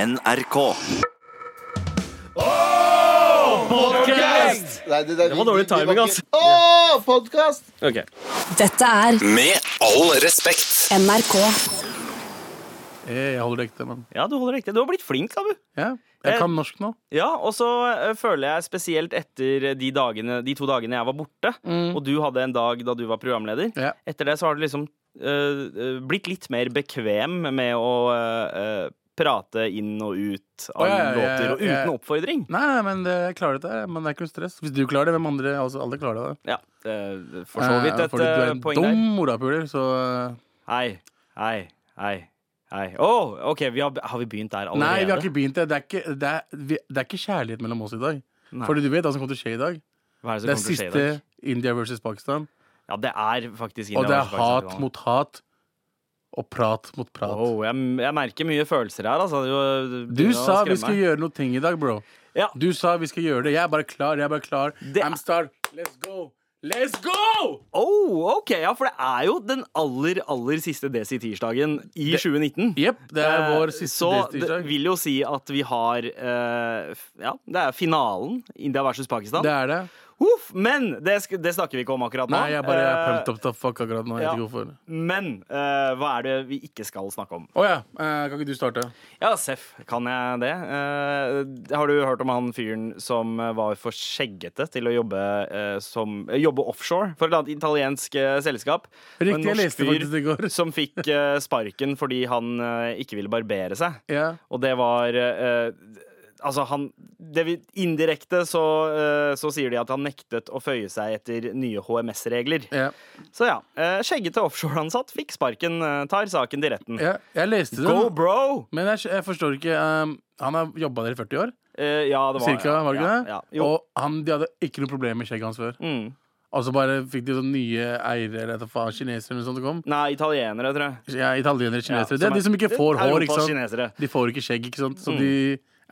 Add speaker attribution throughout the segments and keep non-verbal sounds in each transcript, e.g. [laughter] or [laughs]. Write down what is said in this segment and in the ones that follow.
Speaker 1: NRK.
Speaker 2: Nei, det, det,
Speaker 3: var dårlig timing, altså.
Speaker 2: Åh, podcast!
Speaker 3: Ok.
Speaker 4: Dette er
Speaker 1: Med all respekt.
Speaker 4: NRK.
Speaker 5: Eh, Jeg jeg holder det ekte, men
Speaker 3: Ja, du holder riktig. Du har blitt flink, Abu.
Speaker 5: ja,
Speaker 3: Eh,
Speaker 5: jeg kan norsk nå.
Speaker 3: Ja, og så eh, føler jeg spesielt etter de, dagene, de to dagene jeg var borte, og du hadde en dag da du var programleder,
Speaker 5: Ja.
Speaker 3: etter det så har du liksom eh, eh, blitt litt mer bekvem med å eh, eh, prate inn og ut av
Speaker 5: Å, ja, ja, ja,
Speaker 3: låter, og uten
Speaker 5: ja.
Speaker 3: oppfordring.
Speaker 5: Nei, nei, men det, jeg klarer dette, her, men det er ikke noe stress. Hvis du klarer det, hvem andre? Altså, alle klarer det.
Speaker 3: Ja, eh, for så vidt
Speaker 5: Eh,
Speaker 3: et
Speaker 5: fordi
Speaker 3: eh,
Speaker 5: du er
Speaker 3: poeng
Speaker 5: en
Speaker 3: der.
Speaker 5: dum morapuler, så eh,
Speaker 3: Hei, hei, hei. Hei. Åh, ok, vi har, har vi begynt der allerede?
Speaker 5: Nei, vi har ikke begynt det. Det er ikke, det er, vi, det er ikke kjærlighet mellom oss i dag.
Speaker 3: Nei.
Speaker 5: Fordi du vet hva som kommer til å skje i dag.
Speaker 3: Hva er det som
Speaker 5: Det
Speaker 3: kommer til
Speaker 5: er
Speaker 3: å skje i
Speaker 5: siste
Speaker 3: dag?
Speaker 5: India versus Pakistan.
Speaker 3: Ja, det er faktisk
Speaker 5: Og
Speaker 3: India
Speaker 5: det
Speaker 3: versus
Speaker 5: er
Speaker 3: Pakistan.
Speaker 5: hat mot hat. Og prat mot prat.
Speaker 3: Wow, jeg, jeg merker mye følelser her. Altså. Du,
Speaker 5: Du sa vi skulle gjøre noe ting i dag, bro.
Speaker 3: Ja.
Speaker 5: Du sa vi skal gjøre det. Jeg er bare klar. jeg er bare klar
Speaker 3: Det-
Speaker 5: I'm star. Let's go! Let's go!
Speaker 3: oh, ok, ja, For det er jo den aller aller siste Desi-tirsdagen i 2019.
Speaker 5: Jepp, det er
Speaker 3: Eh,
Speaker 5: vår siste
Speaker 3: Så det
Speaker 5: destinsdag.
Speaker 3: vil jo si at vi har eh, f- Ja, det er finalen. India versus Pakistan.
Speaker 5: Det er det.
Speaker 3: Uff, men det, sk det snakker vi ikke om akkurat nå.
Speaker 5: Nei, jeg bare er
Speaker 3: Eh,
Speaker 5: pumped up to fuck akkurat nå. Jeg vet
Speaker 3: ja.
Speaker 5: ikke hvorfor.
Speaker 3: Men eh, hva er det vi ikke skal snakke om?
Speaker 5: Å ja. eh, kan ikke du starte?
Speaker 3: Ja, Seff, kan jeg det? Eh, har du hørt om han fyren som var for skjeggete til å jobbe, eh, som, eh, jobbe offshore for et eller annet italiensk eh, selskap? Og en
Speaker 5: Riktig, jeg
Speaker 3: norsk
Speaker 5: leste
Speaker 3: fyr
Speaker 5: faktisk det i går.
Speaker 3: [laughs] Som fikk eh, sparken fordi han eh, ikke ville barbere seg.
Speaker 5: Ja.
Speaker 3: Og det var eh, Altså, han det vi, Indirekte så, eh, så sier de at han nektet å føye seg etter nye HMS-regler.
Speaker 5: Ja.
Speaker 3: Så ja, eh, skjeggete offshoreansatt fikk sparken, eh, tar saken til retten.
Speaker 5: ja. Jeg leste det,
Speaker 3: Go, bro!
Speaker 5: men jeg, jeg forstår ikke um, Han har jobba der i 40 år,
Speaker 3: Eh, ja, det var
Speaker 5: cirka,
Speaker 3: ja,
Speaker 5: var det
Speaker 3: ja,
Speaker 5: ikke det?
Speaker 3: Ja, jo.
Speaker 5: Og han, de hadde ikke noe problem med skjegget hans før.
Speaker 3: Mm.
Speaker 5: Og så bare fikk de sånne nye eiere eller etter faen, kinesere eller noe sånt det kom.
Speaker 3: Nei, italienere, tror jeg.
Speaker 5: Ja, italienere,
Speaker 3: Ja,
Speaker 5: kinesere. det er de som ikke får
Speaker 3: Europas
Speaker 5: hår, ikke sant?
Speaker 3: kinesere.
Speaker 5: De får ikke skjegg, ikke sant? Så
Speaker 3: Mm.
Speaker 5: de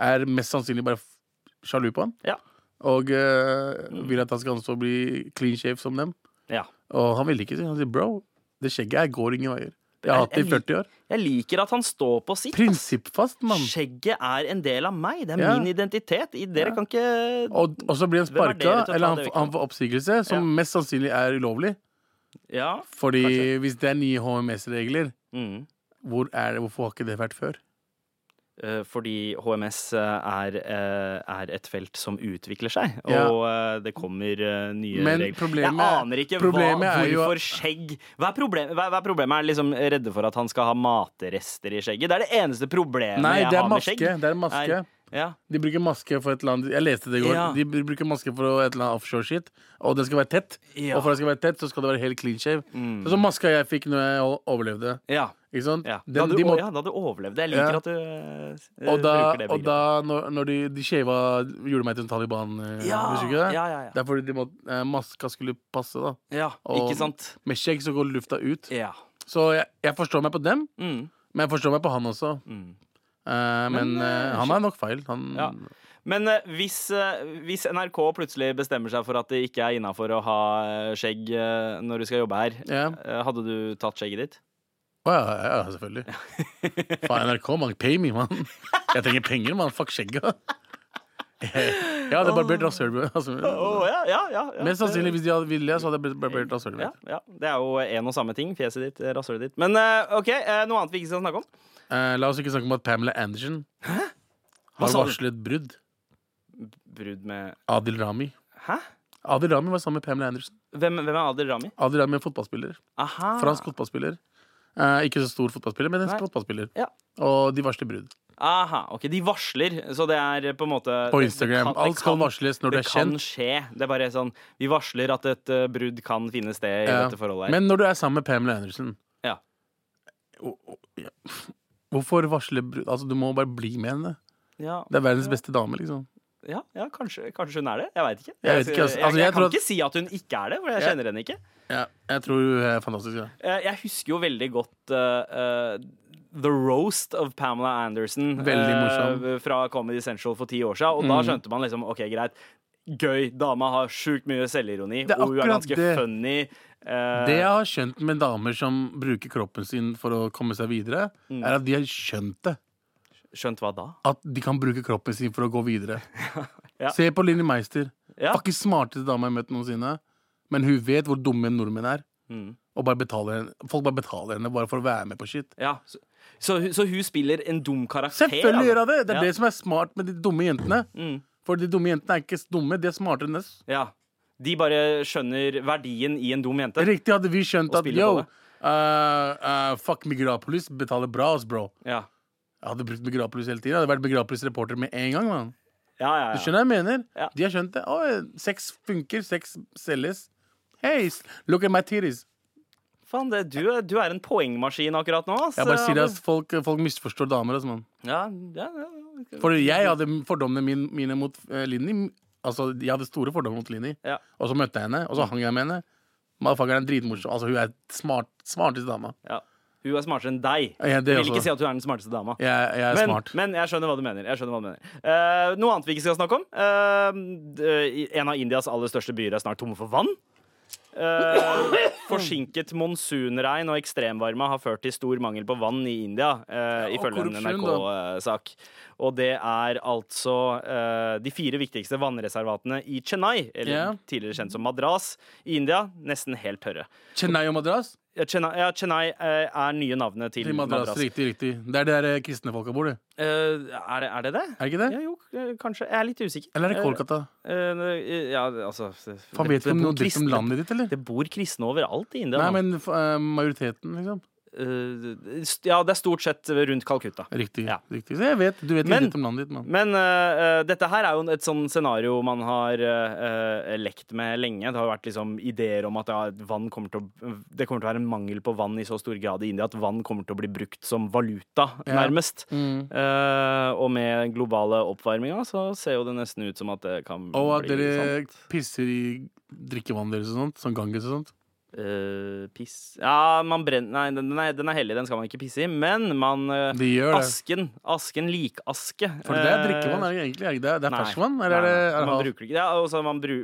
Speaker 5: er mest sannsynlig bare f- sjalu på han.
Speaker 3: Ja. Mm.
Speaker 5: Og eh, vil at han skal anstå å bli clean shave som dem.
Speaker 3: ja.
Speaker 5: Og han ville ikke si Han sier bro, det skjegget her går ingen veier. Jeg har hatt det i 40 år.
Speaker 3: Jeg liker at han står på sitt.
Speaker 5: Prinsippfast, mann.
Speaker 3: Skjegget er en del av meg. Det er
Speaker 5: Ja.
Speaker 3: min identitet. I- Dere
Speaker 5: Ja.
Speaker 3: kan ikke
Speaker 5: Og, og så blir han
Speaker 3: Hvem er dere til å
Speaker 5: sparka,
Speaker 3: ta
Speaker 5: eller han,
Speaker 3: det
Speaker 5: f-
Speaker 3: vekk
Speaker 5: han får oppsigelse, som
Speaker 3: Ja.
Speaker 5: mest sannsynlig er ulovlig.
Speaker 3: Ja.
Speaker 5: Fordi
Speaker 3: Kanskje.
Speaker 5: hvis det er nye HMS-regler,
Speaker 3: Mm.
Speaker 5: hvor er det, hvorfor har ikke det vært før?
Speaker 3: Eh, Fordi HMS er, eh, er et felt som utvikler seg,
Speaker 5: Ja.
Speaker 3: og eh, det kommer eh, nye
Speaker 5: Men
Speaker 3: regler.
Speaker 5: problemet-
Speaker 3: jeg aner ikke hva,
Speaker 5: problemet er jo-
Speaker 3: hvorfor skjegg Hva er problemet? Hva, hva er problemet? Er liksom redde for at han skal ha matrester i skjegget? Det er det eneste problemet
Speaker 5: Nei,
Speaker 3: jeg
Speaker 5: det er
Speaker 3: har med
Speaker 5: maske.
Speaker 3: skjegg.
Speaker 5: Det er maske.
Speaker 3: Ja.
Speaker 5: De bruker maske for et eller annet Jeg leste det i går.
Speaker 3: Ja.
Speaker 5: De br- bruker maske for et eller annet offshore-shit. Og den skal være tett.
Speaker 3: Ja. Mm.
Speaker 5: Og for at den skal være tett, så skal det være helt clean shave. Sånn som maska jeg fikk når jeg o- overlevde.
Speaker 3: ja.
Speaker 5: Ikke sant?
Speaker 3: Ja.
Speaker 5: Den-
Speaker 3: Da, hadde
Speaker 5: de
Speaker 3: du,
Speaker 5: må-
Speaker 3: ja, da hadde du overlevd. Jeg liker
Speaker 5: Ja.
Speaker 3: at du eh,
Speaker 5: og da,
Speaker 3: bruker det
Speaker 5: og da når, når de, de shava Gjorde meg til en Taliban. eh,
Speaker 3: Ja,
Speaker 5: husker du ikke det?
Speaker 3: ja, ja, ja.
Speaker 5: Det er fordi de må, eh, maska skulle passe, da.
Speaker 3: Ja,
Speaker 5: Og
Speaker 3: ikke sant?
Speaker 5: Med skjegg så går lufta ut.
Speaker 3: Ja.
Speaker 5: Så jeg, jeg forstår meg på dem,
Speaker 3: Mm.
Speaker 5: men jeg forstår meg på han også.
Speaker 3: Mm.
Speaker 5: Eh, men
Speaker 3: Men, eh,
Speaker 5: eh, han har nok feil. Han,
Speaker 3: Ja. Men eh, hvis, eh, hvis NRK plutselig bestemmer seg for at det ikke er innafor å ha eh, skjegg eh, når du skal jobbe her,
Speaker 5: Ja.
Speaker 3: eh, hadde du tatt skjegget ditt?
Speaker 5: Å ja, ja, ja, selvfølgelig. Faen, NRK, man. Pay me, man. Jeg trenger penger, man. Fuck skjegget. [laughs] Jeg hadde barbert rasshølet.
Speaker 3: Å, ja, ja, ja, ja.
Speaker 5: altså, Mest sannsynlig, hvis de hadde vilje, så hadde jeg barbert rasshølet.
Speaker 3: ja,
Speaker 5: mitt.
Speaker 3: ja. Det er jo en og samme ting. Fjeset ditt, eh, rasshølet ditt. Men eh, OK, eh, noe annet vi ikke skal snakke om?
Speaker 5: Eh, la oss ikke snakke om at Pamela Andersen har
Speaker 3: sa du?
Speaker 5: varslet brudd.
Speaker 3: Brudd med
Speaker 5: Adil Rami.
Speaker 3: Hæ?
Speaker 5: Adil Rami var sammen med Pamela Andersen.
Speaker 3: Hvem, hvem er Adil Rami?
Speaker 5: Adil Rami er en fotballspiller.
Speaker 3: Aha.
Speaker 5: Fransk fotballspiller. Eh, ikke så stor fotballspiller, men en
Speaker 3: Ah. Nei.
Speaker 5: fotballspiller.
Speaker 3: Ja.
Speaker 5: Og de varsler brudd.
Speaker 3: Aha, ok, De varsler, så det er på en måte
Speaker 5: På
Speaker 3: det-
Speaker 5: Instagram.
Speaker 3: det kan-
Speaker 5: Alt skal
Speaker 3: det kan-
Speaker 5: varsles når du
Speaker 3: Det
Speaker 5: er
Speaker 3: kan
Speaker 5: kjent.
Speaker 3: skje. Det er bare sånn Vi varsler at et eh, brudd kan finne sted i
Speaker 5: Ja.
Speaker 3: dette forholdet. her
Speaker 5: Men når du er sammen med Pamela Andersen
Speaker 3: Ja.
Speaker 5: O- o- ja. Hvorfor varsle brudd? Altså, du må bare bli med henne.
Speaker 3: ja,
Speaker 5: Det er verdens beste dame, liksom.
Speaker 3: ja, ja kanskje, kanskje hun er det? Jeg veit ikke.
Speaker 5: Jeg vet ikke, altså.
Speaker 3: jeg,
Speaker 5: Altså,
Speaker 3: jeg,
Speaker 5: jeg
Speaker 3: kan
Speaker 5: tror at-
Speaker 3: ikke si at hun ikke er det, for jeg
Speaker 5: Ja.
Speaker 3: kjenner henne ikke.
Speaker 5: Ja, jeg tror hun er fantastisk. Ja.
Speaker 3: Eh, Jeg husker jo veldig godt eh, eh, The Roast of Pamela Anderson
Speaker 5: Veldig morsom. Mm.
Speaker 3: eh, fra Comedy Central for ti år siden. Og da skjønte man liksom OK, greit. Gøy. Dama har sjukt mye selvironi,
Speaker 5: Det er
Speaker 3: og hun er
Speaker 5: akkurat
Speaker 3: ganske
Speaker 5: det.
Speaker 3: funny. Eh,
Speaker 5: Det jeg har skjønt med
Speaker 3: Mm.
Speaker 5: damer som bruker kroppen sin for å komme seg videre, er at de har skjønt det.
Speaker 3: Skjønt hva da?
Speaker 5: At de kan bruke kroppen sin for å gå videre.
Speaker 3: [laughs] Ja.
Speaker 5: Se på Linni Meister.
Speaker 3: Ja.
Speaker 5: Fuckings smarteste dama jeg har møtt noensinne. Men hun vet hvor dumme nordmenn er.
Speaker 3: Mm.
Speaker 5: Og bare betaler henne. Folk bare betaler henne bare for å være med på shit.
Speaker 3: ja. Så, så, hun- så hun spiller en dum karakter?
Speaker 5: Selvfølgelig gjør hun det! Det er
Speaker 3: ja.
Speaker 5: det som er smart med de dumme jentene.
Speaker 3: Mm.
Speaker 5: For de dumme jentene er ikke s- dumme, de er smartere enn oss.
Speaker 3: Ja. De bare skjønner verdien i en dum jente.
Speaker 5: Riktig hadde vi skjønt
Speaker 3: Og
Speaker 5: at
Speaker 3: spiller
Speaker 5: yo,
Speaker 3: på det.
Speaker 5: eh, eh, fuck Migrapolis betaler bra, ass, bro.
Speaker 3: Ja.
Speaker 5: Jeg hadde brukt Migrapolis hele tiden. Jeg hadde vært Migrapolis-reporter med en gang. Man.
Speaker 3: Ja, ja,
Speaker 5: Du
Speaker 3: ja.
Speaker 5: skjønner hva jeg mener?
Speaker 3: Ja.
Speaker 5: De har skjønt det. Å, sex funker, sex selges. Hey, s- look at my titties.
Speaker 3: Faen, det, du, er- du er en poengmaskin akkurat nå. ass.
Speaker 5: Jeg bare sier at folk, folk misforstår damer. Altså, man.
Speaker 3: Ja, ja, ja.
Speaker 5: For jeg hadde fordommene mine, mine mot eh, Linni. Altså, jeg hadde store fordommer mot Linni.
Speaker 3: Ja.
Speaker 5: Og så møtte jeg henne, og så hang jeg med henne. Motherfuckeren er dritmorsom. Altså, hun er smart, smarteste dama.
Speaker 3: ja. Hun er smartere enn deg.
Speaker 5: Ja, det altså-
Speaker 3: Vil
Speaker 5: også.
Speaker 3: ikke si at hun er den smarteste dama.
Speaker 5: Jeg, jeg er
Speaker 3: Men,
Speaker 5: smart.
Speaker 3: men jeg skjønner hva du mener. Jeg skjønner hva du mener. Eh, noe annet vi ikke skal snakke om. Eh, d- en av Indias aller største byer er snart tomme for vann. Eh, forsinket monsunregn og ekstremvarme har ført til stor mangel på vann i India, eh,
Speaker 5: Ja, og
Speaker 3: ifølge en
Speaker 5: korrupsjon,
Speaker 3: NRK-sak. Og det er altså eh, de fire viktigste vannreservatene i Chennai, eller
Speaker 5: Ja.
Speaker 3: tidligere kjent som Madras, i India, nesten helt tørre.
Speaker 5: Chennai og Madras?
Speaker 3: Ja, Chennai, ja, Chennai eh, er nye navnet til,
Speaker 5: Til Madras.
Speaker 3: Madras.
Speaker 5: Riktig, riktig. Det er der eh, kristne folka bor, det.
Speaker 3: Eh, er, det, er det det?
Speaker 5: Er det ikke det?
Speaker 3: Ja, jo, eh, kanskje. Jeg er litt usikker.
Speaker 5: Eller er det Kolkata?
Speaker 3: Eh, eh, ja, altså
Speaker 5: Faen, vet du
Speaker 3: det
Speaker 5: om
Speaker 3: bor
Speaker 5: noe dritt om
Speaker 3: kristne-
Speaker 5: landet ditt, eller?
Speaker 3: Det bor kristne overalt i India.
Speaker 5: Nei,
Speaker 3: nå.
Speaker 5: men f- eh, majoriteten, liksom.
Speaker 3: Eh, st- ja, det er stort sett rundt Calcutta.
Speaker 5: Riktig.
Speaker 3: Ja.
Speaker 5: riktig. Så jeg vet, du vet
Speaker 3: Men-
Speaker 5: litt om landet ditt, mann.
Speaker 3: Men eh, eh, dette her er jo et sånn scenario man har eh, eh, lekt med lenge. Det har vært liksom ideer om at ja, vann kommer til å, det kommer til å være en mangel på vann i så stor grad i India at vann kommer til å bli brukt som valuta,
Speaker 5: Ja.
Speaker 3: nærmest.
Speaker 5: Mm.
Speaker 3: Eh, og med den globale oppvarminga så ser jo det nesten ut som at det kan
Speaker 5: Og at
Speaker 3: bli
Speaker 5: dere
Speaker 3: sånn.
Speaker 5: pisser i drikkevannet deres og sånt, som Ganges og sånt.
Speaker 3: Eh, piss Ja, man brenner Nei, den den er, den er hellig, den skal man ikke pisse i. Men man eh,
Speaker 5: De gjør det.
Speaker 3: Asken. Asken, likaske.
Speaker 5: For det er
Speaker 3: eh,
Speaker 5: drikkevann, er det egentlig? Er det, ikke det? det er
Speaker 3: nei.
Speaker 5: ferskvann?
Speaker 3: Nei,
Speaker 5: Eller er det
Speaker 3: nei,
Speaker 5: er det
Speaker 3: man
Speaker 5: halv?
Speaker 3: bruker det ikke. Ja, altså, man bru,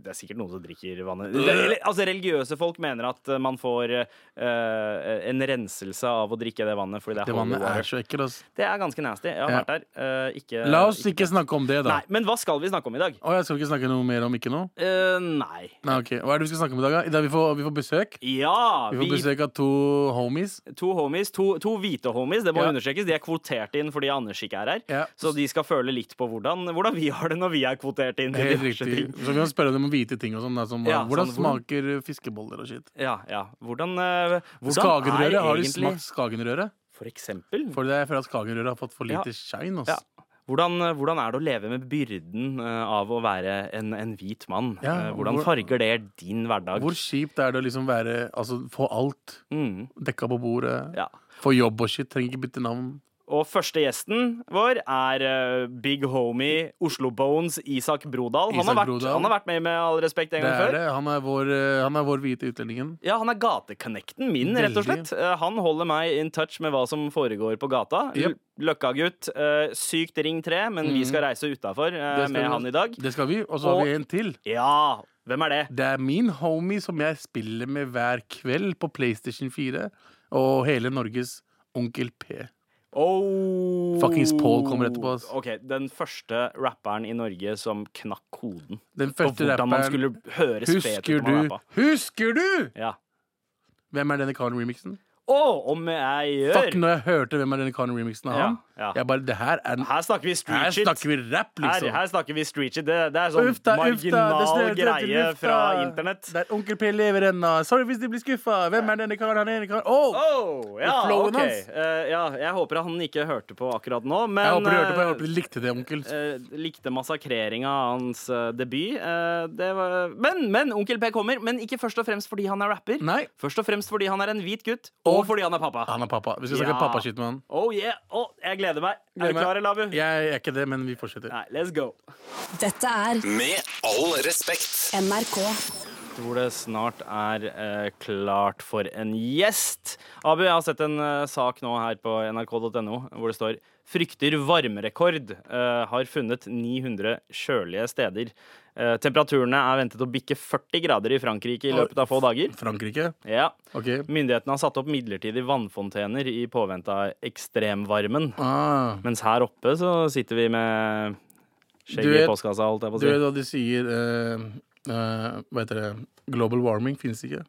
Speaker 3: det er sikkert noen som drikker vannet Det- eller, Altså, religiøse folk mener at eh, man får eh, en renselse av å drikke det vannet fordi det er
Speaker 5: Det
Speaker 3: holy
Speaker 5: vannet
Speaker 3: water.
Speaker 5: er så ekkelt, altså.
Speaker 3: Det er ganske nasty. Jeg har
Speaker 5: Ja.
Speaker 3: vært der. Eh, ikke
Speaker 5: La oss ikke snakke om det, da.
Speaker 3: Nei, men hva skal vi snakke om i dag?
Speaker 5: Å, jeg skal ikke snakke noe mer om ikke noe?
Speaker 3: Eh, nei.
Speaker 5: Nei, ok. Hva er det vi skal snakke om i dag, da? I dag vi får, vi får besøk.
Speaker 3: Ja!
Speaker 5: Vi får besøk av to homies.
Speaker 3: To homies, to, to hvite homies, det må
Speaker 5: Ja.
Speaker 3: understrekes. De er kvotert inn fordi Anders ikke er her.
Speaker 5: Ja.
Speaker 3: Så de skal føle litt på hvordan, hvordan vi har det når vi er kvotert inn. til
Speaker 5: Helt
Speaker 3: diverse
Speaker 5: riktig.
Speaker 3: ting.
Speaker 5: Så vi kan spørre dem om hvite ting og sånn. da, Som,
Speaker 3: Ja,
Speaker 5: hvordan
Speaker 3: sånn, hvor-
Speaker 5: smaker fiskeboller og shit?
Speaker 3: Ja, ja. Hvordan, eh, hvordan er
Speaker 5: Skagenrøre? Har du
Speaker 3: egentlig
Speaker 5: smakt skagenrøre?
Speaker 3: For eksempel.
Speaker 5: For det er for at skagenrøre har fått for
Speaker 3: Ja.
Speaker 5: lite shine. Ass.
Speaker 3: Ja. Hvordan, hvordan er det å leve med byrden eh, av å være en, en hvit mann?
Speaker 5: Ja,
Speaker 3: Eh, hvordan
Speaker 5: hvor-
Speaker 3: farger det din hverdag?
Speaker 5: Hvor kjipt er det å liksom være Altså få alt
Speaker 3: Mm,
Speaker 5: dekka på bordet?
Speaker 3: ja.
Speaker 5: Få jobb og shit? Trenger ikke bytte navn.
Speaker 3: Og første gjesten vår er eh, big homie Oslo Bones Isak Brodal. Han,
Speaker 5: Isak
Speaker 3: har vært,
Speaker 5: Brodal.
Speaker 3: han har vært med i med all respekt en
Speaker 5: Det
Speaker 3: gang før.
Speaker 5: er det. Han er vår, eh, han er vår hvite utlendingen.
Speaker 3: Ja, han er gateconnecten min, rett og
Speaker 5: Veldig.
Speaker 3: slett. Eh, Han holder meg in touch med hva som foregår på gata.
Speaker 5: Jep. Mhm.
Speaker 3: L- Løkkagutt, eh, sykt ring 3, men vi skal reise utafor
Speaker 5: Det skal
Speaker 3: med
Speaker 5: vi-
Speaker 3: han i dag.
Speaker 5: Det skal vi. Og så har
Speaker 3: Og-
Speaker 5: vi en til.
Speaker 3: Ja! Hvem er det?
Speaker 5: Det er min homie som jeg spiller med hver kveld på PlayStation 4, og hele Norges Onkel P.
Speaker 3: Oh.
Speaker 5: Fuckings Paul kommer etterpå, ass.
Speaker 3: Ok, Den første rapperen i Norge som knakk koden
Speaker 5: Den
Speaker 3: på
Speaker 5: første
Speaker 3: hvordan man
Speaker 5: rapperen
Speaker 3: skulle høres fet
Speaker 5: Husker
Speaker 3: ut når man
Speaker 5: du?
Speaker 3: rappa.
Speaker 5: Husker du?
Speaker 3: Ja.
Speaker 5: Hvem er denne Khan-remixen?
Speaker 3: Å, om jeg gjør
Speaker 5: Fuck, når jeg hørte hvem er denne Khan-remixen av
Speaker 3: Ja,
Speaker 5: ham,
Speaker 3: ja.
Speaker 5: jeg bare Det her er
Speaker 3: Her snakker vi
Speaker 5: Her
Speaker 3: street shit.
Speaker 5: snakker vi rap,
Speaker 3: Her,
Speaker 5: liksom.
Speaker 3: her snakker vi street shit. Det, det er sånn
Speaker 5: Ufta, ufta, det
Speaker 3: marginal
Speaker 5: snør til
Speaker 3: greie
Speaker 5: lufta.
Speaker 3: fra internett.
Speaker 5: Der onkel P lever ennå. Sorry hvis de blir skuffa. Hvem er denne karen? Han er en kar Åh!
Speaker 3: Oh, ja,
Speaker 5: flowen
Speaker 3: ok.
Speaker 5: hans.
Speaker 3: Eh, ja, jeg håper han ikke hørte på akkurat nå, men
Speaker 5: Jeg håper du hørte på. Jeg håper du likte det, onkel.
Speaker 3: eh, eh, likte massakreringa av hans eh, debut. Eh, det var... Men, men Onkel P kommer. Men ikke først og fremst fordi han er rapper.
Speaker 5: Nei.
Speaker 3: Først og fremst fordi han er en hvit gutt, og,
Speaker 5: Og-
Speaker 3: fordi han er pappa.
Speaker 5: Han er pappa. Vi skal snakke
Speaker 3: Ja.
Speaker 5: pappaskitt med han.
Speaker 3: Oh yeah! Å, jeg gleder meg. er
Speaker 5: Gleder
Speaker 3: du
Speaker 5: meg.
Speaker 3: klar, Labu?
Speaker 5: Jeg er ikke det, men vi fortsetter.
Speaker 3: Nei, let's go.
Speaker 2: Dette er
Speaker 1: Med all respekt.
Speaker 2: NRK.
Speaker 3: hvor det snart er eh, klart for en gjest. Abu, jeg har sett en eh, sak nå her på nrk.no hvor det står 'Frykter varmerekord'. eh, har funnet 900 kjølige steder. Eh, temperaturene er ventet å bikke 40 grader i Frankrike i
Speaker 5: Oi.
Speaker 3: løpet av få dager.
Speaker 5: Frankrike.
Speaker 3: Ja.
Speaker 5: OK.
Speaker 3: Myndighetene har satt opp midlertidige vannfontener i påvente av ekstremvarmen.
Speaker 5: Ah,
Speaker 3: Mens her oppe så sitter vi med
Speaker 5: Du
Speaker 3: skjegget i
Speaker 5: vet-
Speaker 3: postkassa, holdt jeg på å
Speaker 5: du
Speaker 3: si.
Speaker 5: vet hva de sier eh, eh, Hva heter det? Global warming finnes ikke.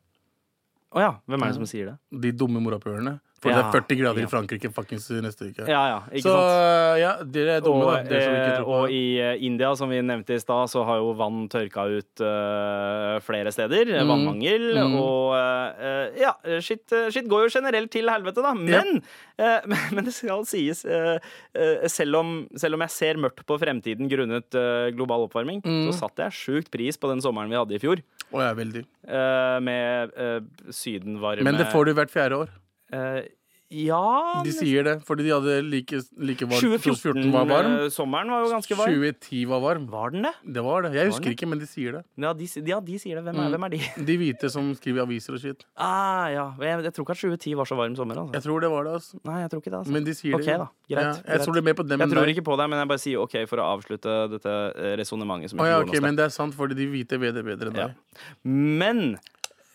Speaker 3: Å ja. Hvem er det som sier det?
Speaker 5: De dumme morapulerne. For
Speaker 3: Ja,
Speaker 5: det er 40 grader
Speaker 3: ja.
Speaker 5: i Frankrike fuckings neste uke.
Speaker 3: Ja, ja, ikke
Speaker 5: så eh,
Speaker 3: sant?
Speaker 5: ja, dere er dumme,
Speaker 3: Og,
Speaker 5: da. Dere som ikke
Speaker 3: eh,
Speaker 5: tror på
Speaker 3: og i eh, India, som vi nevnte i stad, så har jo vann tørka ut eh, flere steder. Vannmangel.
Speaker 5: Mm.
Speaker 3: Og eh, ja, skitt, eh, skitt går jo generelt til helvete, da. Men, eh, [laughs] men- men det skal sies, eh, eh, selv, om, selv om jeg ser mørkt på fremtiden grunnet eh, global oppvarming,
Speaker 5: Mm.
Speaker 3: så satte jeg sjukt pris på den sommeren vi hadde i fjor.
Speaker 5: Å, jeg er veldig.
Speaker 3: eh, med eh, sydenvarme
Speaker 5: Men det får du hvert fjerde år.
Speaker 3: Eh, ja
Speaker 5: De sier det, fordi de hadde like, like varmt. 2014 var varm.
Speaker 3: 2014-sommeren eh, var jo ganske varm.
Speaker 5: 2010 var varm.
Speaker 3: Var den det?
Speaker 5: Det var det. Jeg
Speaker 3: den
Speaker 5: husker
Speaker 3: det?
Speaker 5: ikke, men de sier det.
Speaker 3: Ja, de, si- ja, de sier det. Hvem
Speaker 5: Mm.
Speaker 3: er, hvem er de? [laughs]
Speaker 5: De hvite som skriver aviser og shit.
Speaker 3: Ah, ja. jeg, jeg tror ikke at 2010 var så varm sommer. Altså.
Speaker 5: Jeg tror det var det, altså.
Speaker 3: Nei, jeg tror ikke det. Altså.
Speaker 5: Men de sier
Speaker 3: Ok,
Speaker 5: det.
Speaker 3: da. Greit,
Speaker 5: Ja, jeg
Speaker 3: greit.
Speaker 5: tror det er mer på dem
Speaker 3: jeg
Speaker 5: enn
Speaker 3: tror
Speaker 5: deg.
Speaker 3: ikke på deg, men jeg bare sier OK for å avslutte dette eh, resonnementet.
Speaker 5: Å ja, ok, men det er sant, fordi de hvite vet det bedre enn
Speaker 3: Ja.
Speaker 5: deg.
Speaker 3: Men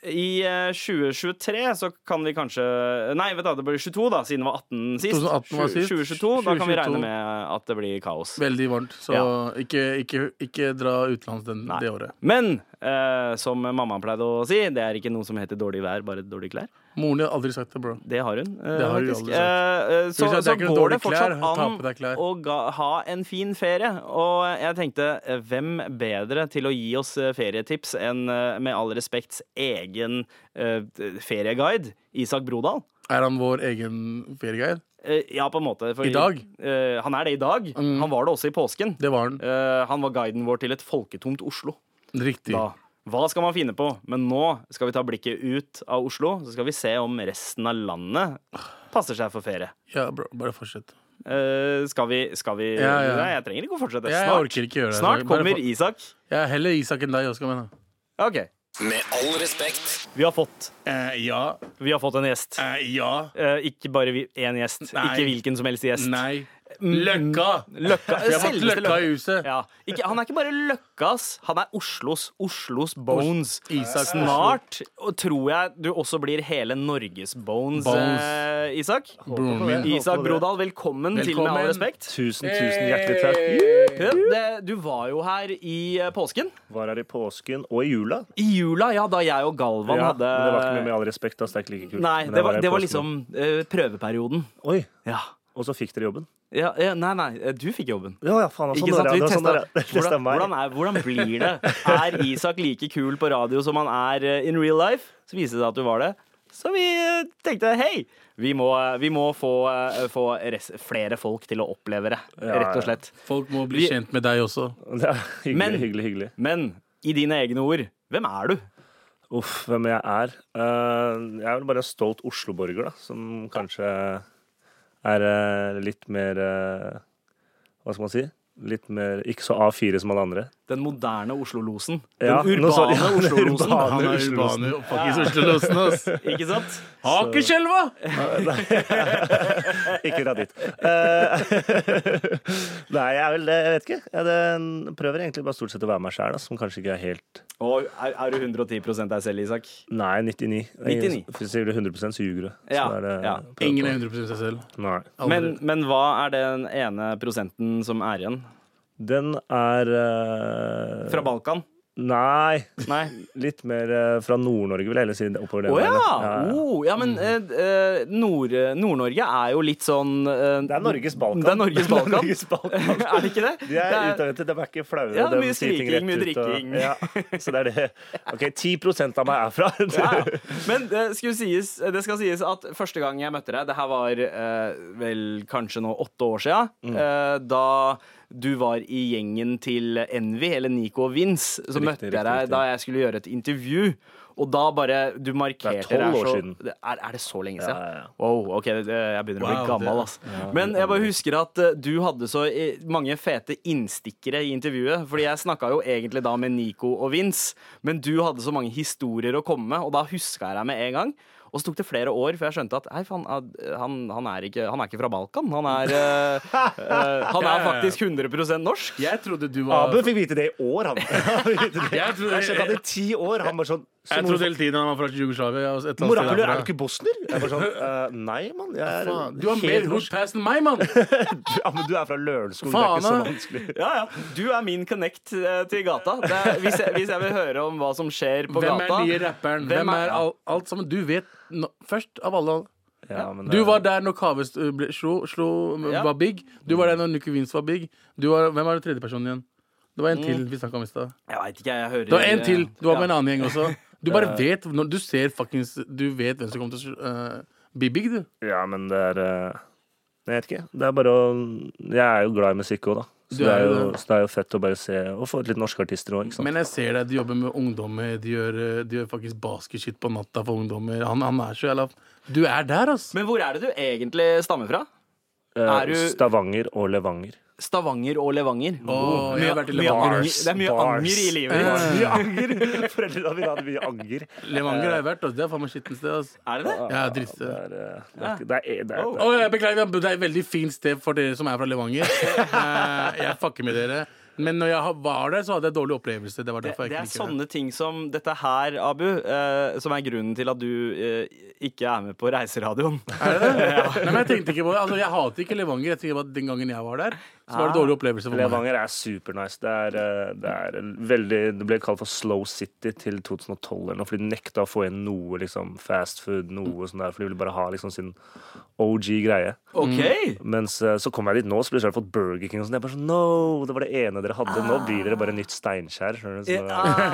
Speaker 3: i eh, 2023 så kan vi kanskje Nei, vet du, hva, det blir 22, da, siden det var 18 sist.
Speaker 5: 2018 var sist.
Speaker 3: 2022, Da kan vi
Speaker 5: 2022.
Speaker 3: regne med at det blir kaos.
Speaker 5: Veldig varmt, så
Speaker 3: Ja.
Speaker 5: ikke, ikke, ikke dra utenlands den,
Speaker 3: Nei.
Speaker 5: det året.
Speaker 3: Men eh, som mamma pleide å si, det er ikke noe som heter dårlig vær, bare dårlige klær.
Speaker 5: Moren din har aldri sagt det, bro.
Speaker 3: Det har hun. eh,
Speaker 5: Det har hun
Speaker 3: faktisk.
Speaker 5: aldri sagt.
Speaker 3: Eh, eh, så
Speaker 5: Skal vi si at det
Speaker 3: så
Speaker 5: er ikke
Speaker 3: går
Speaker 5: noe
Speaker 3: det
Speaker 5: dårlig
Speaker 3: fortsatt
Speaker 5: klær, ta på deg
Speaker 3: an
Speaker 5: klær.
Speaker 3: å ga, ha en fin ferie. Og jeg tenkte, eh, hvem bedre til å gi oss eh, ferietips enn eh, med all respekts egen eh, ferieguide, Isak Brodal?
Speaker 5: Er han vår egen ferieguide?
Speaker 3: Eh, ja, på en måte. for-
Speaker 5: I dag? Mm.
Speaker 3: Eh, han er det i dag. Han var det også i påsken.
Speaker 5: Det var han.
Speaker 3: Eh, han var guiden vår til et folketomt Oslo.
Speaker 5: Riktig.
Speaker 3: Da. Hva skal man finne på? Men nå skal vi ta blikket ut av Oslo, så skal vi se om resten av landet passer seg for ferie.
Speaker 5: Ja, bro, bare fortsett.
Speaker 3: Eh, skal vi, skal vi
Speaker 5: Ja, ja.
Speaker 3: Nei, jeg trenger ikke å fortsette.
Speaker 5: Jeg
Speaker 3: Snart,
Speaker 5: orker ikke gjøre det.
Speaker 3: Snart
Speaker 5: Bare
Speaker 3: kommer
Speaker 5: for-
Speaker 3: Isak.
Speaker 5: Jeg er heller Isak enn deg, Oskar. men da.
Speaker 3: OK.
Speaker 1: Med all respekt.
Speaker 3: Vi har fått,
Speaker 5: Eh, ja.
Speaker 3: vi har fått en gjest.
Speaker 5: Eh, ja.
Speaker 3: Eh, ikke bare vi- én gjest.
Speaker 5: Nei.
Speaker 3: Ikke hvilken som helst gjest.
Speaker 5: Nei. Mm. Løkka!
Speaker 3: Løkka,
Speaker 5: Vi har fått
Speaker 3: selveste
Speaker 5: Løkka i huset.
Speaker 3: Ja. Ikke, han er ikke bare Løkkas, han er Oslos. Oslos Bones.
Speaker 5: Isak Oslo.
Speaker 3: Snart og tror jeg du også blir hele Norges Bones,
Speaker 5: Bones.
Speaker 3: Eh, Isak.
Speaker 5: Broren min.
Speaker 3: Isak Brodal, velkommen, til Med all
Speaker 5: Velkommen.
Speaker 3: respekt.
Speaker 2: Tusen, tusen hjertelig takk.
Speaker 5: Hey!
Speaker 3: Ja, det- Du var jo her i eh, påsken.
Speaker 2: Var her i påsken og i jula.
Speaker 3: I jula, ja, da jeg og Galvan
Speaker 2: ja,
Speaker 3: hadde
Speaker 2: Men det var ikke mye med all respekt. Da, så det er ikke like kult.
Speaker 3: Nei,
Speaker 2: Men
Speaker 3: det
Speaker 2: jeg
Speaker 3: var,
Speaker 2: her i
Speaker 3: det var
Speaker 2: påsken.
Speaker 3: liksom eh, prøveperioden.
Speaker 2: Oi,
Speaker 3: Ja.
Speaker 2: og så fikk dere jobben.
Speaker 3: Ja, ja. Nei, nei, eh, du fikk jobben.
Speaker 2: Ja, ja, faen, altså,
Speaker 3: Ikke sant?
Speaker 2: Nora,
Speaker 3: Vi
Speaker 2: det var sånn
Speaker 3: testet,
Speaker 2: Nora- det [laughs]
Speaker 3: hvordan,
Speaker 2: stemmer.
Speaker 3: hvordan, er, hvordan blir det? Er Isak like kul på radio som han er eh, in real life? Så viste det seg at du var det. Så vi eh, tenkte hei, vi må, eh, vi må få, eh, få res flere folk til å oppleve det,
Speaker 2: Ja,
Speaker 3: rett og
Speaker 2: ja.
Speaker 3: slett.
Speaker 5: Folk må bli
Speaker 3: Vi-
Speaker 5: kjent med deg også.
Speaker 2: Det er hyggelig,
Speaker 3: Men-
Speaker 2: hyggelig, hyggelig.
Speaker 3: Men i dine egne ord, hvem er du?
Speaker 2: Uff, hvem jeg er. Eh, jeg er vel bare en stolt Oslo-borger, da, som kanskje er eh, litt mer eh, Hva skal man si? Litt mer Ikke så A4 som alle andre.
Speaker 3: Den moderne Oslo-losen. Den
Speaker 2: Ja, nå
Speaker 3: urbane
Speaker 2: sa- ja, [laughs] den
Speaker 3: Oslo-losen.
Speaker 2: urbane.
Speaker 5: Han er
Speaker 2: Oslo-losen.
Speaker 5: urbane. Fuckings Oslo-losen, [laughs] ass.
Speaker 3: Ikke [laughs] sant?
Speaker 5: Akerselva!
Speaker 2: [laughs] Ikke dra dit. Eh, [laughs] Nei, jeg er vel det. Jeg vet ikke. Jeg det- prøver egentlig bare stort sett å være meg sjæl, som kanskje ikke er helt
Speaker 3: Og er, er du 110 deg selv, Isak?
Speaker 2: Nei, 99.
Speaker 3: 99.
Speaker 2: Hvis du sier det 100 så ljuger du. Så
Speaker 3: Ja,
Speaker 2: er det-
Speaker 3: ja.
Speaker 2: prøv
Speaker 5: Ingen
Speaker 2: på.
Speaker 5: er 100 seg selv.
Speaker 2: Nei.
Speaker 5: Aldri.
Speaker 3: Men, men hva er den ene prosenten som er igjen?
Speaker 2: Den er eh,
Speaker 3: Fra Balkan?
Speaker 2: Nei.
Speaker 3: Nei.
Speaker 2: Litt mer eh, fra Nord-Norge, vil jeg heller si. Oppover det
Speaker 3: Å ja!
Speaker 2: veien, ja.
Speaker 3: Oh, ja, men eh, eh, Nord- Nord-Norge er jo litt sånn eh,
Speaker 2: Det er Norges Balkan.
Speaker 3: Det er Norges Balkan.
Speaker 2: Norges Balkan.
Speaker 3: [laughs] er det ikke det?
Speaker 2: De er,
Speaker 3: [laughs] Det er-
Speaker 2: utadvendte, de er ikke flaue.
Speaker 3: Ja,
Speaker 2: de
Speaker 3: mye
Speaker 2: sier ting
Speaker 3: skriking,
Speaker 2: rett
Speaker 3: mye
Speaker 2: ut, og-
Speaker 3: drikking.
Speaker 2: ja, så det er det. OK, 10 av meg er fra. [laughs]
Speaker 3: ja, ja. [laughs] Men det, skulle sies, det skal sies at første gang jeg møtte deg, det her var eh, vel kanskje nå åtte år sia,
Speaker 2: Mm.
Speaker 3: eh, da du var i gjengen til Envy, eller Nico og Vince, så
Speaker 2: Riktig,
Speaker 3: møtte jeg
Speaker 2: riktig,
Speaker 3: deg
Speaker 2: riktig.
Speaker 3: da jeg skulle gjøre et intervju. Og da bare Du markerte
Speaker 2: Det er tolv
Speaker 3: deg
Speaker 2: år
Speaker 3: så-
Speaker 2: siden.
Speaker 3: Det Er, er det så lenge siden?
Speaker 2: Ja, ja, ja.
Speaker 3: Wow, ok, det- jeg begynner å bli
Speaker 5: Wow,
Speaker 3: gammel,
Speaker 5: det-
Speaker 3: ass. Men jeg bare husker at eh, du hadde så eh, mange fete innstikkere i intervjuet. Fordi jeg snakka jo egentlig da med Nico og Vince, men du hadde så mange historier å komme med, og da huska jeg deg med en gang. Og så tok det flere år før jeg skjønte at hei, faen, eh, han, han, er ikke, han er ikke fra Balkan. Han er, eh, [laughs] eh, han er
Speaker 5: ja, ja.
Speaker 3: faktisk 100 norsk.
Speaker 5: Jeg trodde du var
Speaker 2: Abu fikk vite det i
Speaker 5: [laughs]
Speaker 2: år, han. [laughs] Han fikk vite det.
Speaker 5: Jeg trodde-
Speaker 2: Jeg skjønte at i ti år han var sånn
Speaker 5: Jeg trodde hele tiden han var fra Jugoslavia. og et eller annet sted
Speaker 2: Morapuler,
Speaker 5: derfra.
Speaker 2: er du ikke bosnier? Jeg var sånn, eh, Nei, mann. Jeg er
Speaker 5: Faen, Du har
Speaker 2: helt
Speaker 5: mer
Speaker 2: norsk.
Speaker 5: hood pass enn meg, mann!
Speaker 2: [laughs] Ja, men du er fra Lørenskog, det er
Speaker 5: Faen, eh.
Speaker 2: ikke så
Speaker 5: da.
Speaker 2: vanskelig.
Speaker 3: Ja, ja. Du er min connect eh, til gata. Det er, hvis, jeg, hvis jeg vil høre om hva som skjer på
Speaker 5: Hvem er
Speaker 3: gata
Speaker 5: nye rapperen?
Speaker 3: Hvem
Speaker 5: Hvem
Speaker 3: er-
Speaker 5: er alt, alt sammen? Du vet nå- først av alle.
Speaker 2: Ja, men,
Speaker 5: Du
Speaker 2: eh,
Speaker 5: var der når Kaves eh, ble, slo, slo
Speaker 3: Ja.
Speaker 5: var big. Du var der når Nuki Vince var big. Du var, hvem var den tredje personen igjen? Det var en til vi snakka om i stad.
Speaker 3: Jeg veit ikke, jeg hører
Speaker 5: Det var en
Speaker 3: eh,
Speaker 5: til. Du var med en annen gjeng også.
Speaker 3: [laughs]
Speaker 5: Du bare vet når du ser fuckings Du vet hvem som kommer til å sl- eh, bli big, du.
Speaker 2: Ja, men det er eh, Jeg vet ikke. Det er bare å Jeg er jo glad i musikk òg, da. Så
Speaker 5: Du
Speaker 2: det,
Speaker 5: er
Speaker 2: er
Speaker 5: jo
Speaker 2: jo,
Speaker 5: det.
Speaker 2: så det er jo fett å bare se og få ut litt norske artister òg, ikke sant.
Speaker 5: Men jeg ser deg, du jobber med ungdommer. De gjør, eh, de gjør faktisk basketshit på natta for ungdommer. Han, han er så jævla Du er der, ass!
Speaker 3: Men hvor er det du egentlig stammer fra?
Speaker 2: Eh,
Speaker 3: er du-
Speaker 2: Stavanger og Levanger.
Speaker 3: Stavanger og Levanger.
Speaker 5: Åh, jeg har vært i
Speaker 3: mye
Speaker 5: Levanger.
Speaker 3: anger, det er mye
Speaker 2: Bars.
Speaker 3: anger i livet
Speaker 2: Det
Speaker 3: ditt.
Speaker 2: var Mye anger! [laughs] Foreldrene mine hadde mye anger.
Speaker 3: eh,
Speaker 5: Levanger har jeg vært, ass. Det er faen meg skittent sted, ass.
Speaker 3: Er det det?
Speaker 5: Ja,
Speaker 2: Det
Speaker 5: drittsted.
Speaker 2: er, eh, det er, ikke- det er, det er,
Speaker 5: Å, jeg beklager, det er et veldig fint sted for dere som er
Speaker 3: [laughs]
Speaker 5: fra Levanger. Eh, Jeg fucker med dere. Men når jeg var der, så hadde jeg dårlig opplevelse. Det var
Speaker 3: Det,
Speaker 5: derfor
Speaker 3: det
Speaker 5: jeg
Speaker 3: er sånn,
Speaker 5: ikke liker det.
Speaker 3: sånne ting som dette her, Abu, eh, som er grunnen til at du eh, ikke er med på Reiseradioen.
Speaker 5: Er det det? Nei, men jeg tenkte ikke på det. Altså, jeg hater ikke Levanger. Jeg tenker bare at Den gangen jeg var der, så
Speaker 3: Ah.
Speaker 5: var det dårlig opplevelse for meg.
Speaker 2: Levanger er supernice. Det er, eh, det er en veldig Det ble kalt for Slow City til 2012 eller noe, fordi de nekta å få inn noe liksom fast food, noe sånn der, for de ville bare ha liksom sin OG-greie.
Speaker 3: [laughs] OK!
Speaker 5: Mm.
Speaker 2: Mens eh, så kom jeg dit nå, så ble jeg fått Burger King og sånn. Jeg bare sånn No! Det var det ene dere hadde. Nå blir dere bare nytt Steinkjer. skjønner du? Så,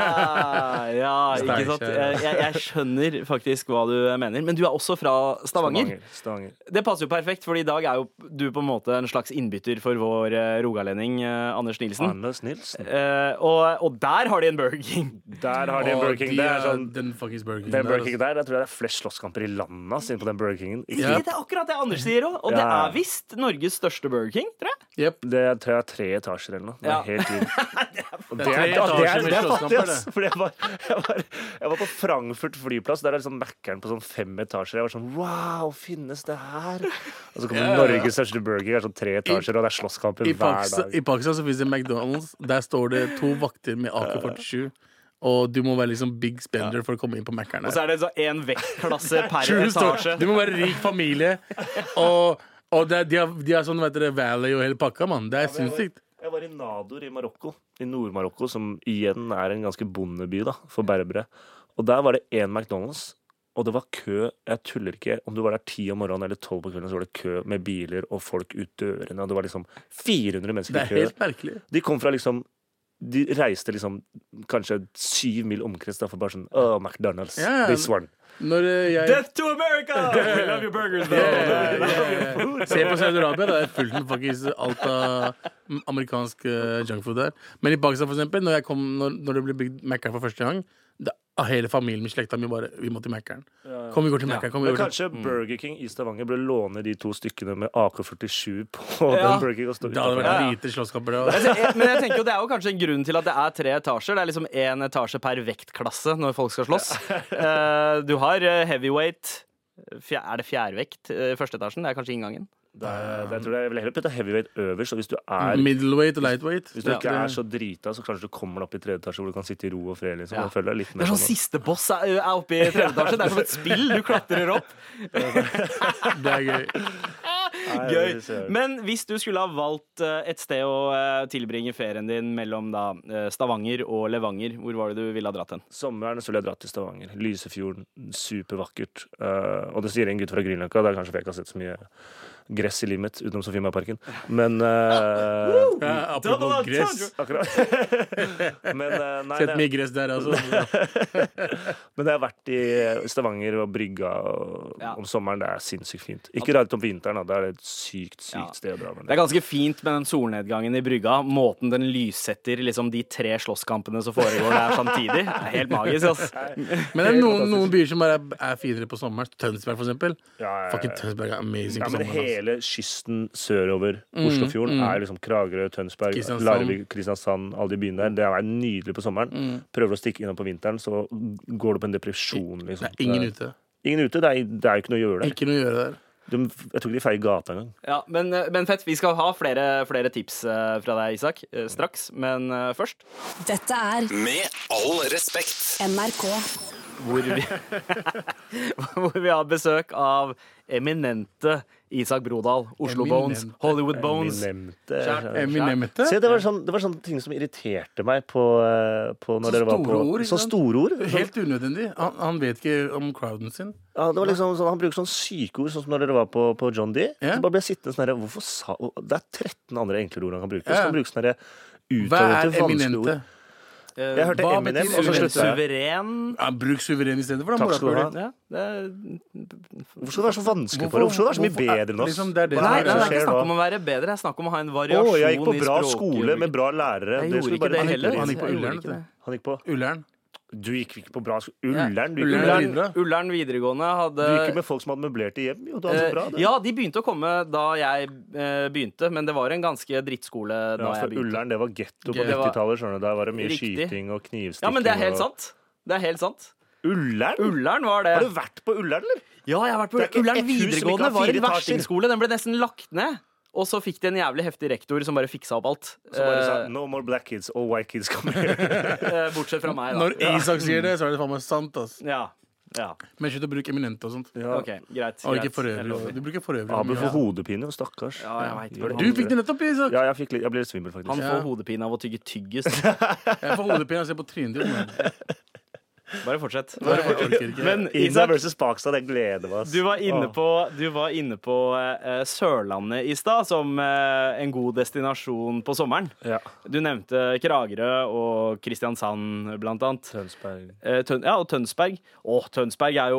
Speaker 3: Ah, ja, ikke sant. Eh, Jeg, jeg skjønner faktisk hva du mener. Men du er også fra Stavanger.
Speaker 2: Stavanger.
Speaker 3: Det passer jo perfekt, for i dag er jo du på en måte en slags innbytter for vår eh, rogalending eh, Anders Nilsen.
Speaker 2: Anders Nilsen.
Speaker 3: Eh, og, og der har de en Burger King!
Speaker 2: Der har de en Burger King.
Speaker 5: Å, de
Speaker 2: Det er sånn
Speaker 5: Den fuckings Burger
Speaker 2: den Burger
Speaker 5: King
Speaker 2: King
Speaker 5: der. altså. ass.
Speaker 2: der, jeg tror det er flest slåsskamper i landet ass, inne på den Burger Kingen. Ikke-
Speaker 5: Ja.
Speaker 3: Det er akkurat det Anders sier òg. Og det
Speaker 2: Ja.
Speaker 3: er visst Norges største Burger King, tror jeg.
Speaker 5: Jep.
Speaker 2: Det er, tror jeg er tre etasjer eller noe. Det er
Speaker 3: Ja.
Speaker 2: helt
Speaker 5: [laughs]
Speaker 2: vilt. Og Det
Speaker 5: Det er
Speaker 2: er,
Speaker 5: tre
Speaker 2: det er, det
Speaker 5: etasjer
Speaker 2: er,
Speaker 5: med
Speaker 2: det er fattig,
Speaker 5: slåsskamper,
Speaker 2: ass. Fordi jeg var, jeg, var, jeg var på Frankfurt flyplass. Der er liksom Mækkern på sånn fem etasjer. Jeg var sånn Wow, finnes det her? Og så kommer
Speaker 5: Ja, ja, ja.
Speaker 2: Norges største burger, det er sånn tre etasjer, og det er slåsskamper
Speaker 5: I
Speaker 2: hver
Speaker 5: Pakistan,
Speaker 2: dag.
Speaker 5: I Pakistan så finnes det McDonald's. Der står det to vakter med AK-47. Og du må være liksom big spender for å komme inn på Mækkern.
Speaker 3: Og så er det så én vektklasse per
Speaker 5: True
Speaker 3: etasje.
Speaker 5: story. Du må være rik familie. Og, og det, er- de, har, de har sånn vet dere, Valley og hele pakka, mann. Det er sinnssykt.
Speaker 2: Jeg var i Nador i Marokko, i Nord-Marokko, som igjen er en ganske bondeby da, for berbere. Og der var det én McDonald's, og det var kø. Jeg tuller ikke. Om du var der ti om morgenen eller tolv på kvelden, så var det kø med biler og folk ut dørene. Og det var liksom 400
Speaker 5: Det
Speaker 2: mennesker
Speaker 5: er
Speaker 2: i kø.
Speaker 5: helt merkelig.
Speaker 2: De kom fra liksom De reiste liksom kanskje syv mil omkrets da, for bare sånn Åh, McDonald's.
Speaker 5: Ja, ja.
Speaker 2: This one.
Speaker 5: Når eh, jeg
Speaker 3: Death to America! We love your burgers,
Speaker 5: Eh,
Speaker 3: though.
Speaker 5: eh, Se på Saudi-Arabia. Det er fullt med faktisk alt av m- amerikansk eh, junkfood der. Men i Pakistan, for eksempel, når, jeg kom, når, når det ble bygd Mækkern for første gang da, Hele familien min, slekta mi, bare Vi må til Mækkern. Kom, vi går til Mækkern. Kom, vi
Speaker 2: Men
Speaker 5: går til
Speaker 2: kanskje Burger King i Stavanger burde låne de to stykkene med AK-47 på
Speaker 3: Ja.
Speaker 2: den Burger King. Og stå
Speaker 5: Det hadde
Speaker 2: utenfor.
Speaker 5: vært
Speaker 3: Ja, ja.
Speaker 5: lite slåsskamper. det, ass.
Speaker 3: Altså, jeg- Men jeg tenker jo det er jo kanskje en grunn til at det er tre etasjer. Det er liksom én etasje per vektklasse når folk skal slåss. Eh, Du har eh, heavyweight Fjer- Er det fjærvekt eh, i første etasjen? Det er kanskje inngangen.
Speaker 2: Det er- det tror jeg, jeg vil heller putte heavyweight øverst, og hvis du
Speaker 3: Mm,
Speaker 2: er
Speaker 5: Middleweight og lightweight.
Speaker 2: hvis du
Speaker 5: Ja,
Speaker 2: ikke
Speaker 5: det-
Speaker 2: er så drita, så kanskje du kommer deg opp i tredje etasje hvor du kan sitte i ro og fred. liksom.
Speaker 3: Ja.
Speaker 2: Jeg føler det er litt
Speaker 3: Det
Speaker 2: mer
Speaker 3: er sånn
Speaker 2: sånn
Speaker 3: siste boss er er oppe i tredje etasje. Det er som et spill. Du klatrer opp.
Speaker 5: Det er gøy.
Speaker 2: Nei, det ser
Speaker 3: Gøy.
Speaker 2: jeg.
Speaker 3: Men hvis du skulle ha valgt eh, et sted å eh, tilbringe ferien din mellom da eh, Stavanger og Levanger, hvor var det du ville ha dratt hen?
Speaker 2: Sommeren så ville jeg dratt til Stavanger. Lysefjorden, supervakkert. Eh, og det sier en gutt fra Grünerløkka, det er kanskje fordi jeg ikke har sett så mye gress i livet mitt utenom Sofiemarparken. Men eh, [laughs]
Speaker 5: Ja, apropos gress.
Speaker 2: Akkurat. [laughs] Men, eh, nei,
Speaker 5: Sett
Speaker 2: det,
Speaker 5: mye gress der, altså.
Speaker 2: men det har vært i Stavanger og Brygga og,
Speaker 3: Ja.
Speaker 2: om sommeren. Det er sinnssykt fint. Ikke rart om vinteren, da. Da er det et sykt, sykt
Speaker 3: Ja.
Speaker 2: sted å dra. Men
Speaker 3: Det er ganske fint med den solnedgangen i brygga. Måten den lyssetter liksom de tre slåsskampene som foregår der samtidig. Det er helt magisk, ass.
Speaker 5: Men det er noen, noen byer som bare er- er finere på sommeren. Tønsberg, for eksempel.
Speaker 2: Ja, ja, ja.
Speaker 5: Fucking Tønsberg er amazing
Speaker 2: Ja,
Speaker 5: på
Speaker 2: men
Speaker 5: sommeren. altså. ass. Mm.
Speaker 2: hele kysten sørover Oslofjorden er liksom Kragerø, Tønsberg,
Speaker 5: Kristiansand.
Speaker 2: Larvik, Kristiansand, alle de byene der. Det er nydelig på sommeren.
Speaker 5: Mm.
Speaker 2: Prøver du å stikke innom på vinteren, så går du på en depresjon, liksom.
Speaker 5: Det er ingen ute.
Speaker 2: Ingen ute. Det er, det er jo ikke noe å gjøre der.
Speaker 5: Ikke noe å gjøre der.
Speaker 2: De, jeg tror ikke de feier gata engang.
Speaker 3: Ja, men, eh, men fett. Vi skal ha flere, flere tips eh, fra deg, Isak, eh, straks. Men eh, først
Speaker 4: Dette er
Speaker 1: Med all respekt.
Speaker 4: NRK.
Speaker 3: hvor vi, hvor vi [laughs] har besøk av eminente Isak Brodal. Oslo
Speaker 5: Eminent.
Speaker 3: Bones, Hollywood Bones.
Speaker 2: Eminemte.
Speaker 5: Eminemete.
Speaker 2: Se, det var, sånn, det var sånne ting som irriterte meg på, eh, på når
Speaker 5: Så
Speaker 2: dere var på
Speaker 5: store ord, ikke
Speaker 2: Så
Speaker 5: sant?
Speaker 2: store ord. Sånn,
Speaker 5: Helt unødvendig. Han, han vet ikke om crowden sin.
Speaker 2: ja, det var liksom sånn, han bruker sånne syke ord, sånn som når dere var på, på John D.
Speaker 5: Ja.
Speaker 2: Så bare ble jeg sittende sånn herre Hvorfor sa og Det er 13 andre enklere ord han kan bruke. Så
Speaker 5: Ja.
Speaker 2: kan han bruke sånne herre
Speaker 5: Hva er
Speaker 2: utadvendte, vanskelige ord.
Speaker 5: eminente?
Speaker 2: Jeg hørte
Speaker 5: Hva
Speaker 2: Eminem,
Speaker 5: betyr
Speaker 2: og så
Speaker 5: suveren?
Speaker 2: slutta jeg.
Speaker 3: Suveren.
Speaker 5: Ja, bruk suveren istedenfor.
Speaker 2: Takk skal du ha.
Speaker 3: Ja, det er,
Speaker 2: Hvorfor skal det være så vanskelig for deg? Hvorfor skal det være så mye
Speaker 5: hvorfor er-
Speaker 2: bedre enn oss?
Speaker 5: liksom, det er det
Speaker 2: Hva
Speaker 5: som
Speaker 3: nei,
Speaker 5: er-
Speaker 3: det er ikke
Speaker 2: skjer
Speaker 3: snakk
Speaker 2: da?
Speaker 3: om å være bedre, det er snakk om å ha en
Speaker 2: Å,
Speaker 3: variasjon i
Speaker 2: jeg gikk på bra
Speaker 3: språket.
Speaker 2: skole med bra lærere.
Speaker 3: Jeg
Speaker 2: Det
Speaker 3: gjorde ikke
Speaker 2: skulle bare
Speaker 3: det
Speaker 2: dytte
Speaker 3: heller.
Speaker 2: inn.
Speaker 5: Han gikk på
Speaker 3: Jeg gjorde
Speaker 5: Ullern,
Speaker 3: ikke det.
Speaker 2: Han gikk på
Speaker 5: Ullern.
Speaker 2: Du gikk ikke på bra sk- Ullern? Du gikk,
Speaker 5: Ullern.
Speaker 2: Ullern.
Speaker 5: videre.
Speaker 3: Ullern, Ullern videregående hadde
Speaker 2: Du gikk jo med folk som hadde møblerte hjem. Jo, det var så bra,
Speaker 3: Eh,
Speaker 2: det.
Speaker 3: Ja, de begynte å komme da jeg eh, begynte, men det var en ganske drittskole da
Speaker 2: Ja,
Speaker 3: jeg
Speaker 2: for
Speaker 3: begynte.
Speaker 2: Ullern, det var getto på
Speaker 3: Det var-
Speaker 2: 90-tallet. skjønner du. Der var det mye
Speaker 3: Riktig.
Speaker 2: skyting og knivstikking.
Speaker 3: Ja, men det er helt
Speaker 2: og-
Speaker 3: sant. Det er helt sant.
Speaker 2: Ullern?
Speaker 3: Ullern var det.
Speaker 2: Har du vært på Ullern, eller?
Speaker 3: Ja, jeg har vært på
Speaker 2: Det er ikke
Speaker 3: Ullern
Speaker 2: ett hus som ikke
Speaker 3: videregående.
Speaker 2: har
Speaker 3: var
Speaker 2: fire
Speaker 3: en
Speaker 2: etasjer.
Speaker 3: verstingskole. Den ble nesten lagt ned. Og så fikk de en jævlig heftig rektor som bare fiksa opp alt.
Speaker 2: Så bare sa
Speaker 3: Eh,
Speaker 2: No more black kids, all white kids come
Speaker 3: [laughs]
Speaker 2: here.
Speaker 3: eh, bortsett fra meg, da.
Speaker 5: Når Isak sier det, så er det faen meg sant. ass
Speaker 3: Ja. ja.
Speaker 5: Men slutt å bruke eminente og sånt.
Speaker 3: OK,
Speaker 2: [laughs]
Speaker 3: greit.
Speaker 5: Og
Speaker 3: greit.
Speaker 5: ikke for øvrig.
Speaker 3: lover.
Speaker 5: Du bruker for øvrig.
Speaker 2: Abel får
Speaker 5: mye.
Speaker 2: hodepine, stakkars.
Speaker 3: Ja, jeg vet
Speaker 2: Gjør
Speaker 3: hva det
Speaker 2: det.
Speaker 5: Du fikk det nettopp, Isak!
Speaker 2: Ja, jeg, fikk litt, jeg ble litt svimmel, faktisk.
Speaker 3: Han
Speaker 5: Ja.
Speaker 3: får hodepine av å tygge tyggis.
Speaker 5: Jeg får hodepine av å se på trynet ditt. men-
Speaker 3: Bare fortsett.
Speaker 5: Nei, Jeg orker ikke.
Speaker 3: Men
Speaker 2: Inna
Speaker 3: Isak,
Speaker 2: versus Pakistan, jeg gleder meg. ass.
Speaker 3: Du var inne
Speaker 2: Åh.
Speaker 3: på, du var inne på eh, Sørlandet i stad som eh, en god destinasjon på sommeren.
Speaker 2: ja.
Speaker 3: Du nevnte Kragerø og Kristiansand, blant annet.
Speaker 2: Tønsberg.
Speaker 3: Eh, Tøn ja, og Tønsberg. Å, Tønsberg er jo,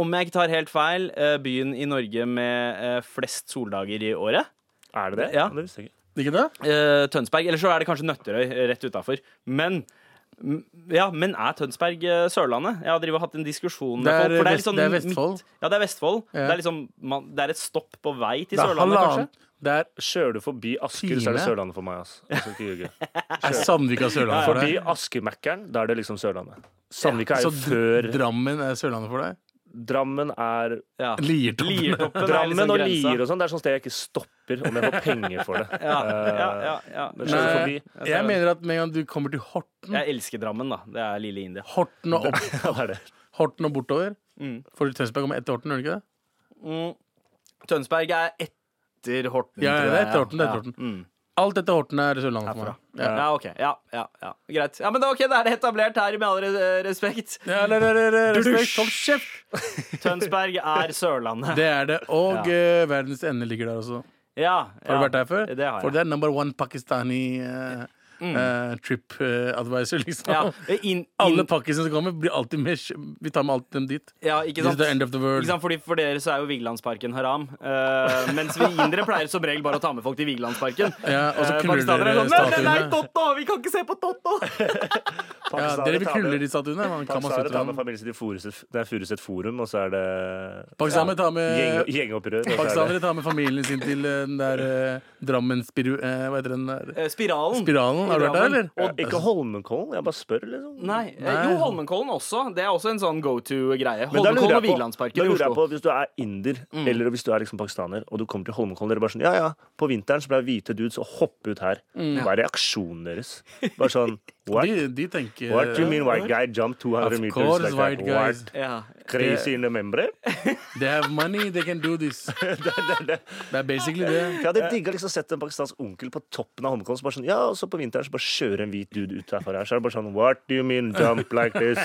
Speaker 3: om jeg ikke tar helt feil, eh, byen i Norge med eh, flest soldager i året.
Speaker 2: Er det det?
Speaker 3: Ja.
Speaker 2: Det visste jeg ikke.
Speaker 5: Ikke det?
Speaker 3: Eh, Tønsberg, Eller så er det kanskje Nøtterøy eh, rett utafor. Men m- ja, men er Tønsberg eh, Sørlandet? Jeg har drevet og hatt en diskusjon med
Speaker 5: Det
Speaker 3: folk.
Speaker 5: er
Speaker 3: for liksom
Speaker 5: Vest- det er Vestfold.
Speaker 3: Midt, ja, det er Vestfold.
Speaker 5: Ja.
Speaker 3: Det, er liksom, man, det er et stopp på vei til
Speaker 5: Det er
Speaker 3: Sørlandet,
Speaker 5: halvannen.
Speaker 3: kanskje?
Speaker 5: Det er,
Speaker 2: Kjører du forbi Asker, så er det
Speaker 5: Time.
Speaker 2: Sørlandet for meg. ass. Jeg skal
Speaker 3: [laughs]
Speaker 2: ikke ljuge.
Speaker 5: er Sandvika Sørlandet for
Speaker 2: Forbi
Speaker 5: deg?
Speaker 2: Askemækkern, da er det liksom Sørlandet. Sandvika er
Speaker 5: Så
Speaker 2: jo før
Speaker 5: Dr- Drammen er Sørlandet for deg?
Speaker 2: Drammen er
Speaker 3: Ja.
Speaker 5: Liertoppen.
Speaker 3: Liertoppen er
Speaker 2: Drammen
Speaker 3: liksom
Speaker 2: og
Speaker 3: grensa.
Speaker 2: Lier og sånn, det er sånn sted jeg ikke stopper om jeg får penger for [laughs] det.
Speaker 3: Ja, ja,
Speaker 2: Eh,
Speaker 3: ja, ja.
Speaker 2: Men kjører du
Speaker 5: Nei,
Speaker 2: forbi
Speaker 5: Jeg mener at med en gang du kommer til Horten
Speaker 3: Jeg elsker Drammen, da. Det er lille India.
Speaker 5: Horten og, opp,
Speaker 2: Ja, Eh, [laughs] det er det.
Speaker 5: Horten og bortover Får du Tønsberg kommer etter Horten, gjør du ikke det?
Speaker 3: Mm. Tønsberg er etter Horten.
Speaker 5: Ja,
Speaker 3: tror
Speaker 5: det er
Speaker 3: jeg.
Speaker 5: etter Horten. Det er etter Horten. Alt etter Horten er Sørlandet for meg.
Speaker 3: Ja, ja, ok. Ja, ja, ja. Greit. Ja, men da, ok, da er det etablert her, med all re- respekt.
Speaker 5: Ja, eller, eller, eller, respekt, hold kjeft!
Speaker 3: Tønsberg er Sørlandet.
Speaker 5: Det er det. Og eh, verdens ende ligger der også.
Speaker 3: Ja, ja.
Speaker 5: Har du vært der før?
Speaker 3: Det har
Speaker 5: For
Speaker 3: jeg.
Speaker 5: det er number one pakistani eh, eh, trip eh, advisor, liksom.
Speaker 3: Ja, inn,
Speaker 5: Alle
Speaker 3: inn,
Speaker 5: pakkisene som kommer, blir alltid med kj- Vi tar med alt dem dit.
Speaker 3: ja, ikke
Speaker 5: This is
Speaker 3: sant?
Speaker 5: the end of the world.
Speaker 3: Ikke sant? Fordi For dere så er jo Vigelandsparken haram. Eh, mens vi indere pleier som regel bare å ta med folk til Vigelandsparken.
Speaker 5: Ja, og så
Speaker 3: Eh,
Speaker 5: knuller
Speaker 3: pakistanere er
Speaker 5: dere
Speaker 3: sånn, «Nei, nei, nei,
Speaker 5: statuene.
Speaker 3: Totto! Vi kan ikke se på Totto!
Speaker 5: [laughs] Ja, dere vil knulle de statuene. Man kan man
Speaker 2: Pakistanere
Speaker 5: slutte
Speaker 2: tar med
Speaker 5: dem.
Speaker 2: familien sin til Furuset- det er Furuset forum, og så er det
Speaker 5: Pakistanere tar
Speaker 2: gjeng,
Speaker 5: med
Speaker 2: gjengopprør. og så er det-
Speaker 5: Pakistanere tar med familien sin til eh, den der eh, Drammen spiru... eh, hva heter den der?
Speaker 3: Eh, Spiralen.
Speaker 5: Spiralen? Har du vært der, eller?
Speaker 2: Ja, Ikke Holmenkollen, jeg bare spør, liksom.
Speaker 3: Nei. eh,
Speaker 5: Nei.
Speaker 3: Jo, Holmenkollen også. Det er også en sånn go to-greie.
Speaker 2: Men da
Speaker 3: Holmenkollen og
Speaker 2: lurer jeg på- da
Speaker 3: Vigelandsparken i
Speaker 2: lurer jeg
Speaker 3: Oslo.
Speaker 2: på, Hvis du er inder, eller hvis du er liksom pakistaner, og du kommer til Holmenkollen dere bare sånn, Ja, ja, på vinteren så pleier hvite dudes å hoppe ut her. Hva er reaksjonen deres? Bare
Speaker 5: [laughs]
Speaker 2: sånn What?
Speaker 5: De, de tenker
Speaker 2: What do you mean white guy jump 200
Speaker 5: eh, Of
Speaker 2: meters?
Speaker 5: course,
Speaker 2: like that?
Speaker 5: white guys.
Speaker 2: What?
Speaker 3: Ja,
Speaker 2: Crazy in the [laughs] membrane.
Speaker 5: They have money, they can do this. Det er basically det.
Speaker 2: For Jeg hadde digga liksom sett en pakistansk onkel på toppen av Holmenkollen. så bare Sånn, ja, og så på vinteren så bare kjører en hvit dude ut herfra her. Så er det bare sånn What do you mean jump like this?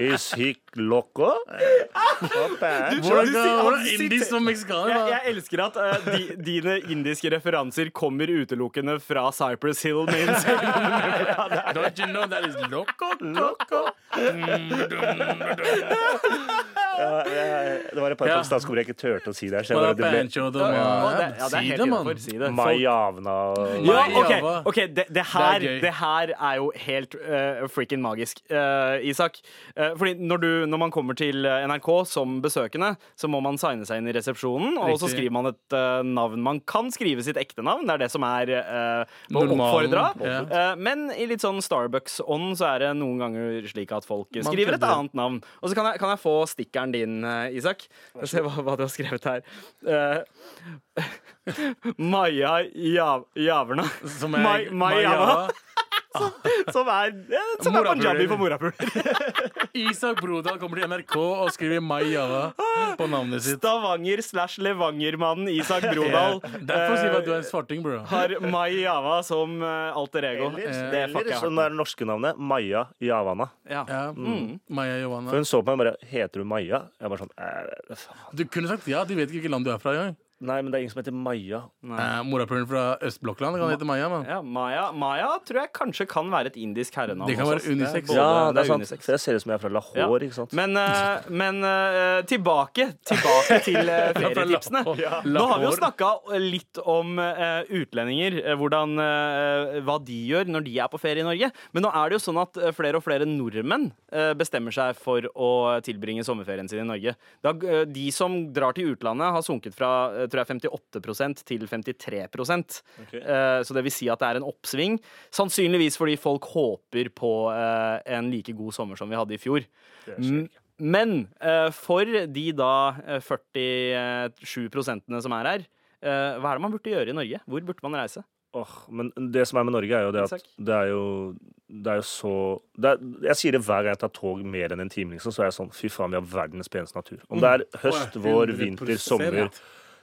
Speaker 2: Is he loco?
Speaker 5: Hvordan
Speaker 3: du sier-
Speaker 5: kan- hvordan
Speaker 3: han
Speaker 5: indisk
Speaker 3: sitter-
Speaker 5: som mexikaner?
Speaker 3: Jeg,
Speaker 5: da?
Speaker 3: jeg elsker at eh, di, dine indiske referanser kommer utelukkende fra Cypress Hill. [laughs] Means.
Speaker 5: Don't you know that is loco? Mm,
Speaker 2: Det var et par
Speaker 5: Ja.
Speaker 2: pakistanske ord jeg ikke turte å si der. Så jeg
Speaker 5: Hva
Speaker 2: bare,
Speaker 5: er
Speaker 2: det
Speaker 5: pancho,
Speaker 3: Og
Speaker 5: da,
Speaker 3: det,
Speaker 5: man?
Speaker 3: ja, det er
Speaker 5: Si
Speaker 3: helt
Speaker 5: det, mann.
Speaker 3: innenfor. Si det.
Speaker 2: ble Mayavna og
Speaker 3: Ja,
Speaker 5: Nei, java.
Speaker 3: ok, ok, det, det, her,
Speaker 5: Det er
Speaker 3: det,
Speaker 5: gøy.
Speaker 3: her er jo helt uh, freaking magisk, eh, Isak. Eh, fordi når, du, når man kommer til eh, NRK som besøkende, så må man signe seg inn i resepsjonen, og så
Speaker 5: Riktig.
Speaker 3: skriver man et eh, navn. Man kan skrive sitt ekte navn, det er det som er uh,
Speaker 5: Normalen,
Speaker 3: oppfordra.
Speaker 5: ja.
Speaker 3: Eh, men i litt sånn Starbucks-ånd så er det noen ganger slik at folk eh,
Speaker 5: Man
Speaker 3: skriver et
Speaker 5: kødder.
Speaker 3: annet navn. Og så kan jeg, kan jeg få stikkeren din, eh, Isak. Få Se hva, hva du har skrevet her. Eh, [laughs] Maja Jav Javerna.
Speaker 5: Som
Speaker 3: Mai-
Speaker 5: er
Speaker 3: Maiava.
Speaker 5: Maiava.
Speaker 3: Som er, ja, som er
Speaker 5: Morapuler.
Speaker 3: punjabi for morapuler.
Speaker 5: Isak Brodal kommer til NRK og skriver Maiava på navnet sitt.
Speaker 3: Stavanger slash Levangermannen Isak
Speaker 5: [laughs] Ja,
Speaker 3: Brodal
Speaker 5: Derfor sier vi at du er en
Speaker 3: eh,
Speaker 5: svarting, bro.
Speaker 3: har Maiava som eh, alter ego. Det
Speaker 2: Eller
Speaker 3: fucker jeg
Speaker 5: sånn.
Speaker 3: hardt.
Speaker 2: som det er det norske navnet, Maya Javana.
Speaker 3: Ja.
Speaker 5: Ja. Maja Johanna.
Speaker 2: For hun så på meg og bare Heter du Maya? Jeg bare sånn «Eh, faen.
Speaker 5: Du kunne sagt ja, de vet ikke hvilket land du er fra engang.
Speaker 2: Nei, men det er ingen som heter Maya.
Speaker 5: Eh, Morapuleren fra Østblokkland kan hete Maja, mann.
Speaker 3: Ja, Maya, Maya tror jeg kanskje kan være et indisk herrenavn.
Speaker 5: Det kan
Speaker 3: også,
Speaker 5: være
Speaker 3: ass. er
Speaker 5: unisex.
Speaker 3: både-
Speaker 2: Ja, det
Speaker 3: det
Speaker 2: er sant. For jeg ser ut som jeg er fra
Speaker 3: Ja.
Speaker 2: Lahore, ikke sant.
Speaker 3: Men, eh, men eh, tilbake Tilbake til eh, ferietipsene. Nå har vi jo snakka litt om eh, utlendinger, eh, hvordan, eh, hva de gjør når de er på ferie i Norge. Men nå er det jo sånn at eh, flere og flere nordmenn eh, bestemmer seg for å tilbringe sommerferien sin i Norge. Da, eh, de som drar til utlandet, har sunket fra eh, tror jeg 58 til 53 Eh, Så det vil si at det er en oppsving. Sannsynligvis fordi folk håper på eh, en like god sommer som vi hadde i fjor. M- Men eh, for de da eh, 47 prosentene som er her, eh, hva er det man burde gjøre i Norge? Hvor burde man reise?
Speaker 2: Åh, men det som er med Norge, er jo det at
Speaker 3: Isak?
Speaker 2: det er jo, det er jo så det er, Jeg sier det hver gang jeg tar tog mer enn en time, liksom, så er jeg sånn Fy faen, vi har verdens peneste natur. Om det er
Speaker 5: Mm.
Speaker 2: høst, vår, vinter, sommer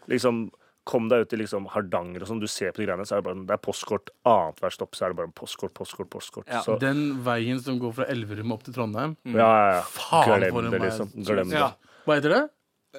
Speaker 2: liksom, Kom deg ut i liksom Hardanger og sånn, du ser på de greiene, så er det bare det er postkort annethvert stopp. Så er det bare postkort, postkort, postkort.
Speaker 3: Ja.
Speaker 2: Så,
Speaker 5: Den veien som går fra Elverum opp til Trondheim.
Speaker 2: ja, ja, ja.
Speaker 5: Faen, for
Speaker 2: Glem
Speaker 5: en
Speaker 2: det,
Speaker 5: vei.
Speaker 2: liksom. Glem det.
Speaker 3: Ja.
Speaker 5: Hva heter det?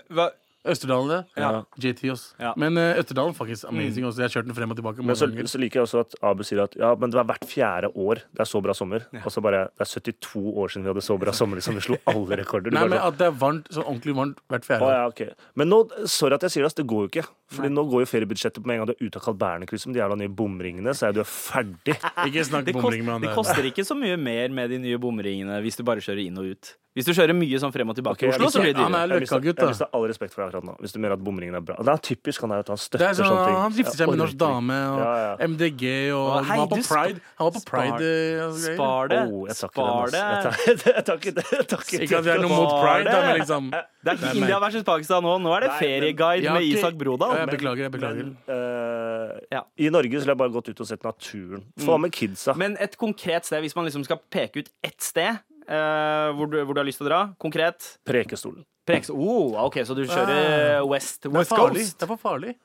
Speaker 3: Hva?
Speaker 5: Østerdalen, det?
Speaker 2: Ja.
Speaker 5: JT, ass.
Speaker 3: Ja.
Speaker 5: Men eh, Østerdalen faktisk amazing også. Jeg har kjørt den frem og tilbake.
Speaker 2: Men
Speaker 5: mange
Speaker 2: så,
Speaker 5: ganger.
Speaker 2: så liker jeg også at Abu sier at ja, men det var hvert fjerde år. Det er så bra sommer. Og så bare Det er 72 år siden vi hadde så bra sommer. Liksom. Vi slo alle rekorder. Du
Speaker 5: Nei,
Speaker 2: bare
Speaker 5: men
Speaker 2: sånn,
Speaker 5: at det er varmt, sånn ordentlig varmt hvert fjerde
Speaker 2: Å,
Speaker 5: år.
Speaker 2: ja, ok. Men nå, sorry at jeg sier det, ass, det går jo ikke. Fordi nå går jo feriebudsjettet på med en gang du er ute av Kalbærnekrysset med de jævla nye bomringene, så er du ferdig.
Speaker 5: Ikke snakk
Speaker 3: Det, kost,
Speaker 5: bomring med han
Speaker 3: det
Speaker 5: der.
Speaker 3: koster ikke så mye mer med de nye bomringene hvis du bare kjører inn og ut. Hvis du kjører mye sånn frem og tilbake
Speaker 2: Ok,
Speaker 3: i Oslo,
Speaker 2: jeg
Speaker 3: så blir det dyrere.
Speaker 5: Han er
Speaker 2: Jeg har lyst til-
Speaker 5: løkkagutt,
Speaker 2: jeg har
Speaker 5: da.
Speaker 2: lyst til å ha all respekt for deg akkurat nå, hvis du mener at bomringen er bra. Det er typisk han er at han
Speaker 5: Det
Speaker 2: støtter
Speaker 5: er sånn,
Speaker 2: sånne ting.
Speaker 5: han gifter
Speaker 2: Jeg
Speaker 5: seg med en norsk
Speaker 2: orker ikke.
Speaker 5: dame og
Speaker 2: Ja, ja.
Speaker 5: MDG og
Speaker 3: Å, hei,
Speaker 5: Han var på
Speaker 3: du sp-
Speaker 5: pride. Han var på
Speaker 3: spar-
Speaker 5: pride eh, og greier.
Speaker 3: Spar det.
Speaker 2: Åh, jeg tar ikke
Speaker 3: Spar
Speaker 2: den,
Speaker 3: det.
Speaker 2: ass. Jeg tar- Jeg tar ikke den. Jeg tar ikke
Speaker 5: Ikke at jeg
Speaker 2: den.
Speaker 5: er noe mot
Speaker 3: Spar
Speaker 5: pride, da, men
Speaker 3: det.
Speaker 5: liksom Jeg
Speaker 3: Det er ikke India versus Pakistan nå. Nå er det
Speaker 2: Nei, men-
Speaker 3: ferieguide
Speaker 5: Jeg har
Speaker 3: med
Speaker 5: ikke-
Speaker 3: Isak Brodal.
Speaker 5: jeg beklager, jeg beklager.
Speaker 2: Eh,
Speaker 3: Ja. Mm.
Speaker 2: I Norge så ville jeg bare gått ut og sett naturen. Få med kidsa.
Speaker 3: Men et konkret sted, hvis man liksom skal peke ut ett sted eh, hvor, du, hvor du har lyst til å dra, konkret
Speaker 2: Prekestolen.
Speaker 3: Prekes. Oh, OK, så du kjører eh, West,
Speaker 5: Det er
Speaker 3: West
Speaker 5: farlig.
Speaker 3: Coast.
Speaker 5: Det er for farlig.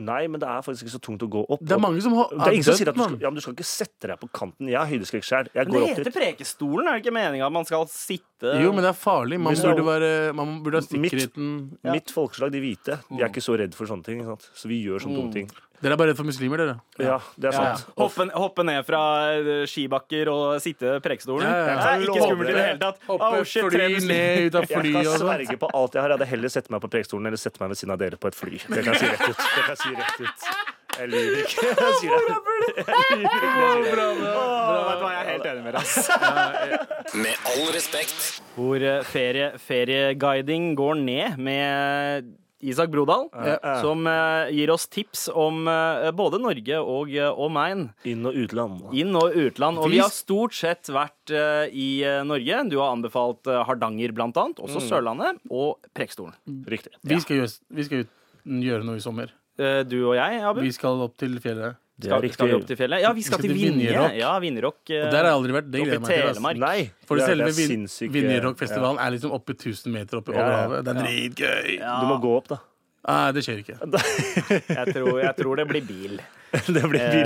Speaker 2: Nei, men det er faktisk ikke så tungt å gå opp.
Speaker 5: Det er mange som har
Speaker 2: Det er ingen som sier at du skal,
Speaker 5: mann.
Speaker 2: ja, men du skal ikke sette deg på kanten. Jeg har høydeskrekk sjøl. Jeg
Speaker 3: Men
Speaker 2: går
Speaker 3: det
Speaker 2: opp dit.
Speaker 3: heter Prekestolen, er det ikke meninga at man skal sitte
Speaker 5: Jo, men det er farlig. Man
Speaker 2: Hvis du-
Speaker 5: burde, være, man burde ha
Speaker 2: Mitt-
Speaker 5: sikkerheten
Speaker 2: Mitt folkeslag, de hvite, de er ikke så redd for sånne ting. Ikke sant? Så vi gjør sånne dumme ting.
Speaker 5: Dere er bare redd for muslimer, dere.
Speaker 2: Ja, det er sant.
Speaker 3: Hoppe, hoppe ned fra eh, skibakker og sitte i Prekestolen?
Speaker 5: Ja, ja, ja.
Speaker 3: Det er ikke skummelt i det hele tatt.
Speaker 5: Hoppe
Speaker 3: Oh, shit, tre
Speaker 5: fly
Speaker 3: muslimer.
Speaker 5: ned ut av
Speaker 2: Jeg
Speaker 5: fly
Speaker 2: kan
Speaker 5: og sånn.
Speaker 2: sverge på alt jeg har. Jeg hadde heller sett meg på prekestolen eller sett meg ved siden av dere på et fly. Det kan jeg si rett ut. Det kan jeg si rett ut. Jeg lyver ikke. Jeg sier det. Jeg lyver ikke. Jeg sier det.
Speaker 3: Åh, vet du hva, jeg er helt enig med deg. ass.
Speaker 1: Med all respekt.
Speaker 3: [laughs] Hvor eh, ferie, ferieguiding går ned med Isak Brodal,
Speaker 5: Ja.
Speaker 3: som eh, gir oss tips om eh, både Norge og, eh, og Main.
Speaker 2: Inn- og utland.
Speaker 3: Inn- og utland. Og vi
Speaker 5: Vi-
Speaker 3: har stort sett vært eh, i eh, Norge. Du har anbefalt eh, Hardanger, blant annet. Også Sørlandet. Og Preikestolen.
Speaker 2: Riktig.
Speaker 5: Vi skal, gjøre, vi skal ut- gjøre noe i sommer.
Speaker 3: Eh, du og jeg, Abu.
Speaker 5: Vi skal opp til fjellet.
Speaker 2: Det
Speaker 3: Skal,
Speaker 2: er
Speaker 3: skal vi
Speaker 2: riktig.
Speaker 3: opp til fjellet? Ja, vi skal, til Vinje.
Speaker 5: Vinjerock.
Speaker 3: Ja, Vinjerock. eh,
Speaker 5: Og der har jeg aldri vært.
Speaker 3: opp
Speaker 5: Det
Speaker 3: i
Speaker 5: gleder jeg meg til. ass.
Speaker 3: Telemark.
Speaker 2: Nei,
Speaker 5: For
Speaker 2: det er-
Speaker 5: selve
Speaker 2: det er
Speaker 5: Vin-
Speaker 2: sinnssyke-
Speaker 5: Vinjerockfestivalen er liksom oppe 1000 meter oppe over
Speaker 2: Ja, ja.
Speaker 5: havet. Det er dritgøy!
Speaker 2: Ja. Du må gå opp, da. [laughs]
Speaker 5: Nei, det skjer ikke.
Speaker 3: Jeg tror, jeg tror det blir
Speaker 5: [laughs]
Speaker 3: bil.
Speaker 2: Det blir
Speaker 3: Eh, ja.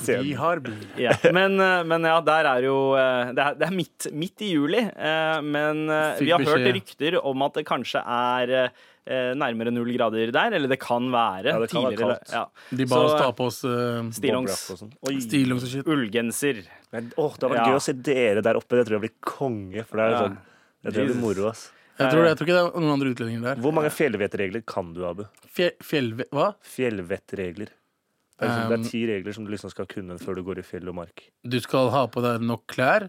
Speaker 5: Vi
Speaker 2: sent.
Speaker 5: har bil.
Speaker 3: Ja. Men, eh, men ja, der er jo eh, Det er, det er midt, midt i juli, eh, men eh,
Speaker 5: Fikk
Speaker 3: vi har hørt
Speaker 5: beskjed.
Speaker 3: rykter om at det kanskje er eh, nærmere null grader der, eller det kan være.
Speaker 2: Ja, det kan være
Speaker 3: tidligere.
Speaker 2: kaldt.
Speaker 3: Ja.
Speaker 5: De ba oss
Speaker 2: eh,
Speaker 3: Så,
Speaker 5: ta på oss uh,
Speaker 3: Stillongs.
Speaker 2: Boblejakke og sånn. Oi.
Speaker 5: stillongs og shit.
Speaker 3: Ullgenser.
Speaker 2: Men, åh, det hadde vært
Speaker 3: Ja.
Speaker 2: gøy å se dere der oppe. Det tror jeg blir konge. For det er jo
Speaker 3: Ja.
Speaker 2: sånn det tror jeg blir
Speaker 3: Jesus.
Speaker 2: moro, ass.
Speaker 5: Jeg tror, jeg tror ikke det er noen andre utlendinger der.
Speaker 2: Hvor mange fjellvettregler kan du, Abu?
Speaker 5: Fje, fjellve... Hva?
Speaker 2: Fjellvettregler. Det er, liksom, det
Speaker 5: Um.
Speaker 2: er ti regler som du liksom skal kunne før du går i fjell og mark.
Speaker 5: Du skal ha på deg nok klær.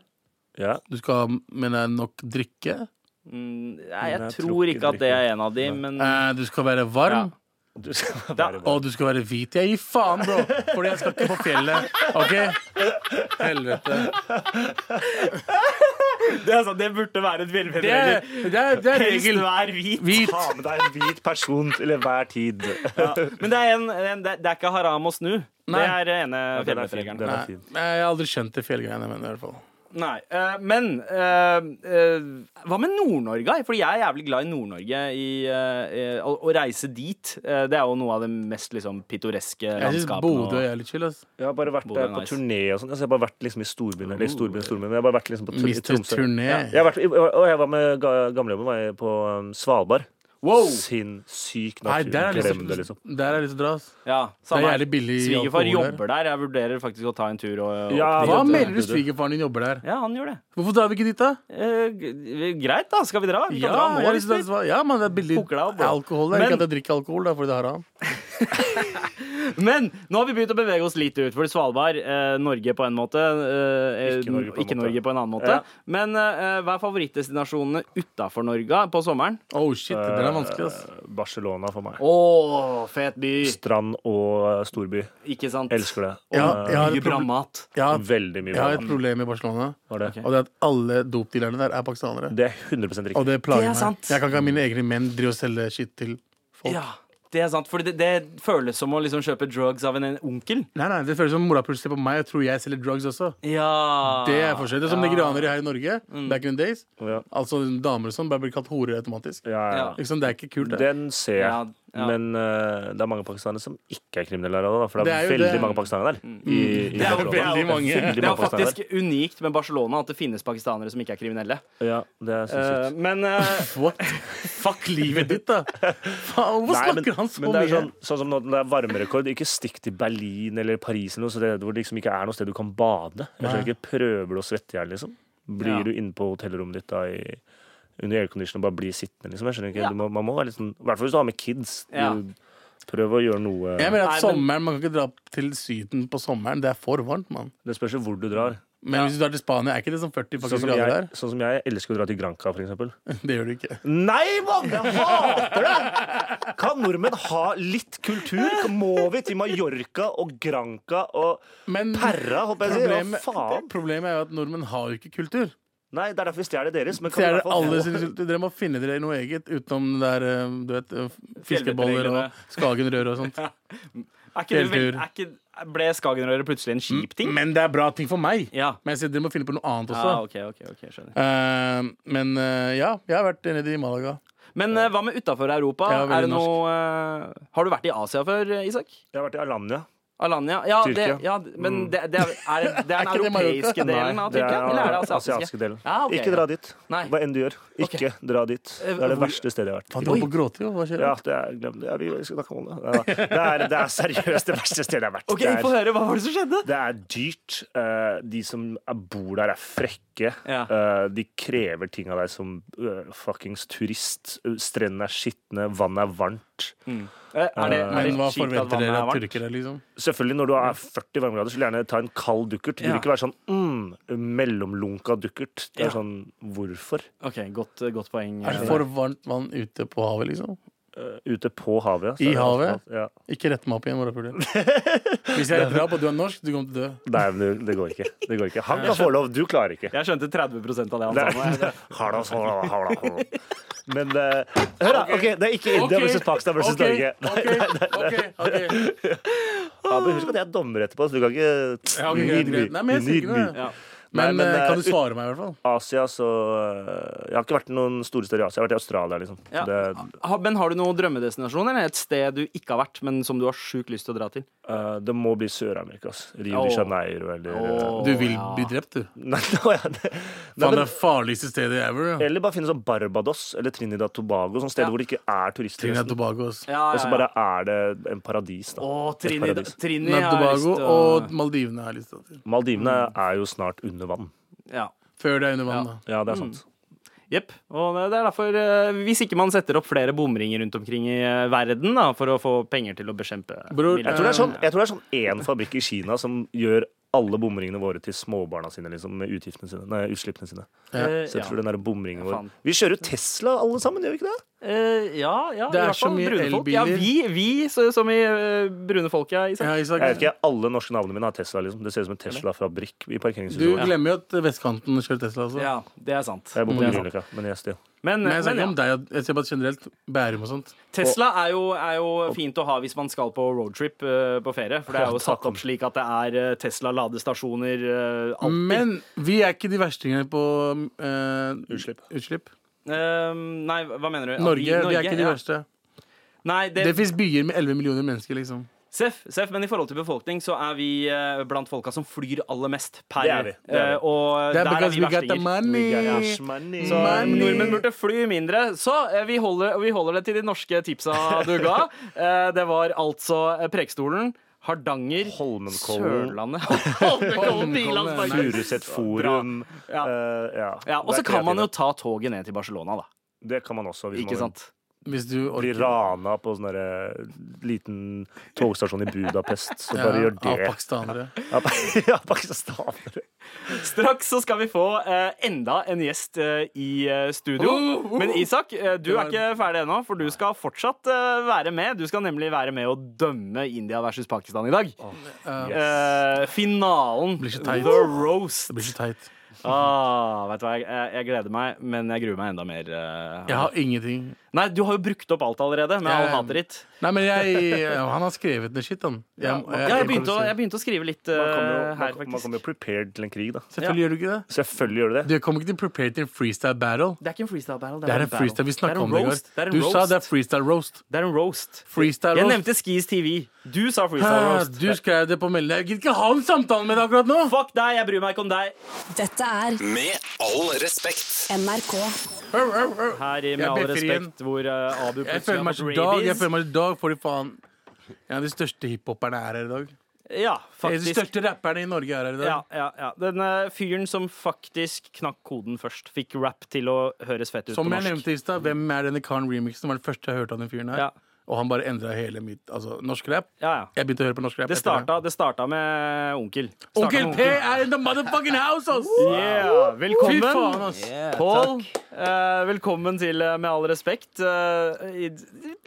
Speaker 2: Ja, [laughs]
Speaker 5: Du skal ha med deg nok drikke.
Speaker 3: Mm, Nei,
Speaker 2: Nei,
Speaker 3: jeg
Speaker 2: jeg tror
Speaker 3: tror
Speaker 2: ikke
Speaker 3: ikke at det er en av de, men
Speaker 5: Eh, du skal være varm.
Speaker 2: du skal
Speaker 3: Da-
Speaker 2: være
Speaker 5: Og du skal være hvit. Jeg gir faen, bro! Fordi jeg skal ikke på fjellet. OK? Helvete.
Speaker 3: Det, er sånn, det burde være et
Speaker 5: Det er,
Speaker 3: velværeregel.
Speaker 5: det er, det er regel.
Speaker 3: er hvit.
Speaker 5: Hvit.
Speaker 2: Ha med deg en hvit person til enhver tid.
Speaker 3: Men det er, en, en, det det er ikke haram å snu. Det
Speaker 5: Nei.
Speaker 3: er ene
Speaker 2: den er fin,
Speaker 3: fjellvettregelen.
Speaker 2: den.
Speaker 5: Nei, nei, jeg har aldri skjønt det fjellgreiene, men i hvert fall.
Speaker 3: Nei, eh, men eh, eh, hva med Nord-Norge? Fordi jeg er jævlig glad i Nord-Norge. i, eh, eh, Å å reise dit eh, Det er jo noe av det mest liksom, pittoreske
Speaker 5: Jeg syns
Speaker 3: landskapet.
Speaker 5: Bodø er litt chill, ass.
Speaker 2: Jeg har bare vært
Speaker 3: Bodø er
Speaker 2: eh, på
Speaker 3: nice.
Speaker 2: turné og sånn. Altså, jeg har bare vært liksom i storbyen. Eller i storbyen, storbyen. men Jeg har bare vært liksom på tur i
Speaker 5: Mr.
Speaker 2: Tromsø.
Speaker 5: Turné.
Speaker 2: Jeg har vært, i- og jeg var med ga- gamlejobben var jeg på um, Svalbard.
Speaker 3: Wow!
Speaker 2: Sinnssyk
Speaker 5: Nei,
Speaker 2: natur.
Speaker 5: der er jeg
Speaker 2: Glem det,
Speaker 5: lyst
Speaker 2: liksom.
Speaker 5: til der er jeg lyst til å dra, ass.
Speaker 3: Ja,
Speaker 5: Det er
Speaker 3: samme her.
Speaker 5: jævlig billig
Speaker 3: Svigerfar
Speaker 5: alkohol der.
Speaker 3: jobber der. Jeg vurderer faktisk å ta en tur. Og, og
Speaker 2: Ja,
Speaker 5: Hva
Speaker 2: det-
Speaker 5: melder du
Speaker 2: det-
Speaker 5: svigerfaren din jobber der?
Speaker 3: ja, han gjør det.
Speaker 5: Hvorfor drar vi ikke dit, da?
Speaker 3: Eh, g- greit, da. Skal vi dra? Vi kan
Speaker 5: Ja,
Speaker 3: dra nå,
Speaker 5: jeg har
Speaker 3: hvis
Speaker 5: lyst til å
Speaker 3: vi-
Speaker 5: dra- ja, men det er billig
Speaker 3: Koker deg opp, bro.
Speaker 5: alkohol. Det er ikke
Speaker 3: Men-
Speaker 5: at jeg drikker alkohol, da, fordi det har han.
Speaker 3: Men nå har vi begynt å bevege oss litt ut, for Svalbard, eh, Norge på en måte, eh,
Speaker 2: Ikke Norge på en
Speaker 3: ikke
Speaker 2: måte.
Speaker 3: Norge på en annen måte.
Speaker 2: Ja.
Speaker 3: Men eh, hva er favorittdestinasjonene utafor Norge på sommeren?
Speaker 5: Oh shit, det er vanskelig, ass.
Speaker 2: Eh, Barcelona for meg.
Speaker 3: Å, fet by!
Speaker 2: Strand og eh, storby.
Speaker 3: Ikke sant?
Speaker 2: Elsker det.
Speaker 5: Ja, jeg har
Speaker 3: Mye
Speaker 5: et
Speaker 3: bra
Speaker 5: problem,
Speaker 3: mat.
Speaker 5: jeg har,
Speaker 2: Veldig mye
Speaker 5: jeg har
Speaker 2: bra.
Speaker 5: et problem i Barcelona,
Speaker 2: Var det.
Speaker 5: og det er at alle dopdealerne der er pakistanere.
Speaker 2: det er 100
Speaker 5: Og
Speaker 2: riktig.
Speaker 5: det plager
Speaker 3: Det er
Speaker 5: meg.
Speaker 3: sant.
Speaker 5: Jeg kan ikke ha mine egne menn drive og selge shit til folk.
Speaker 3: Ja, det er sant. For det, det føles som å liksom kjøpe drugs av en onkel.
Speaker 5: Nei, nei, Det føles som morapuls ser på meg og tror jeg selger drugs også.
Speaker 3: Ja.
Speaker 2: Ah.
Speaker 5: Det er forskjell. Det er som nigerianere her i Norge.
Speaker 2: Mm.
Speaker 5: Back in the days.
Speaker 2: Ja.
Speaker 5: Altså damer og sånn bare blir kalt horer automatisk.
Speaker 2: Ja, ja.
Speaker 3: Ja.
Speaker 5: Ikke sant, Det er ikke kult, det.
Speaker 2: Den ser jeg.
Speaker 3: Ja, ja.
Speaker 2: Men eh, det er mange pakistanere som ikke er kriminelle her. også, Da, for det er,
Speaker 5: Det er jo
Speaker 2: veldig
Speaker 5: det.
Speaker 2: mange pakistanere der. I, i
Speaker 3: Det er jo- det er
Speaker 2: Barcelona.
Speaker 3: jo-
Speaker 5: Veldig mange.
Speaker 2: Veldig
Speaker 3: Det
Speaker 2: mange
Speaker 3: er faktisk
Speaker 2: pakistanere.
Speaker 3: unikt med Barcelona at det finnes pakistanere som ikke er kriminelle.
Speaker 2: Ja, det er
Speaker 3: Eh,
Speaker 2: sinnssykt.
Speaker 3: men eh,
Speaker 5: What? Fuck livet ditt, da! Faen, hvorfor
Speaker 2: Nei, men,
Speaker 5: snakker han så
Speaker 2: men
Speaker 5: mye?
Speaker 2: det er sånn, sånn som nå, når det er varmerekord. Ikke stikk til Berlin eller Paris eller noe, så det, hvor det liksom ikke er noe sted du kan bade. Jeg skjønner ikke, Prøver du å svette i hjel, liksom? Blir
Speaker 3: Ja.
Speaker 2: du inne på hotellrommet ditt da i under aircondition og bare blir sittende, liksom? Jeg skjønner ikke,
Speaker 3: Ja.
Speaker 2: du må, Man må være litt sånn I hvert fall hvis du har med kids.
Speaker 3: Ja.
Speaker 2: Du, prøv å gjøre noe
Speaker 5: Jeg mener
Speaker 3: Nei, men-
Speaker 5: at sommeren, Man kan ikke dra til Syden på sommeren. Det er for varmt, mann.
Speaker 2: Det spørs jo hvor du drar.
Speaker 5: Men hvis du drar til Spania, er ikke det sånn 40
Speaker 2: Sånn
Speaker 5: faktisk
Speaker 2: som,
Speaker 5: grader
Speaker 2: jeg, sånn som jeg elsker å dra til Granca, for eksempel.
Speaker 5: der? [laughs] Det gjør du ikke.
Speaker 2: Nei, mann! Jeg hater det! Kan nordmenn ha litt kultur? Må vi til Mallorca og Granca og
Speaker 5: Men
Speaker 3: Mm.
Speaker 2: Perra, håper jeg sier? Hva
Speaker 5: problemet,
Speaker 2: faen?
Speaker 5: problemet er jo at nordmenn har jo ikke kultur.
Speaker 2: Nei, det er derfor vi stjeler deres. Men
Speaker 5: Så
Speaker 2: kan
Speaker 5: er
Speaker 2: vi i
Speaker 5: det
Speaker 2: hvert fall
Speaker 5: alle
Speaker 2: få-
Speaker 5: sine kultur. Dere må finne dere noe eget utenom det der eh, du vet, eh, fiskeboller
Speaker 3: Fjellvettreglene.
Speaker 5: og skagenrør og sånt.
Speaker 3: er ikke det, vel-
Speaker 5: Fjelltur.
Speaker 3: er ikke, ble Skagenrøret plutselig en kjip ting?
Speaker 5: Mm, Men det er bra ting for meg.
Speaker 3: Ja.
Speaker 5: Men jeg sier dere må finne på noe annet også.
Speaker 3: Ah, ok, ok, ok, skjønner
Speaker 5: Eh, men eh, ja, jeg har vært nede i Malaga.
Speaker 3: Men eh, hva med utafor Europa?
Speaker 5: Ja, veldig
Speaker 3: er det noe, eh, har du vært i Asia før, eh, Isak?
Speaker 2: Jeg har vært i Alanya.
Speaker 3: Alanya? Ja, det,
Speaker 2: Tyrkia. Mm.
Speaker 3: ja men det, det er, er, det-
Speaker 2: [laughs]
Speaker 3: det er den
Speaker 5: Er ikke det Mallorca?
Speaker 3: europeiske delen
Speaker 5: Nei,
Speaker 3: av
Speaker 2: Det er
Speaker 3: Tyrkia? Eller er det
Speaker 2: den
Speaker 3: asiatiske?
Speaker 2: asiatiske delen.
Speaker 3: Ja, ok,
Speaker 2: Ikke
Speaker 3: ja.
Speaker 2: dra dit.
Speaker 3: Nei. Eh,
Speaker 2: Hva enn du gjør, ikke dra dit. Det er det
Speaker 3: hvor-
Speaker 2: verste stedet jeg har vært.
Speaker 5: Faen, du holdt på å gråte, jo. Hva skjer?
Speaker 2: Ja, det er, glem det. Ja, vi skal snakke om det. Nei, da. Det er, det er seriøst det verste stedet jeg har vært.
Speaker 3: Ok,
Speaker 2: Det
Speaker 3: Få
Speaker 2: er,
Speaker 3: høre, hva var det som skjedde?
Speaker 2: det er dyrt. eh, De som er- bor der, er frekke.
Speaker 3: Ja.
Speaker 2: Eh, De krever ting av deg som eh, fuckings turist. Strendene er skitne, vannet er varmt.
Speaker 3: Eh, Er det, er det
Speaker 5: Men hva
Speaker 3: kjipt at
Speaker 5: forventer
Speaker 3: vannet
Speaker 5: dere
Speaker 3: er
Speaker 5: av
Speaker 3: varmt?
Speaker 5: tyrkere, liksom?
Speaker 2: Selvfølgelig, når du er 40 varmegrader, så vil jeg gjerne ta en kald dukkert. Du vil
Speaker 3: Ja.
Speaker 2: ikke være sånn mm, mellomlunka dukkert. Det
Speaker 3: Ja.
Speaker 2: er sånn hvorfor?
Speaker 3: Ok, godt, eh, godt poeng.
Speaker 5: Er det for varmt vann ute på havet, liksom?
Speaker 2: Eh, Ute på havet. ja, så
Speaker 5: I
Speaker 2: er det
Speaker 5: havet?
Speaker 2: automat- Ja.
Speaker 5: Ikke rett meg opp igjen, [laughs] morapuler. Hvis jeg retter deg opp og du er norsk, du kommer til å dø.
Speaker 2: Nei, men du, det går ikke. Det går ikke. Han kan få lov, du klarer ikke.
Speaker 3: Jeg skjønte 30 av det han
Speaker 2: Det
Speaker 3: sa.
Speaker 2: er,
Speaker 3: nå.
Speaker 2: [laughs] Hala, hala, hala, hala. Men eh, hør, da. ok, Det er ikke India versus Pakistan versus
Speaker 5: Ok,
Speaker 2: Norge.
Speaker 5: ok, ok, ok.
Speaker 2: Abu, husk at jeg er dommer etterpå, så du kan ikke
Speaker 5: Ja, ok,
Speaker 2: You
Speaker 5: greit,
Speaker 2: need
Speaker 5: greit.
Speaker 2: me.
Speaker 5: Nei, men jeg
Speaker 2: You
Speaker 5: sier
Speaker 2: need
Speaker 5: ikke noe,
Speaker 2: me.
Speaker 3: Ja.
Speaker 2: Nei,
Speaker 5: Men,
Speaker 2: men,
Speaker 5: eh, kan du
Speaker 2: eh,
Speaker 5: svare meg, i hvert fall?
Speaker 2: Asia, så eh, Jeg har ikke vært i noen store steder i Asia. Jeg har vært i Australia, liksom.
Speaker 3: Ja.
Speaker 2: Det,
Speaker 3: Ha- Men har du noen drømmedestinasjon, eller et sted du ikke har vært, men som du har sjukt lyst til å dra til?
Speaker 2: eh, det må bli Sør-Amerika. ass. Rio
Speaker 3: Åh.
Speaker 2: de Janeiro eller eh,
Speaker 3: Åh.
Speaker 5: Du vil
Speaker 3: ja.
Speaker 5: bli drept, du.
Speaker 2: [laughs] Nei, nå er det Nei,
Speaker 5: Faen, det
Speaker 2: men,
Speaker 5: er farligste stedet ever. Ja.
Speaker 2: Eller bare finne sånn Barbados eller Trinidad Tobago, sånne steder
Speaker 3: Ja.
Speaker 2: hvor det ikke er turister.
Speaker 5: Trinidad
Speaker 2: nesten.
Speaker 5: Tobago ass.
Speaker 3: Ja,
Speaker 2: Og så bare er det en paradis, da.
Speaker 3: Å,
Speaker 2: Et
Speaker 3: Trini,
Speaker 2: paradis.
Speaker 3: Trini
Speaker 5: Trinidad
Speaker 3: har jeg lyst
Speaker 5: Tobago
Speaker 3: til å
Speaker 5: og Maldivene har jeg lyst til.
Speaker 2: Maldivene
Speaker 3: Mm.
Speaker 2: er jo snart under vann.
Speaker 3: ja.
Speaker 5: Før det er under
Speaker 3: Ja.
Speaker 5: vann, da.
Speaker 2: Ja, det er
Speaker 3: Mm.
Speaker 2: sant.
Speaker 3: Jepp. Og det er derfor eh, Hvis ikke man setter opp flere bomringer rundt omkring i eh, verden da, for å få penger til å bekjempe
Speaker 5: Bror,
Speaker 2: Jeg tror det er sånn Jeg tror det er sånn én fabrikk i Kina som gjør alle bomringene våre til småbarna sine, liksom, med utgiftene sine. Nei, utslippene sine.
Speaker 3: Eh,
Speaker 2: Så jeg tror den der
Speaker 3: Ja,
Speaker 2: bomringen vår
Speaker 3: faen.
Speaker 2: Vi kjører jo Tesla alle sammen, gjør vi ikke det?
Speaker 3: Eh, ja, ja,
Speaker 5: Det
Speaker 3: i
Speaker 5: er
Speaker 3: hvert
Speaker 5: så
Speaker 3: fall
Speaker 5: mye
Speaker 3: brune folk. Ja,
Speaker 5: elbiler.
Speaker 3: vi, vi så, som i eh, brune folk, ja. Isak.
Speaker 5: Ja, Isak,
Speaker 2: Jeg vet ikke, Alle norske navnene mine har Tesla. liksom Det ser ut som en Tesla-fabrikk i
Speaker 5: du
Speaker 2: parkeringshuset. vårt.
Speaker 5: glemmer jo at vestkanten kjører Tesla. Altså.
Speaker 3: Ja, det er sant.
Speaker 2: Jeg bor
Speaker 3: Det
Speaker 2: på
Speaker 3: er sant.
Speaker 2: Grünerløkka, men yes, still.
Speaker 3: Men,
Speaker 5: Men
Speaker 3: men
Speaker 5: jeg snakker
Speaker 3: ja.
Speaker 5: om deg, og- jeg ser bare generelt Bærum og sånt.
Speaker 3: Tesla er jo, er jo fint å ha hvis man skal på roadtrip eh, på ferie. For det er
Speaker 2: Å,
Speaker 3: jo
Speaker 2: takk.
Speaker 3: satt opp slik at det er eh, Tesla-ladestasjoner eh, alltid.
Speaker 5: Men vi er ikke de verstingene på eh,
Speaker 2: Utslipp.
Speaker 3: Eh, nei, hva mener du? At
Speaker 5: Norge, vi, er ikke de
Speaker 3: ja.
Speaker 5: verste.
Speaker 3: Nei, det,
Speaker 5: Det fins byer med 11 millioner mennesker, liksom.
Speaker 3: Seff, seff, men i forhold til befolkning så er vi eh, blant folka som flyr aller mest per
Speaker 2: Det er vi, det er vi.
Speaker 3: eh, Og
Speaker 5: Det er
Speaker 3: der er
Speaker 5: because
Speaker 3: vi
Speaker 5: we got the
Speaker 3: verstinger.
Speaker 5: money.
Speaker 3: Så
Speaker 5: Money.
Speaker 3: nordmenn burde fly mindre. Så eh, vi holder, vi holder det til de norske
Speaker 2: [laughs]
Speaker 3: tipsa du ga. Eh, det var altså eh, Preikestolen, Hardanger,
Speaker 2: Holmenkollen,
Speaker 3: Sørlandet [laughs] Holmenkollen,
Speaker 5: Holmenkollen,
Speaker 3: Bilandsparken.
Speaker 2: Furuset Forum
Speaker 3: Ja.
Speaker 2: eh, ja.
Speaker 3: Ja, og så
Speaker 2: Det er
Speaker 3: kan man jo
Speaker 2: kreativt.
Speaker 3: ta toget ned til Barcelona, da.
Speaker 2: Det kan man også. Hvis
Speaker 3: Ikke
Speaker 2: man
Speaker 3: sant?
Speaker 5: Hvis du
Speaker 2: blir
Speaker 5: orker.
Speaker 2: rana på sånn derre liten togstasjon i Budapest, så
Speaker 5: Ja,
Speaker 2: bare gjør
Speaker 5: av
Speaker 2: det. [laughs]
Speaker 5: pakistanere.
Speaker 2: Ja, pakistanere.
Speaker 3: Straks så skal vi få eh, enda en gjest eh, i eh, studio.
Speaker 5: Oh, oh.
Speaker 3: Men Isak, eh, du er
Speaker 5: Det var-
Speaker 3: ikke ferdig ennå, for du skal fortsatt eh, være med. Du skal nemlig være med å dømme India versus Pakistan i dag.
Speaker 5: Ja,
Speaker 2: Yes.
Speaker 3: Eh, finalen.
Speaker 5: blir så teit.
Speaker 3: The roast.
Speaker 5: det blir så teit.
Speaker 3: Ah, vet du hva, jeg, jeg, jeg gleder meg, men jeg gruer meg enda mer. eh.
Speaker 5: Jeg har ingenting.
Speaker 3: Nei, du har jo brukt opp alt allerede med all
Speaker 5: Ja, ja.
Speaker 3: hatet ditt.
Speaker 5: Nei, men jeg eh, Han har skrevet ned shit, han. Jeg- jeg-
Speaker 3: Ja, jeg begynte å, jeg begynte å skrive litt eh,
Speaker 2: Man kommer jo-
Speaker 3: her,
Speaker 2: man- man
Speaker 3: faktisk.
Speaker 2: kommer jo prepared til en krig, da.
Speaker 5: Selvfølgelig gjør du ikke det.
Speaker 2: Selvfølgelig gjør du det.
Speaker 5: Du kommer ikke til prepared til en freestyle battle.
Speaker 3: Det er ikke en freestyle battle.
Speaker 5: Det er
Speaker 3: bare
Speaker 5: en freestyle, Vi
Speaker 3: battle.
Speaker 5: snakka
Speaker 3: det
Speaker 5: om det i
Speaker 3: er en roast. Det
Speaker 5: går.
Speaker 3: er en
Speaker 5: Du sa
Speaker 3: roast.
Speaker 5: det er freestyle roast.
Speaker 3: Det er en roast.
Speaker 5: Freestyle
Speaker 3: Jeg
Speaker 5: roast.
Speaker 3: nevnte Skis TV. Du sa freestyle
Speaker 5: Hæ,
Speaker 3: roast.
Speaker 5: du skrev det på meldingen. Jeg gidder ikke ha en samtale med deg akkurat nå!
Speaker 3: Fuck deg, jeg bryr meg ikke om deg.
Speaker 4: Dette er
Speaker 1: Med all respekt.
Speaker 4: NRK.
Speaker 5: Au, au, au.
Speaker 3: Her i Med
Speaker 5: Jeg
Speaker 3: all
Speaker 5: blir fri
Speaker 3: respekt, hvor eh, Abu
Speaker 5: Jeg
Speaker 3: plutselig
Speaker 5: føler
Speaker 3: har fått
Speaker 5: meg som Dag. Jeg
Speaker 3: rabies.
Speaker 5: føler meg som Dag, fordi faen En av de største hiphoperne er her i dag.
Speaker 3: Ja,
Speaker 5: En av de
Speaker 3: faktisk.
Speaker 5: største rapperne i Norge er her i dag.
Speaker 3: Ja, ja, ja. Den eh, fyren som faktisk knakk koden først, fikk rap til å høres fett ut
Speaker 5: Som
Speaker 3: på
Speaker 5: jeg
Speaker 3: norsk.
Speaker 5: nevnte i stad, hvem er denne Karen remixen? Var den første jeg hørte av den fyren her.
Speaker 3: Ja.
Speaker 5: Og han bare endra hele mitt altså, norsk rap.
Speaker 3: Ja, ja.
Speaker 5: Jeg begynte å høre på norsk rap.
Speaker 3: Det
Speaker 5: etter det.
Speaker 3: starta, det starta med onkel. Starta
Speaker 5: Onkel
Speaker 3: med
Speaker 5: P er in the motherfucking house, ass!
Speaker 3: Yeah,
Speaker 5: Fy
Speaker 3: velkommen.
Speaker 5: faen, ass.
Speaker 3: Pål, eh, velkommen til eh, Med all respekt. eh, i,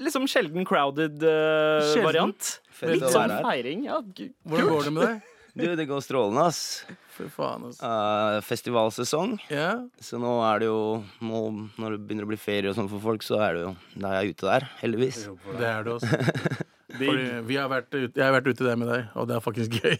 Speaker 3: liksom sjelden crowded eh,
Speaker 5: Sjelden.
Speaker 3: variant.
Speaker 6: Fett
Speaker 3: Litt
Speaker 6: å
Speaker 3: sånn
Speaker 6: være her.
Speaker 3: feiring. Ja, gu-
Speaker 5: Hvordan går det med deg?
Speaker 6: Du, det går strålende, ass.
Speaker 5: Fy faen, ass.
Speaker 6: Eh, festivalsesong.
Speaker 5: Ja.
Speaker 6: Så nå er det jo nå, Når det begynner å bli ferie og sånn for folk, så er det jo Da er jeg ute der, heldigvis.
Speaker 5: Det er det også. [laughs] Fordi vi har vært ute, jeg har vært ute der med deg, og det er faktisk [laughs] gøy.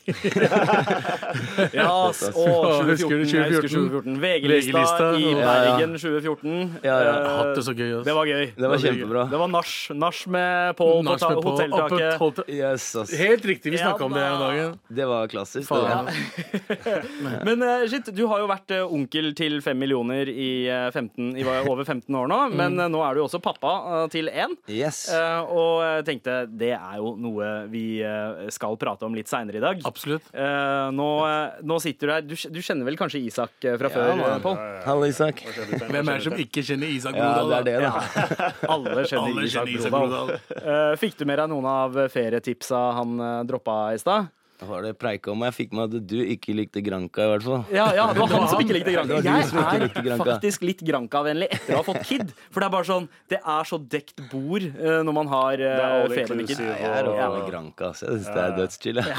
Speaker 3: Ja, ass, å,
Speaker 5: Ja,
Speaker 3: 2014.
Speaker 5: husker du
Speaker 3: Jeg husker
Speaker 5: 2014?
Speaker 3: 2014. VG-lista
Speaker 5: VG-lista,
Speaker 3: i
Speaker 5: og-
Speaker 3: Bergen 2014.
Speaker 6: Ja, ja.
Speaker 3: Eh,
Speaker 5: Hatt det så gøy, ass.
Speaker 3: det var gøy.
Speaker 6: Det var kjempebra.
Speaker 3: Det var nach. Nach med Pål på
Speaker 5: Nach
Speaker 3: ta-
Speaker 5: med på, oppe
Speaker 3: hotelltaket.
Speaker 5: på hotel-
Speaker 6: Yes, ass.
Speaker 5: Helt riktig, vi
Speaker 3: Ja
Speaker 5: snakka om det her om
Speaker 3: da.
Speaker 5: dagen.
Speaker 6: Det var klassisk. det
Speaker 5: Faen.
Speaker 6: der.
Speaker 3: Men eh, shit, du har jo vært eh, onkel til fem millioner i, eh, 15, i hva- over 15 år nå, men
Speaker 5: Mm.
Speaker 3: eh, nå er du jo også pappa eh, til én.
Speaker 6: Yes.
Speaker 3: Eh, og jeg tenkte det er jo noe vi eh, skal prate om litt seinere i dag.
Speaker 5: Absolutt.
Speaker 3: Eh, nå, eh, nå sitter du her. Du, kj- du kjenner vel kanskje Isak eh, fra før,
Speaker 6: man.
Speaker 3: eh, Pål?
Speaker 6: Hallo, Isak.
Speaker 5: Hvem er det som ikke kjenner Isak
Speaker 6: Ja,
Speaker 5: Brodal?
Speaker 6: det er det,
Speaker 5: da?
Speaker 6: da. [laughs]
Speaker 3: Alle kjenner
Speaker 5: Alle
Speaker 3: Isak
Speaker 5: kjenner Isak
Speaker 3: Brodal.
Speaker 5: Brodal.
Speaker 3: Eh, fikk du med deg noen av ferietipsa han eh, droppa i stad?
Speaker 6: Da var det preika om, og jeg fikk med at du ikke likte Granca, i hvert fall.
Speaker 3: Ja, ja, [laughs] det var han som ikke likte Granka.
Speaker 6: Det var du som ikke
Speaker 3: Jeg
Speaker 6: likte
Speaker 3: er
Speaker 6: Granca.
Speaker 3: faktisk litt Granka-vennlig etter å ha fått kid. For det er bare sånn Det er så dekt bord eh, når man har
Speaker 2: Det er
Speaker 3: uh,
Speaker 2: all
Speaker 3: ferie med kid.
Speaker 2: inclusive,
Speaker 6: Jeg er
Speaker 2: og-
Speaker 6: over Granca, ass. Jeg synes det er dødschill. jeg.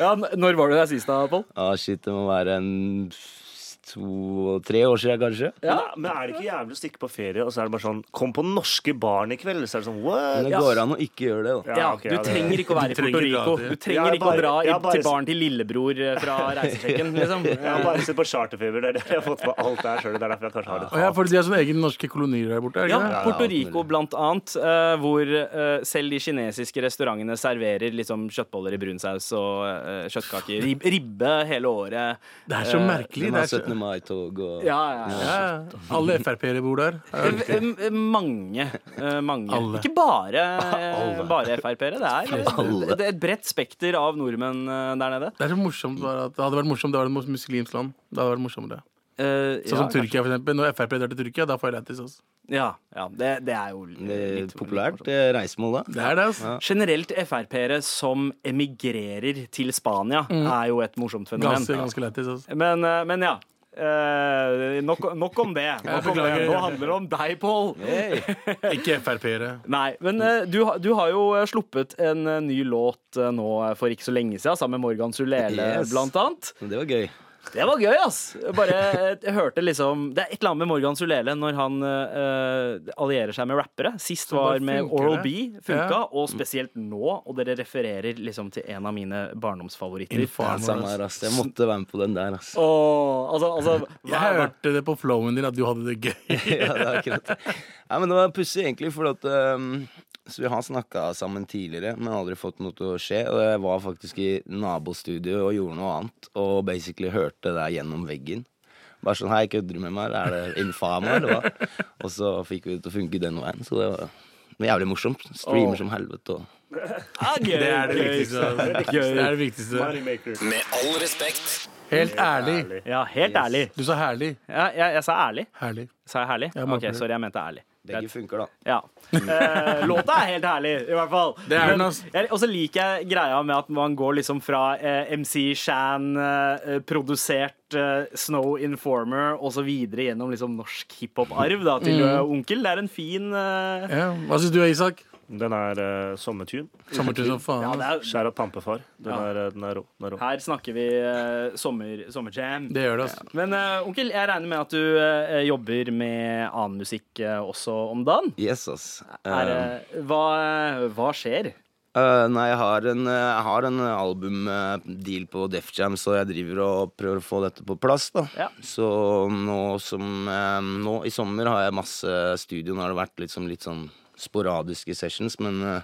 Speaker 3: Ja, n- når var du der sist, da, Pål?
Speaker 6: Ah, shit, det må være en to-tre år siden, kanskje.
Speaker 2: Men, men er det ikke jævlig å stikke på ferie, og så er det bare sånn Kom på norske baren i kveld! Så er det sånn
Speaker 6: Men
Speaker 2: what?
Speaker 6: det går an å ikke gjøre det, da.
Speaker 3: Ja,
Speaker 2: ok,
Speaker 3: du
Speaker 2: det-
Speaker 3: trenger ikke å være i
Speaker 5: Du trenger
Speaker 3: Puerto
Speaker 5: ikke
Speaker 3: Rico.
Speaker 5: å dra til-
Speaker 3: Du trenger
Speaker 2: Jeg
Speaker 3: ikke å
Speaker 2: bare-
Speaker 3: dra i,
Speaker 2: jeg bare-
Speaker 3: til barn til lillebror eh, fra reisesjekken, liksom.
Speaker 2: Jeg har bare sett på charterfeber. Det er det jeg har fått med alt det her sjøl. Det er derfor jeg kanskje har det.
Speaker 5: Og ja, fordi de har sånne egne norske kolonier der borte. er det
Speaker 3: Ja,
Speaker 5: ikke det?
Speaker 3: Puerto
Speaker 6: alt mulig.
Speaker 3: Rico blant annet, eh, hvor eh, selv de kinesiske restaurantene serverer liksom kjøttboller i brunsaus og eh, kjøttkaker. Rib ribbe hele året.
Speaker 5: Det er så merkelig. Det
Speaker 6: Den har
Speaker 5: er så...
Speaker 6: 17. mai-tog og
Speaker 3: Ja, ja, ja.
Speaker 5: Ja, alle Frp-ere bor der. Ja,
Speaker 3: Eh, eh, Mange. eh, mange.
Speaker 5: Alle.
Speaker 3: Ikke bare, eh, bare Frp-ere. Det er, det er et bredt spekter av nordmenn eh, der nede.
Speaker 5: Det er så morsomt bare at det hadde vært morsomt, det var et muslimsk land. Det hadde vært morsommere.
Speaker 3: Eh,
Speaker 5: Sånn som Tyrkia, for eksempel. Når Frp drar til Tyrkia, da får jeg lættis. Altså.
Speaker 3: Ja, ja det, det er jo
Speaker 6: Det er
Speaker 3: litt
Speaker 6: populært
Speaker 3: litt morsomt.
Speaker 6: eh, reisemål, da.
Speaker 5: Det er det, altså.
Speaker 3: Generelt Frp-ere som emigrerer til Spania, er jo et morsomt fenomen.
Speaker 5: Ganske, ganske
Speaker 3: [laughs]
Speaker 5: lættis. Altså.
Speaker 3: Men, eh, men ja. Eh, nok, nok om det. Nok om det.
Speaker 5: beklager.
Speaker 3: Nå handler det om deg, Pål.
Speaker 5: Ikke Frp-ere.
Speaker 3: [laughs] Nei, men eh, du, har- du har jo eh, sluppet en eh, ny låt eh, nå eh, for ikke så lenge siden, sammen med Morgan Sulele,
Speaker 6: Yes.
Speaker 3: blant annet.
Speaker 6: Men Det var gøy.
Speaker 3: Det var gøy, ass! Bare eh, jeg hørte liksom Det er et eller annet med Morgan Sulele når han eh, allierer seg med rappere. Sist
Speaker 5: bare
Speaker 3: var med
Speaker 5: funker
Speaker 3: Oral
Speaker 5: det.
Speaker 3: B, funka,
Speaker 5: Ja.
Speaker 3: og spesielt nå. Og dere refererer liksom til en av mine barndomsfavoritter.
Speaker 5: Infarm,
Speaker 6: Samme her, ass. Jeg måtte være med på den der, [laughs] ass.
Speaker 3: Åh, altså, altså, hva-
Speaker 5: Jeg hørte det på flowen din at du hadde det
Speaker 3: [laughs]
Speaker 5: gøy.
Speaker 6: ja, det er akkurat det. Nei, men det var pussig, egentlig, for at ehm, så vi har snakka sammen tidligere, men aldri fått noe til å skje. Og jeg var faktisk i nabostudio og gjorde noe annet, og basically hørte det der gjennom veggen. Bare sånn Hei, kødder du med meg? Er det infama, eller hva? [laughs] Og så fikk vi det til å funke den veien, så det var det var jævlig morsomt. Streamer som helvete og
Speaker 3: ah, gøy,
Speaker 5: Det er det
Speaker 3: gøy.
Speaker 5: viktigste. altså. Det er det viktigste.
Speaker 2: Moneymaker.
Speaker 1: Med all respekt.
Speaker 5: Helt ærlig.
Speaker 3: Ja, helt ærlig.
Speaker 5: Du sa herlig.
Speaker 3: Ja, jeg, jeg sa ærlig.
Speaker 5: Herlig.
Speaker 3: Sa jeg herlig?
Speaker 5: Ja,
Speaker 3: OK,
Speaker 5: Morten.
Speaker 3: sorry, jeg mente ærlig.
Speaker 6: Begge
Speaker 3: Greit.
Speaker 6: funker, da.
Speaker 3: Ja. Eh, låta er helt herlig, i hvert fall.
Speaker 5: Det er den,
Speaker 3: Men-
Speaker 5: ass.
Speaker 3: Jeg- Og så liker jeg greia med at man går liksom fra eh, MC Shan, eh, produsert eh, Snow Informer, og så videre gjennom liksom norsk hiphop-arv da, til
Speaker 5: Mm.
Speaker 3: eh, onkel. Det er en fin eh,
Speaker 5: Ja. Hva syns du, Isak?
Speaker 2: Den er uh, sommertune.
Speaker 5: Sommertid som faen.
Speaker 3: ja,
Speaker 5: ass.
Speaker 3: det er,
Speaker 2: Skjær av pampefar. Den er, eh, den er rå. Den er rå.
Speaker 3: Her snakker vi eh, sommer, sommerjam.
Speaker 5: Det gjør det, altså.
Speaker 3: Men eh, onkel, jeg regner med at du eh, jobber med annen musikk eh, også om dagen.
Speaker 6: Yes, ass.
Speaker 3: Er,
Speaker 6: Ehm,
Speaker 3: eh, hva, hva skjer?
Speaker 6: Eh, nei, jeg har en, eh, jeg har en albumdeal på Def Jam, så jeg driver og prøver å få dette på plass. da
Speaker 3: Ja.
Speaker 6: Så nå som eh, Nå i sommer har jeg masse studio. Nå har det vært litt sånn- litt sånn sporadiske sessions, men eh,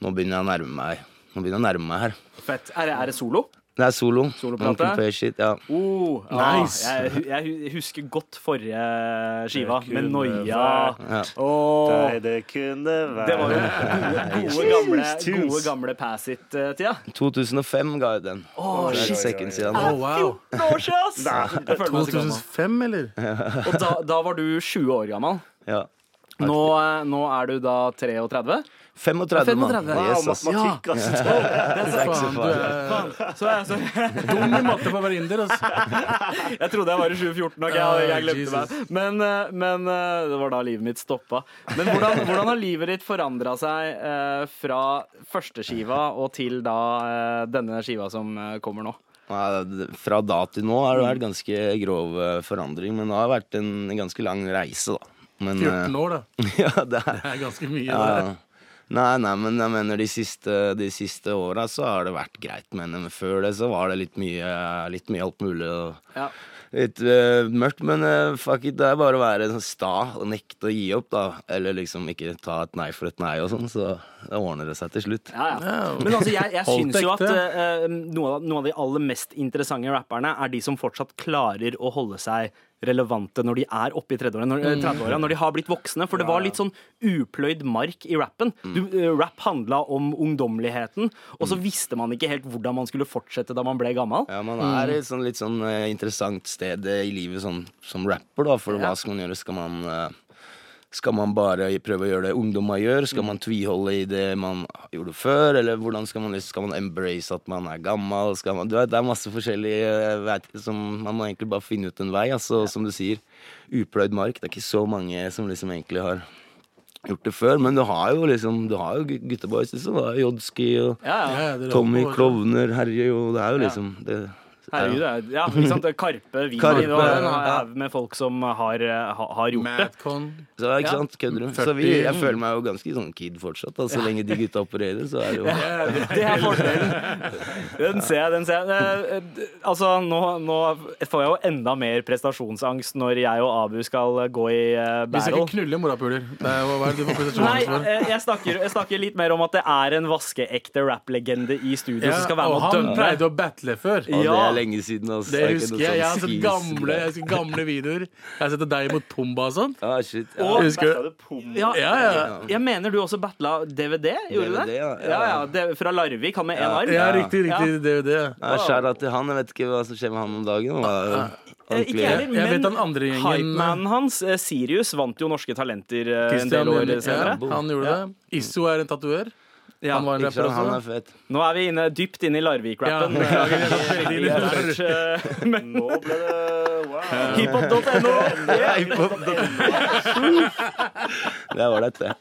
Speaker 6: nå begynner jeg å nærme meg Nå begynner jeg å nærme meg her.
Speaker 3: Fett. Er, det- er det solo?
Speaker 6: Det er solo.
Speaker 3: Soloplate?
Speaker 6: Onkel P shit, ja.
Speaker 3: Oh, ja,
Speaker 5: Nice.
Speaker 3: jeg, jeg husker godt forrige skiva,
Speaker 2: Det
Speaker 3: med
Speaker 2: kunne
Speaker 3: Noia.
Speaker 2: vært-
Speaker 6: Ja.
Speaker 3: Åh,
Speaker 2: Nei, det kunne være
Speaker 3: det var jo
Speaker 2: [laughs]
Speaker 3: gode, gamle, gode gamle pass it-tida.
Speaker 6: 2005 ga jeg den.
Speaker 3: Åh,
Speaker 6: det er
Speaker 2: shit.
Speaker 6: ikke sekken
Speaker 5: Å,
Speaker 6: siden nå.
Speaker 5: wow.
Speaker 3: 14 år siden, ass! Jeg føler meg så gammel.
Speaker 5: 2005, eller?
Speaker 3: Og da, da var du 20 år gammel.
Speaker 6: Ja.
Speaker 3: Nå, eh, nå er du da 33.
Speaker 6: 35, mann.
Speaker 3: 35.
Speaker 2: Wow,
Speaker 6: Yes, ass.
Speaker 2: matematikk, altså.
Speaker 5: Faen, du er
Speaker 3: Så jeg, så,
Speaker 5: dum i matte på å være inder, altså.
Speaker 3: jeg trodde jeg var i 2014, ok, jeg, jeg glemte
Speaker 5: Jesus.
Speaker 3: meg. Men, eh, men eh, det var da livet mitt stoppa. Men hvordan, hvordan har livet ditt forandra seg eh, fra første skiva og til da eh, denne skiva som eh, kommer nå?
Speaker 6: Nei, det- Fra da til nå har det vært ganske grov eh, forandring, men det har vært en ganske lang reise, da. Men,
Speaker 5: 14 år, da.
Speaker 6: eh, [laughs] ja, det er,
Speaker 5: Det er ganske mye.
Speaker 6: ja,
Speaker 5: det.
Speaker 6: ja. Nei, nei, men jeg mener de siste, de siste åra så har det vært greit, men men før det så var det litt mye, litt mye alt mulig. Og
Speaker 3: Ja.
Speaker 6: litt eh, mørkt, men eh, fuck it, det er bare å være sånn sta og nekte å gi opp, da. Eller liksom ikke ta et nei for et nei og sånn, så da ordner det seg til slutt.
Speaker 3: Ja, ja.
Speaker 5: Ja.
Speaker 3: Men altså, jeg, jeg
Speaker 5: Holdt
Speaker 3: syns jo at
Speaker 5: ekte.
Speaker 3: eh, noen, av, noen av de aller mest interessante rapperne er de som fortsatt klarer å holde seg relevante når de er oppe i 30-åra, når, eh, 30-åra, når de har blitt voksne. For det var litt sånn upløyd mark i rappen. Du, eh, rap handla om ungdommeligheten, og så visste man ikke helt hvordan man skulle fortsette da man ble gammel.
Speaker 6: Ja, man er i et sånn litt sånn eh, interessant sted eh, i livet sånn, som rapper, da. For hva skal man gjøre? Skal man, eh, skal man bare prøve å gjøre det ungdomma gjør? Skal man tviholde i det man gjorde før? Eller hvordan skal man, skal man embrace at man er gammel? Skal man, du vet, det er masse forskjellig eh, vet, som Man må egentlig bare finne ut en vei. Altså, Som du sier, upløyd mark. Det er ikke så mange som liksom egentlig har gjort det før. Men du har jo liksom Du har jo gu- gutteboys, liksom. Du har Jodski og
Speaker 3: Ja, ja.
Speaker 5: Ja, det er
Speaker 6: Tommy
Speaker 5: rart.
Speaker 6: Klovner, herre jo, det er jo liksom det,
Speaker 3: Herregud, det er, ja, ikke sant? Karpe, Wien
Speaker 6: Karpe,
Speaker 3: og en
Speaker 6: ja.
Speaker 3: haug med folk som har, eh, ha, har gjort det.
Speaker 5: Madcon.
Speaker 6: Så, ikke
Speaker 3: Ja.
Speaker 6: sant, kødder du? Så vi, jeg føler meg jo ganske sånn kid fortsatt. Da. Så lenge de gutta opererer, så er det jo
Speaker 3: Det er fordelen. Den ser jeg, den ser jeg. Eh, d- Altså, nå, nå får jeg jo enda mer prestasjonsangst når jeg og Abu skal gå i eh,
Speaker 5: Vi skal
Speaker 3: battle.
Speaker 5: ikke knulle morapuler. Det er jo- Hva er det du får
Speaker 3: Nei,
Speaker 5: prestasjonsangst for?
Speaker 3: eh, jeg snakker, jeg snakker litt mer om at det er en vaskeekte rapplegende i studio som skal være
Speaker 5: og
Speaker 3: med å
Speaker 5: han
Speaker 3: dømme.
Speaker 5: pleide å battle før.
Speaker 6: Og det
Speaker 3: Ja.
Speaker 6: er lenge siden. Altså.
Speaker 5: Det
Speaker 6: er ikke
Speaker 5: husker
Speaker 6: noe
Speaker 5: jeg. Jeg har
Speaker 6: sånn
Speaker 5: sett
Speaker 6: skis-
Speaker 5: gamle, jeg har sett gamle videoer. Jeg har sett deg mot Pumba og sånt.
Speaker 6: Ah, shit. Ja.
Speaker 3: Og-
Speaker 5: Husker du?
Speaker 3: Ja,
Speaker 5: Ja, ja.
Speaker 3: Jeg mener du også battla DVD, gjorde du det?
Speaker 6: DVD, ja.
Speaker 3: ja, ja, det- Fra Larvik, han med én
Speaker 6: Ja.
Speaker 3: arm.
Speaker 5: Ja, riktig, riktig.
Speaker 3: Ja.
Speaker 5: DVD.
Speaker 6: Ja, skjæra til han. Jeg vet ikke hva som skjer med han om dagen. Han
Speaker 5: Ah,
Speaker 6: var
Speaker 3: Eh, Ikke jeg
Speaker 6: ordentlig-
Speaker 5: Jeg
Speaker 3: heller,
Speaker 5: vet han andre
Speaker 3: men
Speaker 5: gjengen-
Speaker 3: hypemanen hans, eh, Sirius, vant jo Norske Talenter eh, en
Speaker 5: Christian,
Speaker 3: del år
Speaker 5: ja,
Speaker 3: senere.
Speaker 5: han gjorde det. Issu er en tatover.
Speaker 3: Ja.
Speaker 5: Han var en
Speaker 6: Ikke
Speaker 5: rapper
Speaker 6: sant? Han er
Speaker 5: også.
Speaker 6: fet.
Speaker 3: Nå er vi inne, dypt inne i Larvik-rappen.
Speaker 5: Ja, beklager, jeg satt veldig inn i
Speaker 3: Vi er der, eh, men
Speaker 2: Nå ble det wow.
Speaker 3: Hiphop.no.
Speaker 6: Det var det, det.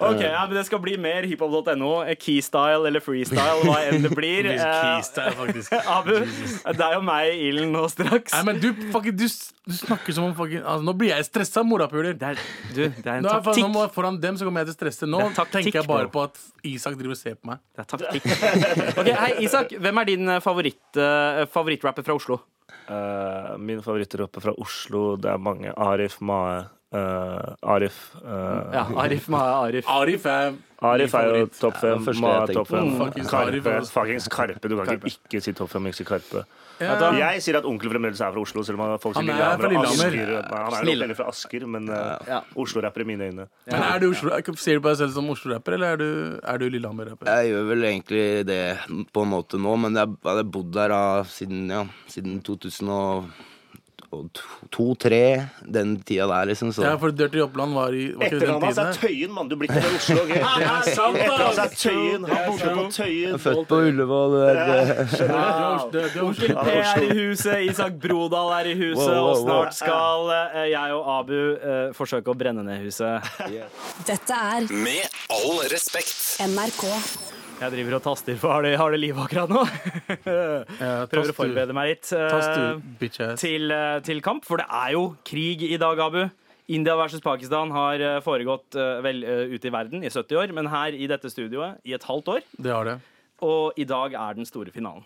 Speaker 3: Ok, ja, men Det skal bli mer hiphop.no. eh, Keystyle eller freestyle, hva enn det blir. Eh, Abu, det er jo meg i ilden nå straks.
Speaker 5: [laughs] Nei, men du, fucking, du, s- du snakker som om fucking, altså, Nå blir jeg stressa, morapuler.
Speaker 3: Det er, du, det er en
Speaker 5: Nå er jeg faen- nå
Speaker 3: taktikk.
Speaker 5: må jeg foran dem, så kommer jeg til å stresse. Nå
Speaker 3: Det er taktikk,
Speaker 5: tenker jeg bare
Speaker 3: bro.
Speaker 5: på at Isak driver og ser på meg.
Speaker 3: Det er taktikk. Ok, Hei, Isak. Hvem er din eh, favoritt, eh, favorittrapper fra Oslo?
Speaker 2: Eh, min favorittroppe fra Oslo, det er mange. Arif, Mae. eh, Arif. eh,
Speaker 3: Ja, Arif Maha Arif.
Speaker 5: Arif er
Speaker 2: Arif er jo topp
Speaker 6: Ja, det
Speaker 2: fem.
Speaker 6: var første
Speaker 2: Mae
Speaker 6: jeg
Speaker 2: er topp
Speaker 6: tenkte.
Speaker 2: fem.
Speaker 5: Mm, fuckings Arif,
Speaker 2: Karpe.
Speaker 5: altså.
Speaker 2: Fuckings Karpe. Du kan ikke ikke si topp fem, ikke si Karpe.
Speaker 5: Ja.
Speaker 2: Jeg sier at onkel fremdeles er fra Oslo, selv om folk sier
Speaker 5: Han er
Speaker 2: Lillehammer
Speaker 5: fra
Speaker 2: og
Speaker 5: Lillehammer.
Speaker 2: Asker. Nei, Han er
Speaker 6: Snill.
Speaker 2: nok heller fra Asker, men eh,
Speaker 3: Ja.
Speaker 2: Oslo-rapper i mine øyne.
Speaker 5: Men er du Oslo, Ser du på deg selv som Oslo-rapper, eller er du, er du Lillehammer-rapper?
Speaker 6: Jeg gjør vel egentlig det på en måte nå, men jeg jeg har bodd der da siden, ja, siden 2002-2003. Den tida der, liksom.
Speaker 3: Altså.
Speaker 6: Så
Speaker 5: Ja, for Dirty Oppland var i var ikke det den
Speaker 2: Etternavnet hans
Speaker 5: tiden?
Speaker 2: er Tøyen, mann. Du blir ikke
Speaker 5: [laughs]
Speaker 2: fra Oslo. ok? Etternavnet hans er Tøyen. Han bodde på Tøyen.
Speaker 6: født på Ullevål. eh, det er- det-
Speaker 3: Onkel P er i huset, Isak Brodal er i huset,
Speaker 6: Wow, wow,
Speaker 3: og snart skal eh, jeg og Abu eh, forsøke å brenne ned huset.
Speaker 4: Dette er
Speaker 1: Med all respekt.
Speaker 4: NRK.
Speaker 3: Jeg driver og taster for har det, har det livet akkurat nå.
Speaker 5: Ja,
Speaker 3: Prøver å
Speaker 5: tastur.
Speaker 3: forberede meg litt eh,
Speaker 5: Tastur, bitch ass.
Speaker 3: til, eh, til kamp, for det er jo krig i dag, Abu. India versus Pakistan har eh, foregått eh, vel eh, ute i verden i 70 år, men her i dette studioet i et halvt år.
Speaker 5: Det har det.
Speaker 3: Og i dag er den store finalen.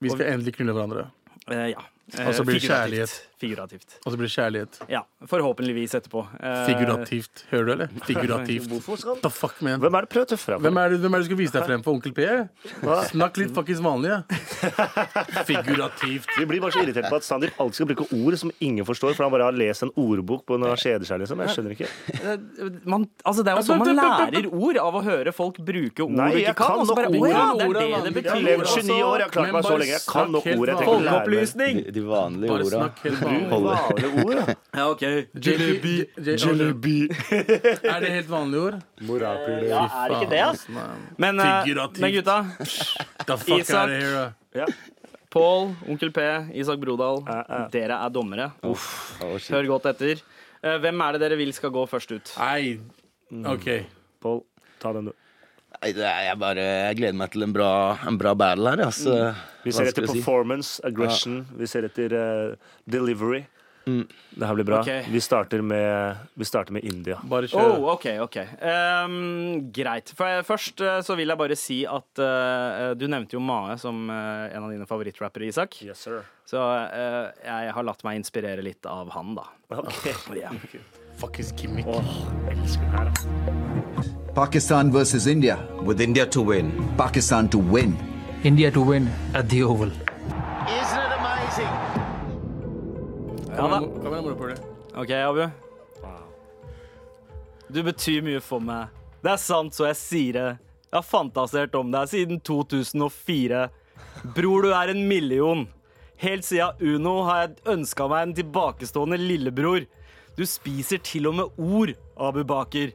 Speaker 5: Vi skal endelig knulle hverandre.
Speaker 3: Eh, ja. Eh,
Speaker 5: Og så blir det
Speaker 3: figurativt. Figurativt.
Speaker 5: Og så blir det kjærlighet.
Speaker 3: Ja. Forhåpentligvis etterpå. Eh,
Speaker 5: Figurativt. Hører du, eller? Figurativt.
Speaker 2: Hvorfor skal
Speaker 5: The fuck, man.
Speaker 2: Hvem er det prøver å tøffe deg
Speaker 5: Hvem er, det, hvem er det du skal vise deg frem for? Onkel P? Snakk litt fuckings vanlig. Ja. Figurativt.
Speaker 2: Vi blir bare så irritert på at Sandeep alltid skal bruke ord som ingen forstår, for han bare har lest en ordbok på når han kjeder seg, liksom. Jeg skjønner ikke.
Speaker 3: eh, man, altså det er jo sånn man lærer ord av å høre folk bruke ord
Speaker 2: Nei,
Speaker 3: du
Speaker 2: jeg
Speaker 3: ikke kan.
Speaker 2: kan
Speaker 3: Og så bare,
Speaker 2: nok
Speaker 3: å ja,
Speaker 5: ord.
Speaker 3: det
Speaker 5: Ord er
Speaker 3: er det det
Speaker 5: vanlig.
Speaker 2: Jeg har
Speaker 3: betyr.
Speaker 2: levd
Speaker 5: også.
Speaker 2: 29 år, jeg har klart
Speaker 5: Men
Speaker 2: meg så
Speaker 5: bare
Speaker 2: lenge. Jeg
Speaker 5: snakk
Speaker 2: kan nok
Speaker 5: helt
Speaker 2: ord. Jeg
Speaker 5: vanlig.
Speaker 2: trenger å lære meg
Speaker 6: De, de vanlige
Speaker 5: Bare
Speaker 6: orda.
Speaker 5: snakk helt vanlig.
Speaker 2: vanlige ord. ja.
Speaker 3: Ja, ok.
Speaker 5: Jalebi. Er det helt vanlige ord?
Speaker 3: Ja, er det ikke det, ass? Men, eh,
Speaker 5: Figurativt.
Speaker 3: men gutta,
Speaker 5: The fuck
Speaker 3: Isak.
Speaker 5: out of here. da?
Speaker 3: Pål, Onkel P, Isak Brodal,
Speaker 2: ja.
Speaker 3: dere er dommere.
Speaker 6: Å, shit.
Speaker 3: Hør godt etter. Eh, Hvem er det dere vil skal gå først ut?
Speaker 5: Nei. Mm. OK.
Speaker 2: Pål, ta den, du.
Speaker 6: Nei, det er- Jeg bare jeg gleder meg til en bra, en bra battle her. Altså.
Speaker 2: Vi ser etter
Speaker 6: Vanskelig å si.
Speaker 2: performance, aggression, vi ser etter eh, delivery. Det her blir bra.
Speaker 3: Ok.
Speaker 2: Vi, starter med, vi starter med India.
Speaker 5: Bare kjør.
Speaker 3: Oh, OK, OK. Ehm, greit. For jeg- Først eh, så vil jeg bare si at eh, du nevnte jo Mae som eh, en av dine favorittrappere, Isak.
Speaker 2: Yes, sir.
Speaker 3: Så eh, jeg har latt meg inspirere litt av han, da. Ja.
Speaker 5: Fuckings gimmick.
Speaker 2: elsker den her, altså.
Speaker 7: Pakistan versus India.
Speaker 8: with India to win.
Speaker 7: Pakistan to win.
Speaker 9: India to win at the Oval.
Speaker 5: Kom igjen, kom igjen, morapule.
Speaker 3: OK, Abu. Du betyr mye for meg. Det er sant, så jeg sier det. Jeg har fantasert om deg siden 2004. Bror, du er en million. Helt siden Uno har jeg ønska meg en tilbakestående lillebror. Du spiser til og med ord, Abu Baker.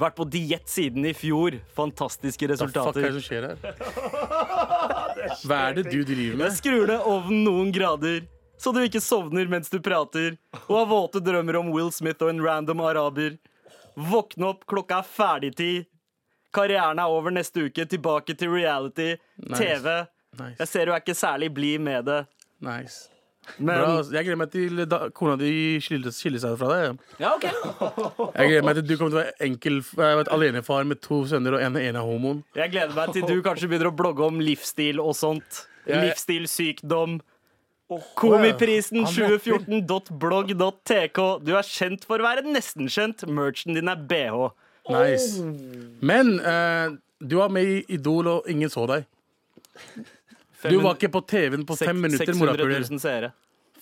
Speaker 3: Vært på diett siden i fjor. Fantastiske
Speaker 5: Hva fuck er det
Speaker 3: resultater.
Speaker 5: som skjer her? Hva er det du driver med?
Speaker 3: Skrur ned ovnen noen grader, så du ikke sovner mens du prater, og har våte drømmer om Will Smith og en random araber. Våkne opp, klokka er ferdigtid. Karrieren er over neste uke, tilbake til reality, TV,
Speaker 5: Nice.
Speaker 3: Jeg ser du er ikke særlig blid med det.
Speaker 5: nice.
Speaker 2: Men
Speaker 5: Bra, ass. jeg gleder meg til da kona di skiller skiller seg fra deg.
Speaker 3: Ja, ok
Speaker 5: Jeg gleder meg til du kommer til å være enkel jeg vet, alenefar med to sønner, og en ene er homoen.
Speaker 3: Jeg gleder meg til du kanskje begynner å blogge om livsstil og sånt.
Speaker 5: Ja, ja.
Speaker 3: Livsstilssykdom. Komiprisen 2014.blogg.tk. Du er kjent for å være nesten kjent. Merchen din er bh.
Speaker 5: Nice. Men eh, du var med i Idol, og ingen så deg. Du var ikke på TV-en på fem minutter,
Speaker 3: 600
Speaker 5: morapuler.
Speaker 3: 000 seere.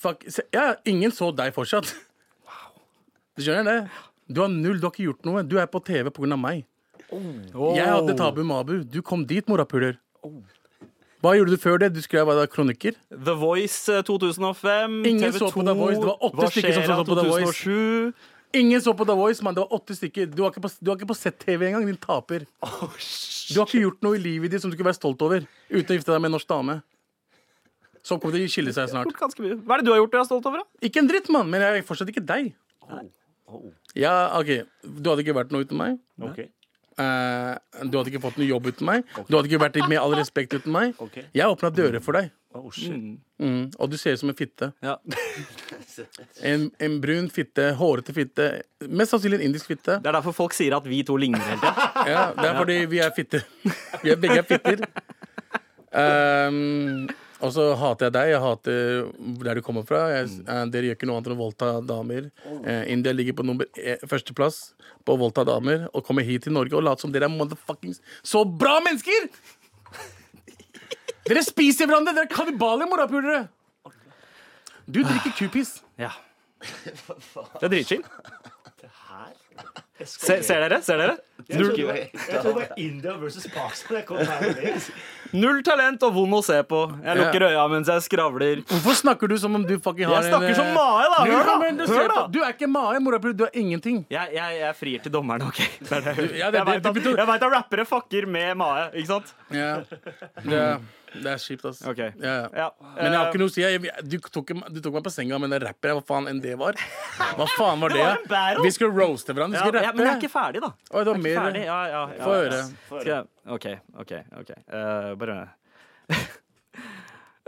Speaker 5: Fuck, se- Ja, ingen så deg fortsatt. Du skjønner det? Du har null, du har ikke gjort noe. Du er på TV pga. meg. Jeg hadde Tabu Mabu. Du kom dit, morapuler. Hva gjorde du før det? Du skrev hva da, kronikker?
Speaker 3: The Voice eh, 2005.
Speaker 5: Ingen
Speaker 3: TV2,
Speaker 5: så på The Voice. Det var åtte
Speaker 3: Hva
Speaker 5: stykker som
Speaker 3: skjer
Speaker 5: så
Speaker 3: av
Speaker 5: på The Voice.
Speaker 3: 2007.
Speaker 5: Ingen så på The Voice, mann. Det var åtte stykker. Du var ikke på, du var ikke på Z-TV engang, din taper. Du har ikke gjort noe i livet ditt som du kunne være stolt over uten å gifte deg med en norsk dame. Så kommer de til å skille seg snart.
Speaker 3: Gjort ganske mye. Hva er det du har gjort du er stolt over? da?
Speaker 5: Ikke en dritt, mann, men jeg er fortsatt ikke deg. Ja, OK. Du hadde ikke vært noe uten meg.
Speaker 2: ok.
Speaker 5: Eh, du hadde ikke fått noe jobb uten meg. Du hadde ikke vært litt med all respekt uten meg. Jeg åpna dører for deg,
Speaker 2: Oh, shit.
Speaker 5: mm, og du ser ut som en fitte.
Speaker 3: Ja.
Speaker 5: En, en brun fitte, hårete fitte. Mest sannsynlig en indisk fitte.
Speaker 3: Det er derfor folk sier at vi to ligner hele tiden.
Speaker 5: Ja, det er fordi vi er fitter. Vi er begge er fitter. Ehm, og så hater jeg deg. Jeg hater der du kommer fra. Jeg, eh, dere gjør ikke noe annet enn å voldta damer. Eh, India ligger på nummer eh, førsteplass på å voldta damer og kommer hit til Norge og later som dere er motherfuckings så bra mennesker! Dere spiser hverandre! Dere er kannibaler, morapulere! Du drikker kupiss.
Speaker 3: [laughs] Ja. Det er dritchill. Se, ser dere? Ser dere? Null,
Speaker 2: Jeg tror det var India versus Pakistan. Jeg kom [laughs] her og ned.
Speaker 3: null talent og vond å se på. Jeg lukker øya mens jeg skravler.
Speaker 5: Hvorfor snakker du som om du fucking har
Speaker 3: Jeg snakker
Speaker 5: en,
Speaker 3: som
Speaker 5: eh,
Speaker 3: Mae, da!
Speaker 5: Hør, da! Hør, da!
Speaker 3: Du-
Speaker 5: Du er ikke Mae, morapulere. Du er ingenting.
Speaker 3: Jeg, jeg, jeg frier til dommerne, OK? Det er det. Jeg
Speaker 5: ja, [laughs] det-
Speaker 3: vet
Speaker 5: det-
Speaker 3: at, jeg vet at rappere fucker med Mae, ikke sant?
Speaker 5: Ja. Det, er- det er kjipt, ass.
Speaker 3: Ok.
Speaker 5: Ja, ja.
Speaker 3: Ja. Eh,
Speaker 5: Men jeg har ikke noe å si. Jeg, jeg- du, tok, du tok meg på senga med den rapperen. Hva faen enn det var? Hva faen
Speaker 3: [laughs]
Speaker 5: var det?
Speaker 3: var en battle.
Speaker 5: vi skulle roaste hverandre. Vi
Speaker 3: Ja,
Speaker 5: skulle
Speaker 3: ja,
Speaker 5: rappe.
Speaker 3: men jeg er ikke ferdig, da.
Speaker 5: Oi, det var mer.
Speaker 3: Ferdig? Ja, ja. ja.
Speaker 5: Få høre.
Speaker 3: Skal jeg? OK, OK. ok Eh, Bare [laughs]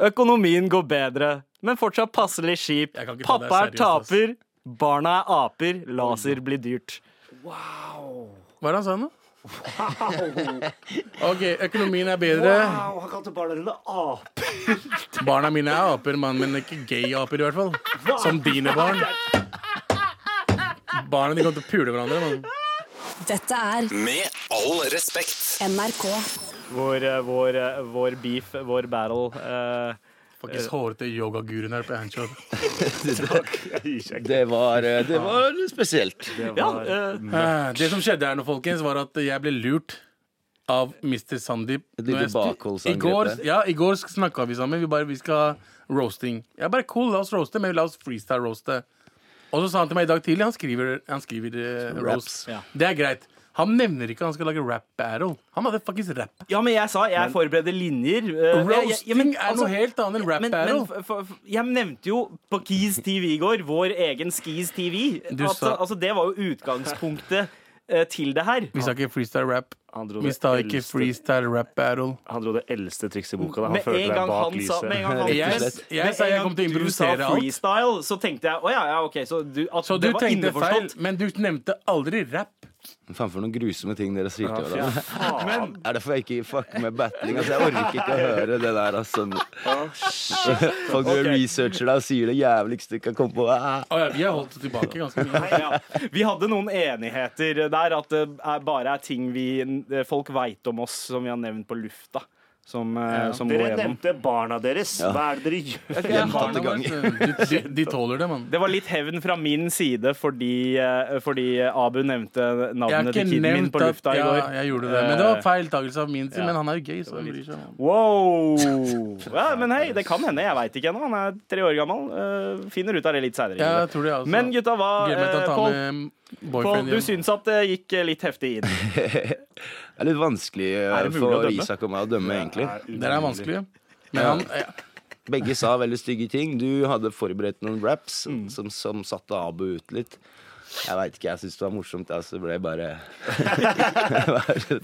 Speaker 3: Økonomien går bedre, men fortsatt passelig kjip.
Speaker 5: Jeg kan ikke ta det
Speaker 3: Pappa er
Speaker 5: seriøst, ass.
Speaker 3: taper, barna er aper, laser blir dyrt.
Speaker 5: Hva er det han sa nå? OK, økonomien er bedre.
Speaker 2: Wow, han kalte barna dine ape.
Speaker 5: Barna mine er aper, mann, men ikke gay-aper, i hvert fall. Som dine
Speaker 3: [laughs]
Speaker 5: barn. Barna de kommer til å pule hverandre. mann.
Speaker 4: Dette er
Speaker 1: Med all respekt.
Speaker 4: NRK.
Speaker 3: Vår, eh, vår, eh, vår beef, vår battle eh,
Speaker 5: Faktisk hårete yogaguruen her på Anchor.
Speaker 6: Det var, eh, det var spesielt.
Speaker 3: Ja, eh,
Speaker 5: Eh, Det som skjedde her nå, folkens, var at jeg ble lurt av Mr. Sandeep.
Speaker 6: Et lite
Speaker 5: Når jeg stu-
Speaker 6: bakholdsangrep
Speaker 5: I går,
Speaker 6: der.
Speaker 5: ja, i går snakka vi sammen. Vi bare vi skal roasting. Jeg bare cool, la oss roaste, men la oss freestyle-roaste. Og så sa han til meg i dag tidlig Han skriver, han skriver eh, roast.
Speaker 6: Raps.
Speaker 5: Det er greit. Han nevner ikke han skal lage rap battle. Han hadde faktisk rap.
Speaker 3: ja, men jeg sa jeg forbereder linjer. eh, jeg- jeg- ja, men,
Speaker 5: Roasting er
Speaker 3: altså,
Speaker 5: noe helt annet enn rap
Speaker 3: men, men
Speaker 5: battle.
Speaker 3: f- f- f- jeg nevnte jo på Keys TV i går, vår egen Skis TV.
Speaker 5: Du
Speaker 3: At,
Speaker 5: sa-
Speaker 3: altså, det var jo utgangspunktet eh, til det her.
Speaker 5: Vi sa ikke freestyle rap.
Speaker 2: Han dro
Speaker 5: Vi
Speaker 2: det
Speaker 5: sa ikke
Speaker 2: eldste-
Speaker 5: freestyle rap battle.
Speaker 2: Han dro det eldste trikset i boka. Da. Han
Speaker 3: Med
Speaker 2: førte
Speaker 3: en
Speaker 2: deg
Speaker 3: gang
Speaker 2: bak
Speaker 3: han sa Med en gang han
Speaker 6: Rett og
Speaker 5: Jeg,
Speaker 6: slett.
Speaker 5: jeg sa jeg kom til å
Speaker 3: Du
Speaker 5: improvisere
Speaker 3: sa
Speaker 5: alt.
Speaker 3: freestyle, så tenkte jeg å ja, ja, OK. Så du, at
Speaker 5: Så du
Speaker 3: det var
Speaker 5: tenkte feil,
Speaker 3: innforstått.
Speaker 5: men du nevnte aldri rap.
Speaker 6: Faen for noen grusomme ting dere sier til
Speaker 2: Ja,
Speaker 6: hverandre. [laughs]
Speaker 2: [laughs]
Speaker 6: Er derfor jeg ikke fucker med battling. Altså, jeg orker ikke å høre det der, altså. [laughs] Folk driver og researcher deg og sier det jævligste du kan komme på. Ah.
Speaker 5: Å ja, vi har holdt det tilbake ganske mye.
Speaker 3: Ja. Vi hadde noen enigheter der at det er bare er ting vi, folk veit om oss som vi har nevnt på lufta. Som, eh, som går
Speaker 2: Dere
Speaker 3: gjennom.
Speaker 2: nevnte barna deres. Hva er det dere gjør?
Speaker 6: Gjentatte ganger.
Speaker 5: De, de, de tåler det, mann.
Speaker 3: Det var litt hevn fra min side fordi, eh, fordi Abu nevnte
Speaker 5: Jeg har
Speaker 3: navnet
Speaker 5: ikke
Speaker 3: til kiden min
Speaker 5: nevnt
Speaker 3: på
Speaker 5: at
Speaker 3: lufta i
Speaker 5: ja,
Speaker 3: går.
Speaker 5: jeg gjorde det. Men det var feiltakelse av min side. Men han er jo gøy, så han bryr seg. mann.
Speaker 3: Wow! Ja, men hei, det kan hende. Jeg veit ikke ennå. Han er tre år gammel. eh, finner ut av det litt seinere.
Speaker 5: Ja, jeg tror det, altså.
Speaker 3: Men gutta, hva
Speaker 5: Gleder meg til
Speaker 3: eh, Pål,
Speaker 5: å ta med
Speaker 3: Pål,
Speaker 5: boyfriend
Speaker 3: du
Speaker 5: hjem.
Speaker 3: syns at det gikk eh, litt heftig inn.
Speaker 5: [laughs]
Speaker 6: Det er litt vanskelig eh,
Speaker 3: det mulig å
Speaker 6: for
Speaker 3: dømme?
Speaker 6: Isak og meg å dømme, egentlig.
Speaker 5: Den er vanskelig. Men han, ja,
Speaker 6: Begge Mm. sa veldig stygge ting. Du hadde forberedt noen raps som, som satte Abu ut litt. Jeg veit ikke, jeg syns det var morsomt, jeg, så ble jeg bare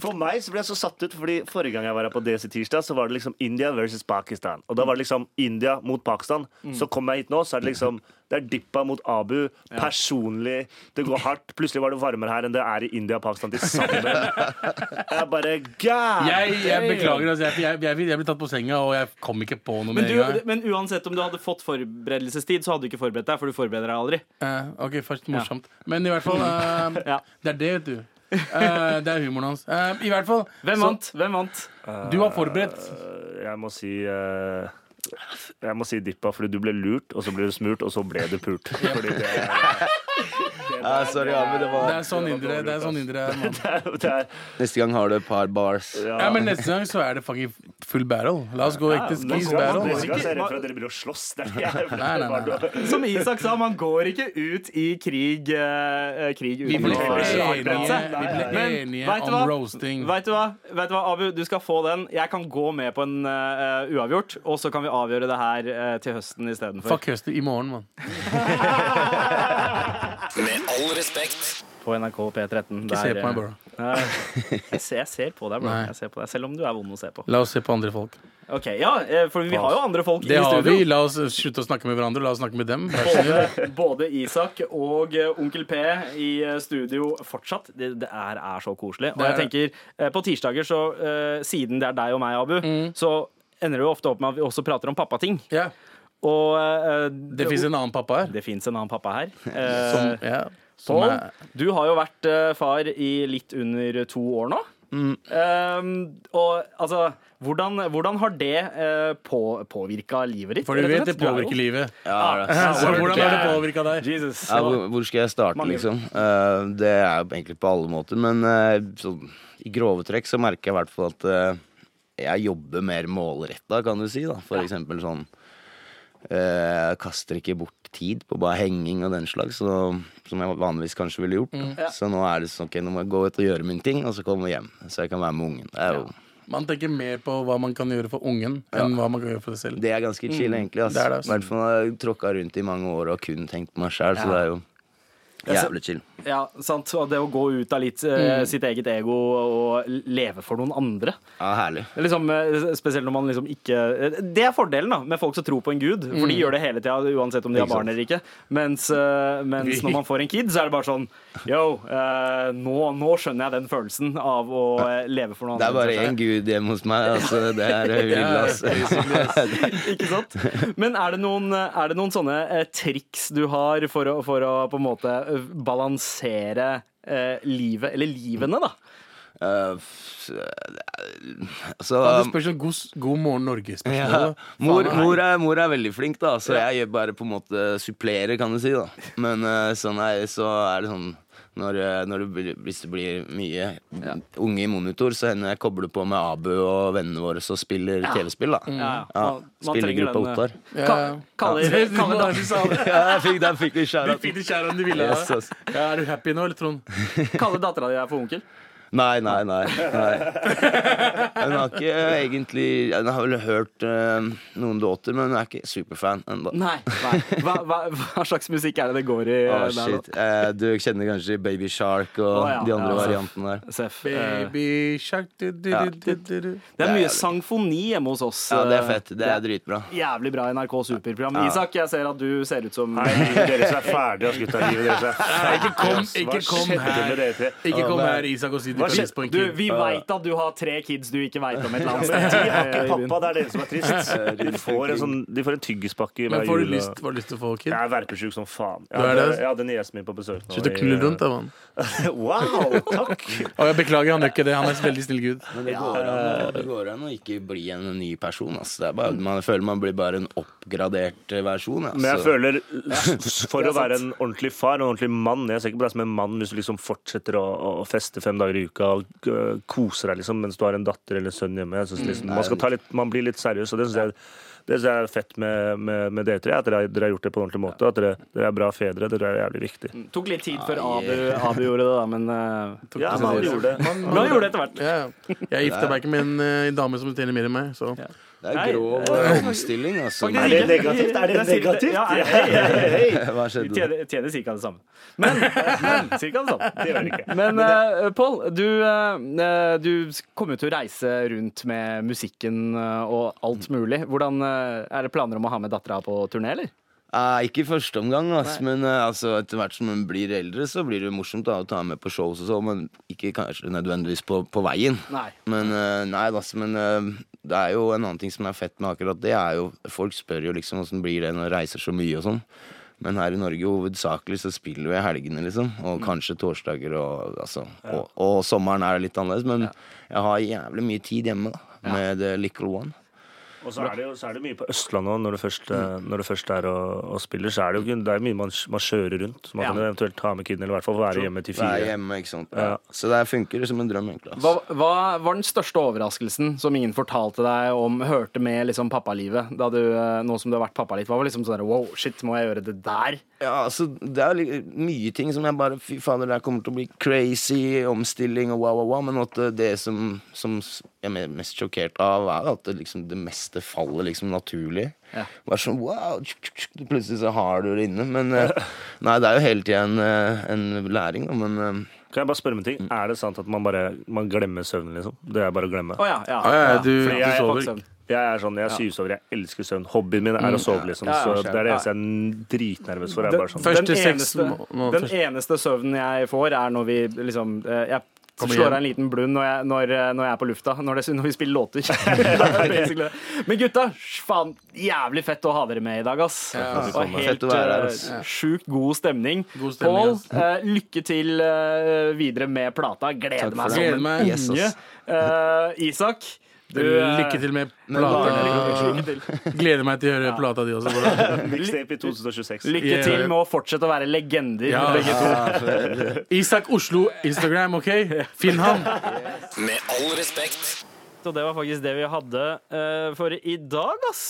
Speaker 2: For meg så ble jeg så satt ut, fordi forrige gang jeg var her på DC tirsdag, så var det liksom India versus Pakistan. Og da var det liksom India mot Pakistan.
Speaker 5: Mm.
Speaker 2: Så kom jeg hit nå, så er det liksom det er Dippa mot Abu. Personlig. Det går hardt. Plutselig var det varmere her enn det er i India og Pakistan til
Speaker 5: [laughs]
Speaker 2: sammen. Jeg bare gæren!
Speaker 5: Jeg, jeg beklager, altså, jeg, jeg, jeg, jeg ble tatt på senga, og jeg kom ikke på noe
Speaker 3: Men,
Speaker 5: med en
Speaker 3: du,
Speaker 5: gang.
Speaker 3: men uansett om du hadde fått forberedelsestid, så hadde du ikke forberedt deg, for du forbereder deg aldri.
Speaker 5: Eh, ok, først morsomt. Men i hvert fall eh,
Speaker 3: Ja.
Speaker 5: Det er det, vet du. Eh, det er humoren hans. Eh, I hvert fall
Speaker 3: Hvem
Speaker 5: så-
Speaker 3: vant? Hvem vant?
Speaker 5: Du var forberedt.
Speaker 2: Jeg må si eh, jeg må si Dippa, fordi du ble lurt, og så ble du smurt, og så ble du pult.
Speaker 5: [laughs]
Speaker 2: Fordi det,
Speaker 6: ja, Sorry, Abu, det
Speaker 5: Det
Speaker 6: var
Speaker 5: er sånn indre. Det er sånn indre er, mann.
Speaker 2: [laughs] det er,
Speaker 6: Neste gang har du et par bars.
Speaker 5: Ja, men neste gang så er det fucking full battle. La oss gå ekte
Speaker 2: Nå
Speaker 5: skis
Speaker 3: sånn
Speaker 2: skal jeg
Speaker 5: battle.
Speaker 2: dere skal jeg se redd for at dere begynner å slåss.
Speaker 5: [laughs]
Speaker 2: Det er ikke jeg.
Speaker 5: Nei, nei, nei.
Speaker 3: Som Isak sa, man går ikke ut i krig, eh, eh, krig
Speaker 5: Vi
Speaker 3: uten
Speaker 5: ble
Speaker 3: å
Speaker 5: enige,
Speaker 3: forberede seg.
Speaker 5: vi ble
Speaker 3: Men
Speaker 5: enige
Speaker 3: vet du
Speaker 5: om
Speaker 3: hva?
Speaker 5: roasting.
Speaker 3: Vet du, hva? vet du hva, Abu? Du skal få den. Jeg kan gå med på en eh, uavgjort, og så kan vi avgjøre det her eh, til høsten istedenfor.
Speaker 5: Fuck høsten i morgen, mann.
Speaker 1: Med all respekt.
Speaker 3: På NRK P13.
Speaker 5: Ikke se
Speaker 3: der,
Speaker 5: på meg,
Speaker 3: eh,
Speaker 5: bro.
Speaker 3: [laughs] jeg, ser, jeg ser på deg, bro.
Speaker 5: Nei.
Speaker 3: Jeg ser på deg, selv om du er vond å se på.
Speaker 5: La oss se på andre folk.
Speaker 3: Ok, ja, eh, For vi har jo andre folk
Speaker 5: Det
Speaker 3: i
Speaker 5: har
Speaker 3: studio.
Speaker 5: vi. La oss slutte å snakke med hverandre. La oss snakke med dem. Vær så snill.
Speaker 3: [laughs] Både, både Isak og eh, Onkel P i eh, studio fortsatt. Det, det er, er så koselig. Og
Speaker 5: Det
Speaker 3: jeg
Speaker 5: er
Speaker 3: tenker, eh, på tirsdager, så eh, siden det er deg og meg, Abu,
Speaker 5: Mm.
Speaker 3: så ender det jo ofte opp med at vi også prater om pappating.
Speaker 5: Ja.
Speaker 3: Og eh,
Speaker 5: Det fins en annen pappa her.
Speaker 3: det fins en annen pappa her.
Speaker 5: Som,
Speaker 3: Eh,
Speaker 5: ja, som
Speaker 3: Pål,
Speaker 5: er
Speaker 3: du har jo vært eh, far i litt under to år nå. Eh, og altså Hvordan, hvordan har det eh, på, påvirka livet ditt?
Speaker 5: For
Speaker 3: rett
Speaker 5: du
Speaker 3: og
Speaker 5: vet, det
Speaker 3: slett? Du er jo-
Speaker 5: påvirker livet.
Speaker 6: Ja, da.
Speaker 5: [laughs] Så Hvordan har det påvirka deg?
Speaker 3: Jesus.
Speaker 6: [laughs] Ja, hvor, hvor skal jeg starte,
Speaker 3: Mange-
Speaker 6: liksom? Eh, det er jo egentlig på alle måter, men eh, sånn, i grove trekk så merker jeg i hvert fall at eh, jeg jobber mer målretta, kan du si. da For eksempel sånn eh, Jeg kaster ikke bort tid på bare henging og den slags, så, som jeg vanligvis kanskje ville gjort. da.
Speaker 3: Mm.
Speaker 6: Så nå er det sånn ok, nå må jeg gå ut og gjøre min ting, og så komme hjem, så jeg kan være med ungen. Det er jo
Speaker 5: Man tenker mer på hva man kan gjøre for ungen, enn hva man kan gjøre for seg selv.
Speaker 6: Det er ganske chill,
Speaker 3: Mm.
Speaker 6: egentlig.
Speaker 5: Det er det,
Speaker 6: I
Speaker 5: altså.
Speaker 6: hvert fall når jeg tråkka rundt i mange år og kun tenkt på meg sjæl, så det er jo jævlig chill.
Speaker 3: Ja, sant. Og det å gå ut av litt eh, sitt eget ego og leve for noen andre.
Speaker 6: Ja, herlig.
Speaker 3: Det er Liksom, eh, spesielt når man liksom ikke eh, Det er fordelen da, med folk som tror på en gud, for de gjør det hele tida uansett om de har
Speaker 6: Mm. Ikke sant.
Speaker 3: barn eller ikke. Mens, eh, mens når man får en kid, så er det bare sånn Yo, eh, nå, nå skjønner jeg den følelsen av å eh, leve for noen
Speaker 6: Det er
Speaker 3: andre.
Speaker 6: bare én gud hjemme hos meg. Altså, [laughs] det er hylla, [laughs] altså.
Speaker 3: [laughs] Ikke sant? Men er det noen, er det noen sånne eh, triks du har for å, for å på en måte eh, balansere eh, livet, eller livene, da?
Speaker 6: Eh, f- eh,
Speaker 5: Ja, det
Speaker 6: altså
Speaker 5: spørs om god, god morgen
Speaker 6: ja.
Speaker 5: Norge-spørsmålet.
Speaker 6: mor,
Speaker 5: [laughs]
Speaker 6: mor, er, mor er veldig flink, da, så jeg gjør bare på en måte supplerer, kan du si. da Men eh, sånn er, så er det sånn når, eh, når det blir, hvis det blir mye unge i monitor, så hender jeg kobler på med Abu og vennene våre som spiller TV-spill. da
Speaker 3: Ja,
Speaker 6: ja.
Speaker 3: man- man
Speaker 6: Spiller
Speaker 3: trenger
Speaker 6: gruppa
Speaker 3: den, eh.
Speaker 6: Ottar.
Speaker 5: Ja.
Speaker 6: [laughs]
Speaker 3: Ka- kaller-
Speaker 5: Ja.
Speaker 3: kaller det-
Speaker 5: Du sa det.
Speaker 6: Ja, jeg fikk, der fikk vi
Speaker 5: Du
Speaker 6: skjæra.
Speaker 5: fikk det kjære om du ville.
Speaker 6: Yes,
Speaker 5: da.
Speaker 6: ass.
Speaker 5: Ja, er du happy nå, eller
Speaker 6: [laughs]
Speaker 5: Trond?
Speaker 3: Kalle dattera di er for onkel?
Speaker 6: Nei, nei, nei. nei. Hun har ikke eh, egentlig Hun har vel hørt eh, noen låter, men hun er ikke superfan ennå.
Speaker 3: Nei. Hva, hva, hva slags musikk er det det går i?
Speaker 6: Å,
Speaker 3: eh, der nå?
Speaker 6: shit. Eh, du kjenner kanskje Baby Shark og
Speaker 3: Å, ja.
Speaker 6: de andre
Speaker 3: Ja, altså.
Speaker 6: variantene der.
Speaker 3: Seff. Eh,
Speaker 5: Baby shark du, du,
Speaker 6: Ja.
Speaker 5: du, du, du, du.
Speaker 3: Det er mye sangfoni hjemme hos oss.
Speaker 6: Ja, det er
Speaker 3: eh,
Speaker 6: fett. Det er dritbra.
Speaker 3: Jævlig bra NRK superprogram. Isak, jeg ser at du ser ut som
Speaker 2: Nei, livet deres er ferdig, ass, gutta. Livet deres er ferdig.
Speaker 5: Ikke kom,
Speaker 2: ass.
Speaker 5: ikke
Speaker 2: Hva
Speaker 5: kom
Speaker 2: skjedde med
Speaker 5: her.
Speaker 2: dere tre?
Speaker 5: Ikke kom her, Isak, og si du
Speaker 2: Hva
Speaker 5: kan
Speaker 2: skje-
Speaker 5: hilse på en
Speaker 3: Du,
Speaker 5: kid.
Speaker 3: vi veit at du har tre kids du ikke veit om et eller annet
Speaker 2: [laughs] De har ikke
Speaker 3: sted. Eh,
Speaker 2: pappa, det er dere som er
Speaker 5: [laughs]
Speaker 2: trist. De får en, sånn, de får en tyggispakke
Speaker 5: Men
Speaker 2: hver
Speaker 5: får du
Speaker 2: jul.
Speaker 5: lyst,
Speaker 2: og-
Speaker 5: får du lyst til å få kid?
Speaker 2: Jeg er verpesjuk som faen. Jeg
Speaker 5: Du er
Speaker 2: hadde,
Speaker 5: det?
Speaker 2: jeg hadde niesen min på besøk nå.
Speaker 5: Slutt å
Speaker 2: i-
Speaker 5: knulle rundt, da, mann.
Speaker 2: [laughs] Wow,
Speaker 5: [laughs]
Speaker 2: takk!
Speaker 5: Å, jeg beklager, han gjør ikke det. Han er en veldig [laughs] snill gud.
Speaker 6: Men det går, an, å- det går an å ikke bli en ny person. ass. Det er bare, man føler man blir bare en oppgradert eh, versjon. ass.
Speaker 2: Men jeg
Speaker 6: Så-
Speaker 2: føler, [laughs] for å være en ordentlig far og en ordentlig mann Jeg ser ikke på deg som en mann hvis du liksom fortsetter å, å feste fem dager i uka og øh, koser deg liksom, mens du har en datter eller en sønn hjemme. Jeg synes liksom, man, skal ta litt, man blir litt seriøs, og det syns jeg, det synes jeg er fett med, med, med dere tre. At dere, har- dere har gjort det på en ordentlig måte. At dere, dere er bra fedre. Dere er jævlig viktig.
Speaker 3: Tok litt tid før Abu, Abu gjorde det, da, men eh,
Speaker 2: Ja, man gjorde det.
Speaker 3: Men han gjorde det etter hvert.
Speaker 5: Ja. Jeg gifta meg ikke med en eh, dame som tjener mer enn meg, så
Speaker 6: Det
Speaker 3: Nei,
Speaker 6: er grov
Speaker 3: det
Speaker 6: eh, omstilling, altså.
Speaker 3: Faktisk
Speaker 2: det
Speaker 3: ikke.
Speaker 2: negativt? Er det
Speaker 3: Jeg sier
Speaker 2: negativt?
Speaker 3: Ja, hei, hei, hei.
Speaker 6: Hva
Speaker 3: De
Speaker 6: skjedde?
Speaker 3: tjener, tjener cirka det samme. Men, men cirka det samme.
Speaker 2: Det gjør det ikke.
Speaker 3: Men eh, Pål, du, eh, du kommer jo til å reise rundt med musikken eh, og alt mulig. Hvordan eh, Er det planer om å ha med dattera på turné, eller?
Speaker 6: Eh, ikke i første omgang, ass, men eh, altså, etter hvert som hun blir eldre, så blir det jo morsomt da, å ta henne med på shows og sånn, men ikke kanskje nødvendigvis på, på veien.
Speaker 3: Nei.
Speaker 6: Men eh, nei, ass, men eh, det er jo en annen ting som er fett med akkurat det, er jo Folk spør jo liksom åssen blir det når jeg reiser så mye og sånn. Men her i Norge hovedsakelig så spiller vi i helgene, liksom. Og kanskje torsdager og altså og, og sommeren er litt annerledes, men jeg har jævlig mye tid hjemme, da. Med The Little One.
Speaker 2: Og så er det jo så er det mye på Østlandet òg, når, du først, eh, når du først er og, og spiller. Så er det jo ikke- det er mye man, man kjører rundt. Så man kan jo eventuelt ta med kiden, eller i hvert fall være hjemme til
Speaker 6: Være
Speaker 2: fire.
Speaker 6: hjemme, ikke sant.
Speaker 2: Ja.
Speaker 6: Så det her funker som en drøm, egentlig. ass.
Speaker 3: Hva, hva var den største overraskelsen som ingen fortalte deg om, hørte med liksom pappalivet? Da du, eh, nå som du har vært pappa litt, hva var liksom sånn der, wow, shit, må jeg gjøre det der?
Speaker 6: Ja, altså, det er jo li- mye ting som jeg bare Fy fader, det her kommer til å bli crazy, omstilling og wow, wow, wow. Men at eh, det- det som, som s- jeg er me- mest sjokkert av, er at det, liksom, det meste faller liksom naturlig.
Speaker 3: Ja.
Speaker 6: Bare sånn wow, tsk, tsk, tsk, plutselig så har du det inne. Men eh, nei, det er jo hele tida en, eh, en læring, da. Men eh,
Speaker 2: Kan jeg bare spørre om en ting? Er det sant at man bare man glemmer søvnen, liksom? Det er bare å glemme.
Speaker 3: Å ja, ja.
Speaker 5: Ja, ja, du,
Speaker 2: Fordi
Speaker 5: du
Speaker 2: jeg er
Speaker 5: sover.
Speaker 3: faktisk-
Speaker 2: Jeg er sånn, jeg syvsover, jeg elsker søvn. Hobbyen min er å sove, liksom.
Speaker 3: Ja, ja,
Speaker 2: Så det er det eneste jeg er dritnervøs for. Jeg er bare sånn.
Speaker 5: Først-
Speaker 3: Den
Speaker 5: Første seks
Speaker 3: eneste,
Speaker 5: må- må-
Speaker 3: den
Speaker 5: først-
Speaker 3: eneste søvnen jeg får, er når vi liksom eh, Jeg
Speaker 5: Kommer
Speaker 3: slår
Speaker 5: hjem.
Speaker 3: av en liten blund når jeg, når, eh, når jeg er på lufta, når, det, når vi spiller låter. [laughs] Det er basically det. Men gutta, sj- faen, jævlig fett å ha dere med i dag, ass. Og helt
Speaker 6: Fett å være her,
Speaker 3: eh,
Speaker 6: ass.
Speaker 3: sjukt god stemning.
Speaker 5: God stemning,
Speaker 3: Pål,
Speaker 5: ass.
Speaker 3: eh, lykke til eh, videre med plata. Gleder meg som
Speaker 5: det.
Speaker 6: for
Speaker 5: Gleder
Speaker 3: en
Speaker 5: meg.
Speaker 6: Yes,
Speaker 3: unge.
Speaker 6: ass.
Speaker 3: Eh, Isak, du eh,
Speaker 5: Lykke til med
Speaker 3: Lykke
Speaker 5: plata.
Speaker 3: lykke til.
Speaker 5: Gleder meg til å høre plata di også. Hvordan.
Speaker 2: Mixtape i 2026.
Speaker 3: Lykke
Speaker 5: Ja.
Speaker 3: til med å fortsette å være legender,
Speaker 5: Ja.
Speaker 3: begge to.
Speaker 5: Isak Oslo Instagram, OK? Finn ham.
Speaker 1: Med all respekt.
Speaker 3: Og det var faktisk det vi hadde eh, for i dag, ass.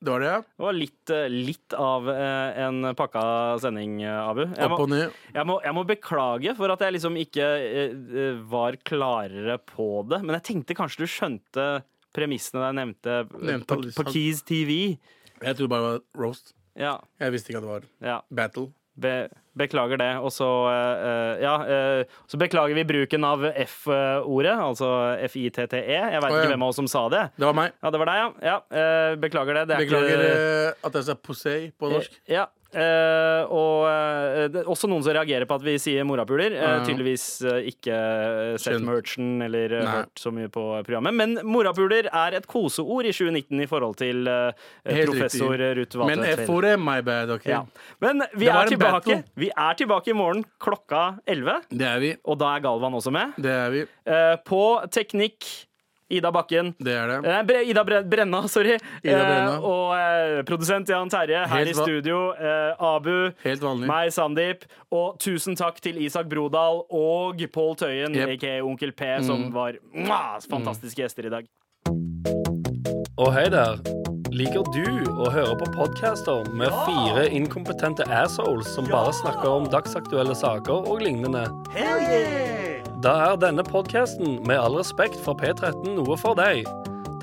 Speaker 5: Det var det, ja.
Speaker 3: Det var litt, eh, litt av eh, en pakka sending, eh, Abu. Jeg
Speaker 5: Opp og
Speaker 3: må,
Speaker 5: ned.
Speaker 3: jeg, må, jeg må beklage for at jeg liksom ikke eh, eh, var klarere på det. Men jeg tenkte kanskje du skjønte premissene jeg nevnte eh,
Speaker 5: Nevnte
Speaker 3: på,
Speaker 5: alle disse-
Speaker 3: på Keys TV.
Speaker 5: Jeg trodde bare det var roast.
Speaker 3: Ja,
Speaker 5: Jeg visste ikke at det var
Speaker 3: ja.
Speaker 5: battle.
Speaker 3: Be, beklager det. Og så eh, eh, Ja, eh, så beklager vi bruken av F-ordet, altså F-I-T-T-E. Jeg veit
Speaker 5: Å, ja.
Speaker 3: ikke hvem av oss som sa det.
Speaker 5: Det var meg.
Speaker 3: Ja, det var deg, ja. ja eh, beklager det. det er
Speaker 5: Beklager
Speaker 3: ikke,
Speaker 5: eh, at jeg sa posei på norsk.
Speaker 3: Ja. eh, og eh, det er også noen som reagerer på at vi sier morapuler. Eh,
Speaker 5: Ja.
Speaker 3: tydeligvis eh, ikke eh, sett
Speaker 5: Skjønt.
Speaker 3: merchen eller eh,
Speaker 5: Nei.
Speaker 3: hørt så mye på programmet. Men morapuler er et koseord i 2019 i forhold til eh,
Speaker 5: Helt
Speaker 3: professor eh,
Speaker 5: riktig.
Speaker 3: Ruth
Speaker 5: Men
Speaker 3: Waterfeld.
Speaker 5: F-ordet, my bad, OK?
Speaker 3: Ja. Men vi
Speaker 5: Det var
Speaker 3: er,
Speaker 5: en
Speaker 3: tilbake.
Speaker 5: battle.
Speaker 3: vi er tilbake i morgen klokka 11.
Speaker 5: Det er vi.
Speaker 3: Og da er Galvan også med.
Speaker 5: Det er vi.
Speaker 3: Eh, på teknikk Ida Bakken.
Speaker 5: Det er det.
Speaker 3: Eh, Bre Ida Bre Brenna, sorry.
Speaker 5: Ida Brenna.
Speaker 3: Eh, og eh, produsent Jan Terje her
Speaker 5: Helt
Speaker 3: i
Speaker 5: va-
Speaker 3: studio. Eh, Abu.
Speaker 5: Helt vanlig.
Speaker 3: Meg, Sandeep. Og tusen takk til Isak Brodal og Pål Tøyen,
Speaker 5: Jep. Mm.
Speaker 3: aka Onkel P, som var mwah, fantastiske gjester i dag.
Speaker 8: Og hei der. Liker du å høre på podcaster med fire inkompetente assholes som bare snakker om dagsaktuelle saker og lignende? Da er denne podcasten Med all respekt for P13 noe for deg.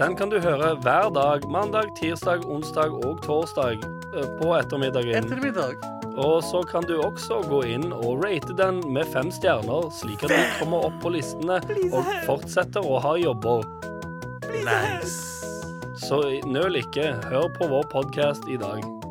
Speaker 8: Den kan du høre hver dag, mandag, tirsdag, onsdag og torsdag eh, på ettermiddagen.
Speaker 5: Ettermiddag.
Speaker 8: Og så kan du også gå inn og rate den med fem stjerner, slik at du kommer opp på listene og fortsetter å ha jobber.
Speaker 5: Nice.
Speaker 8: Så nøl ikke. Hør på vår podkast i dag.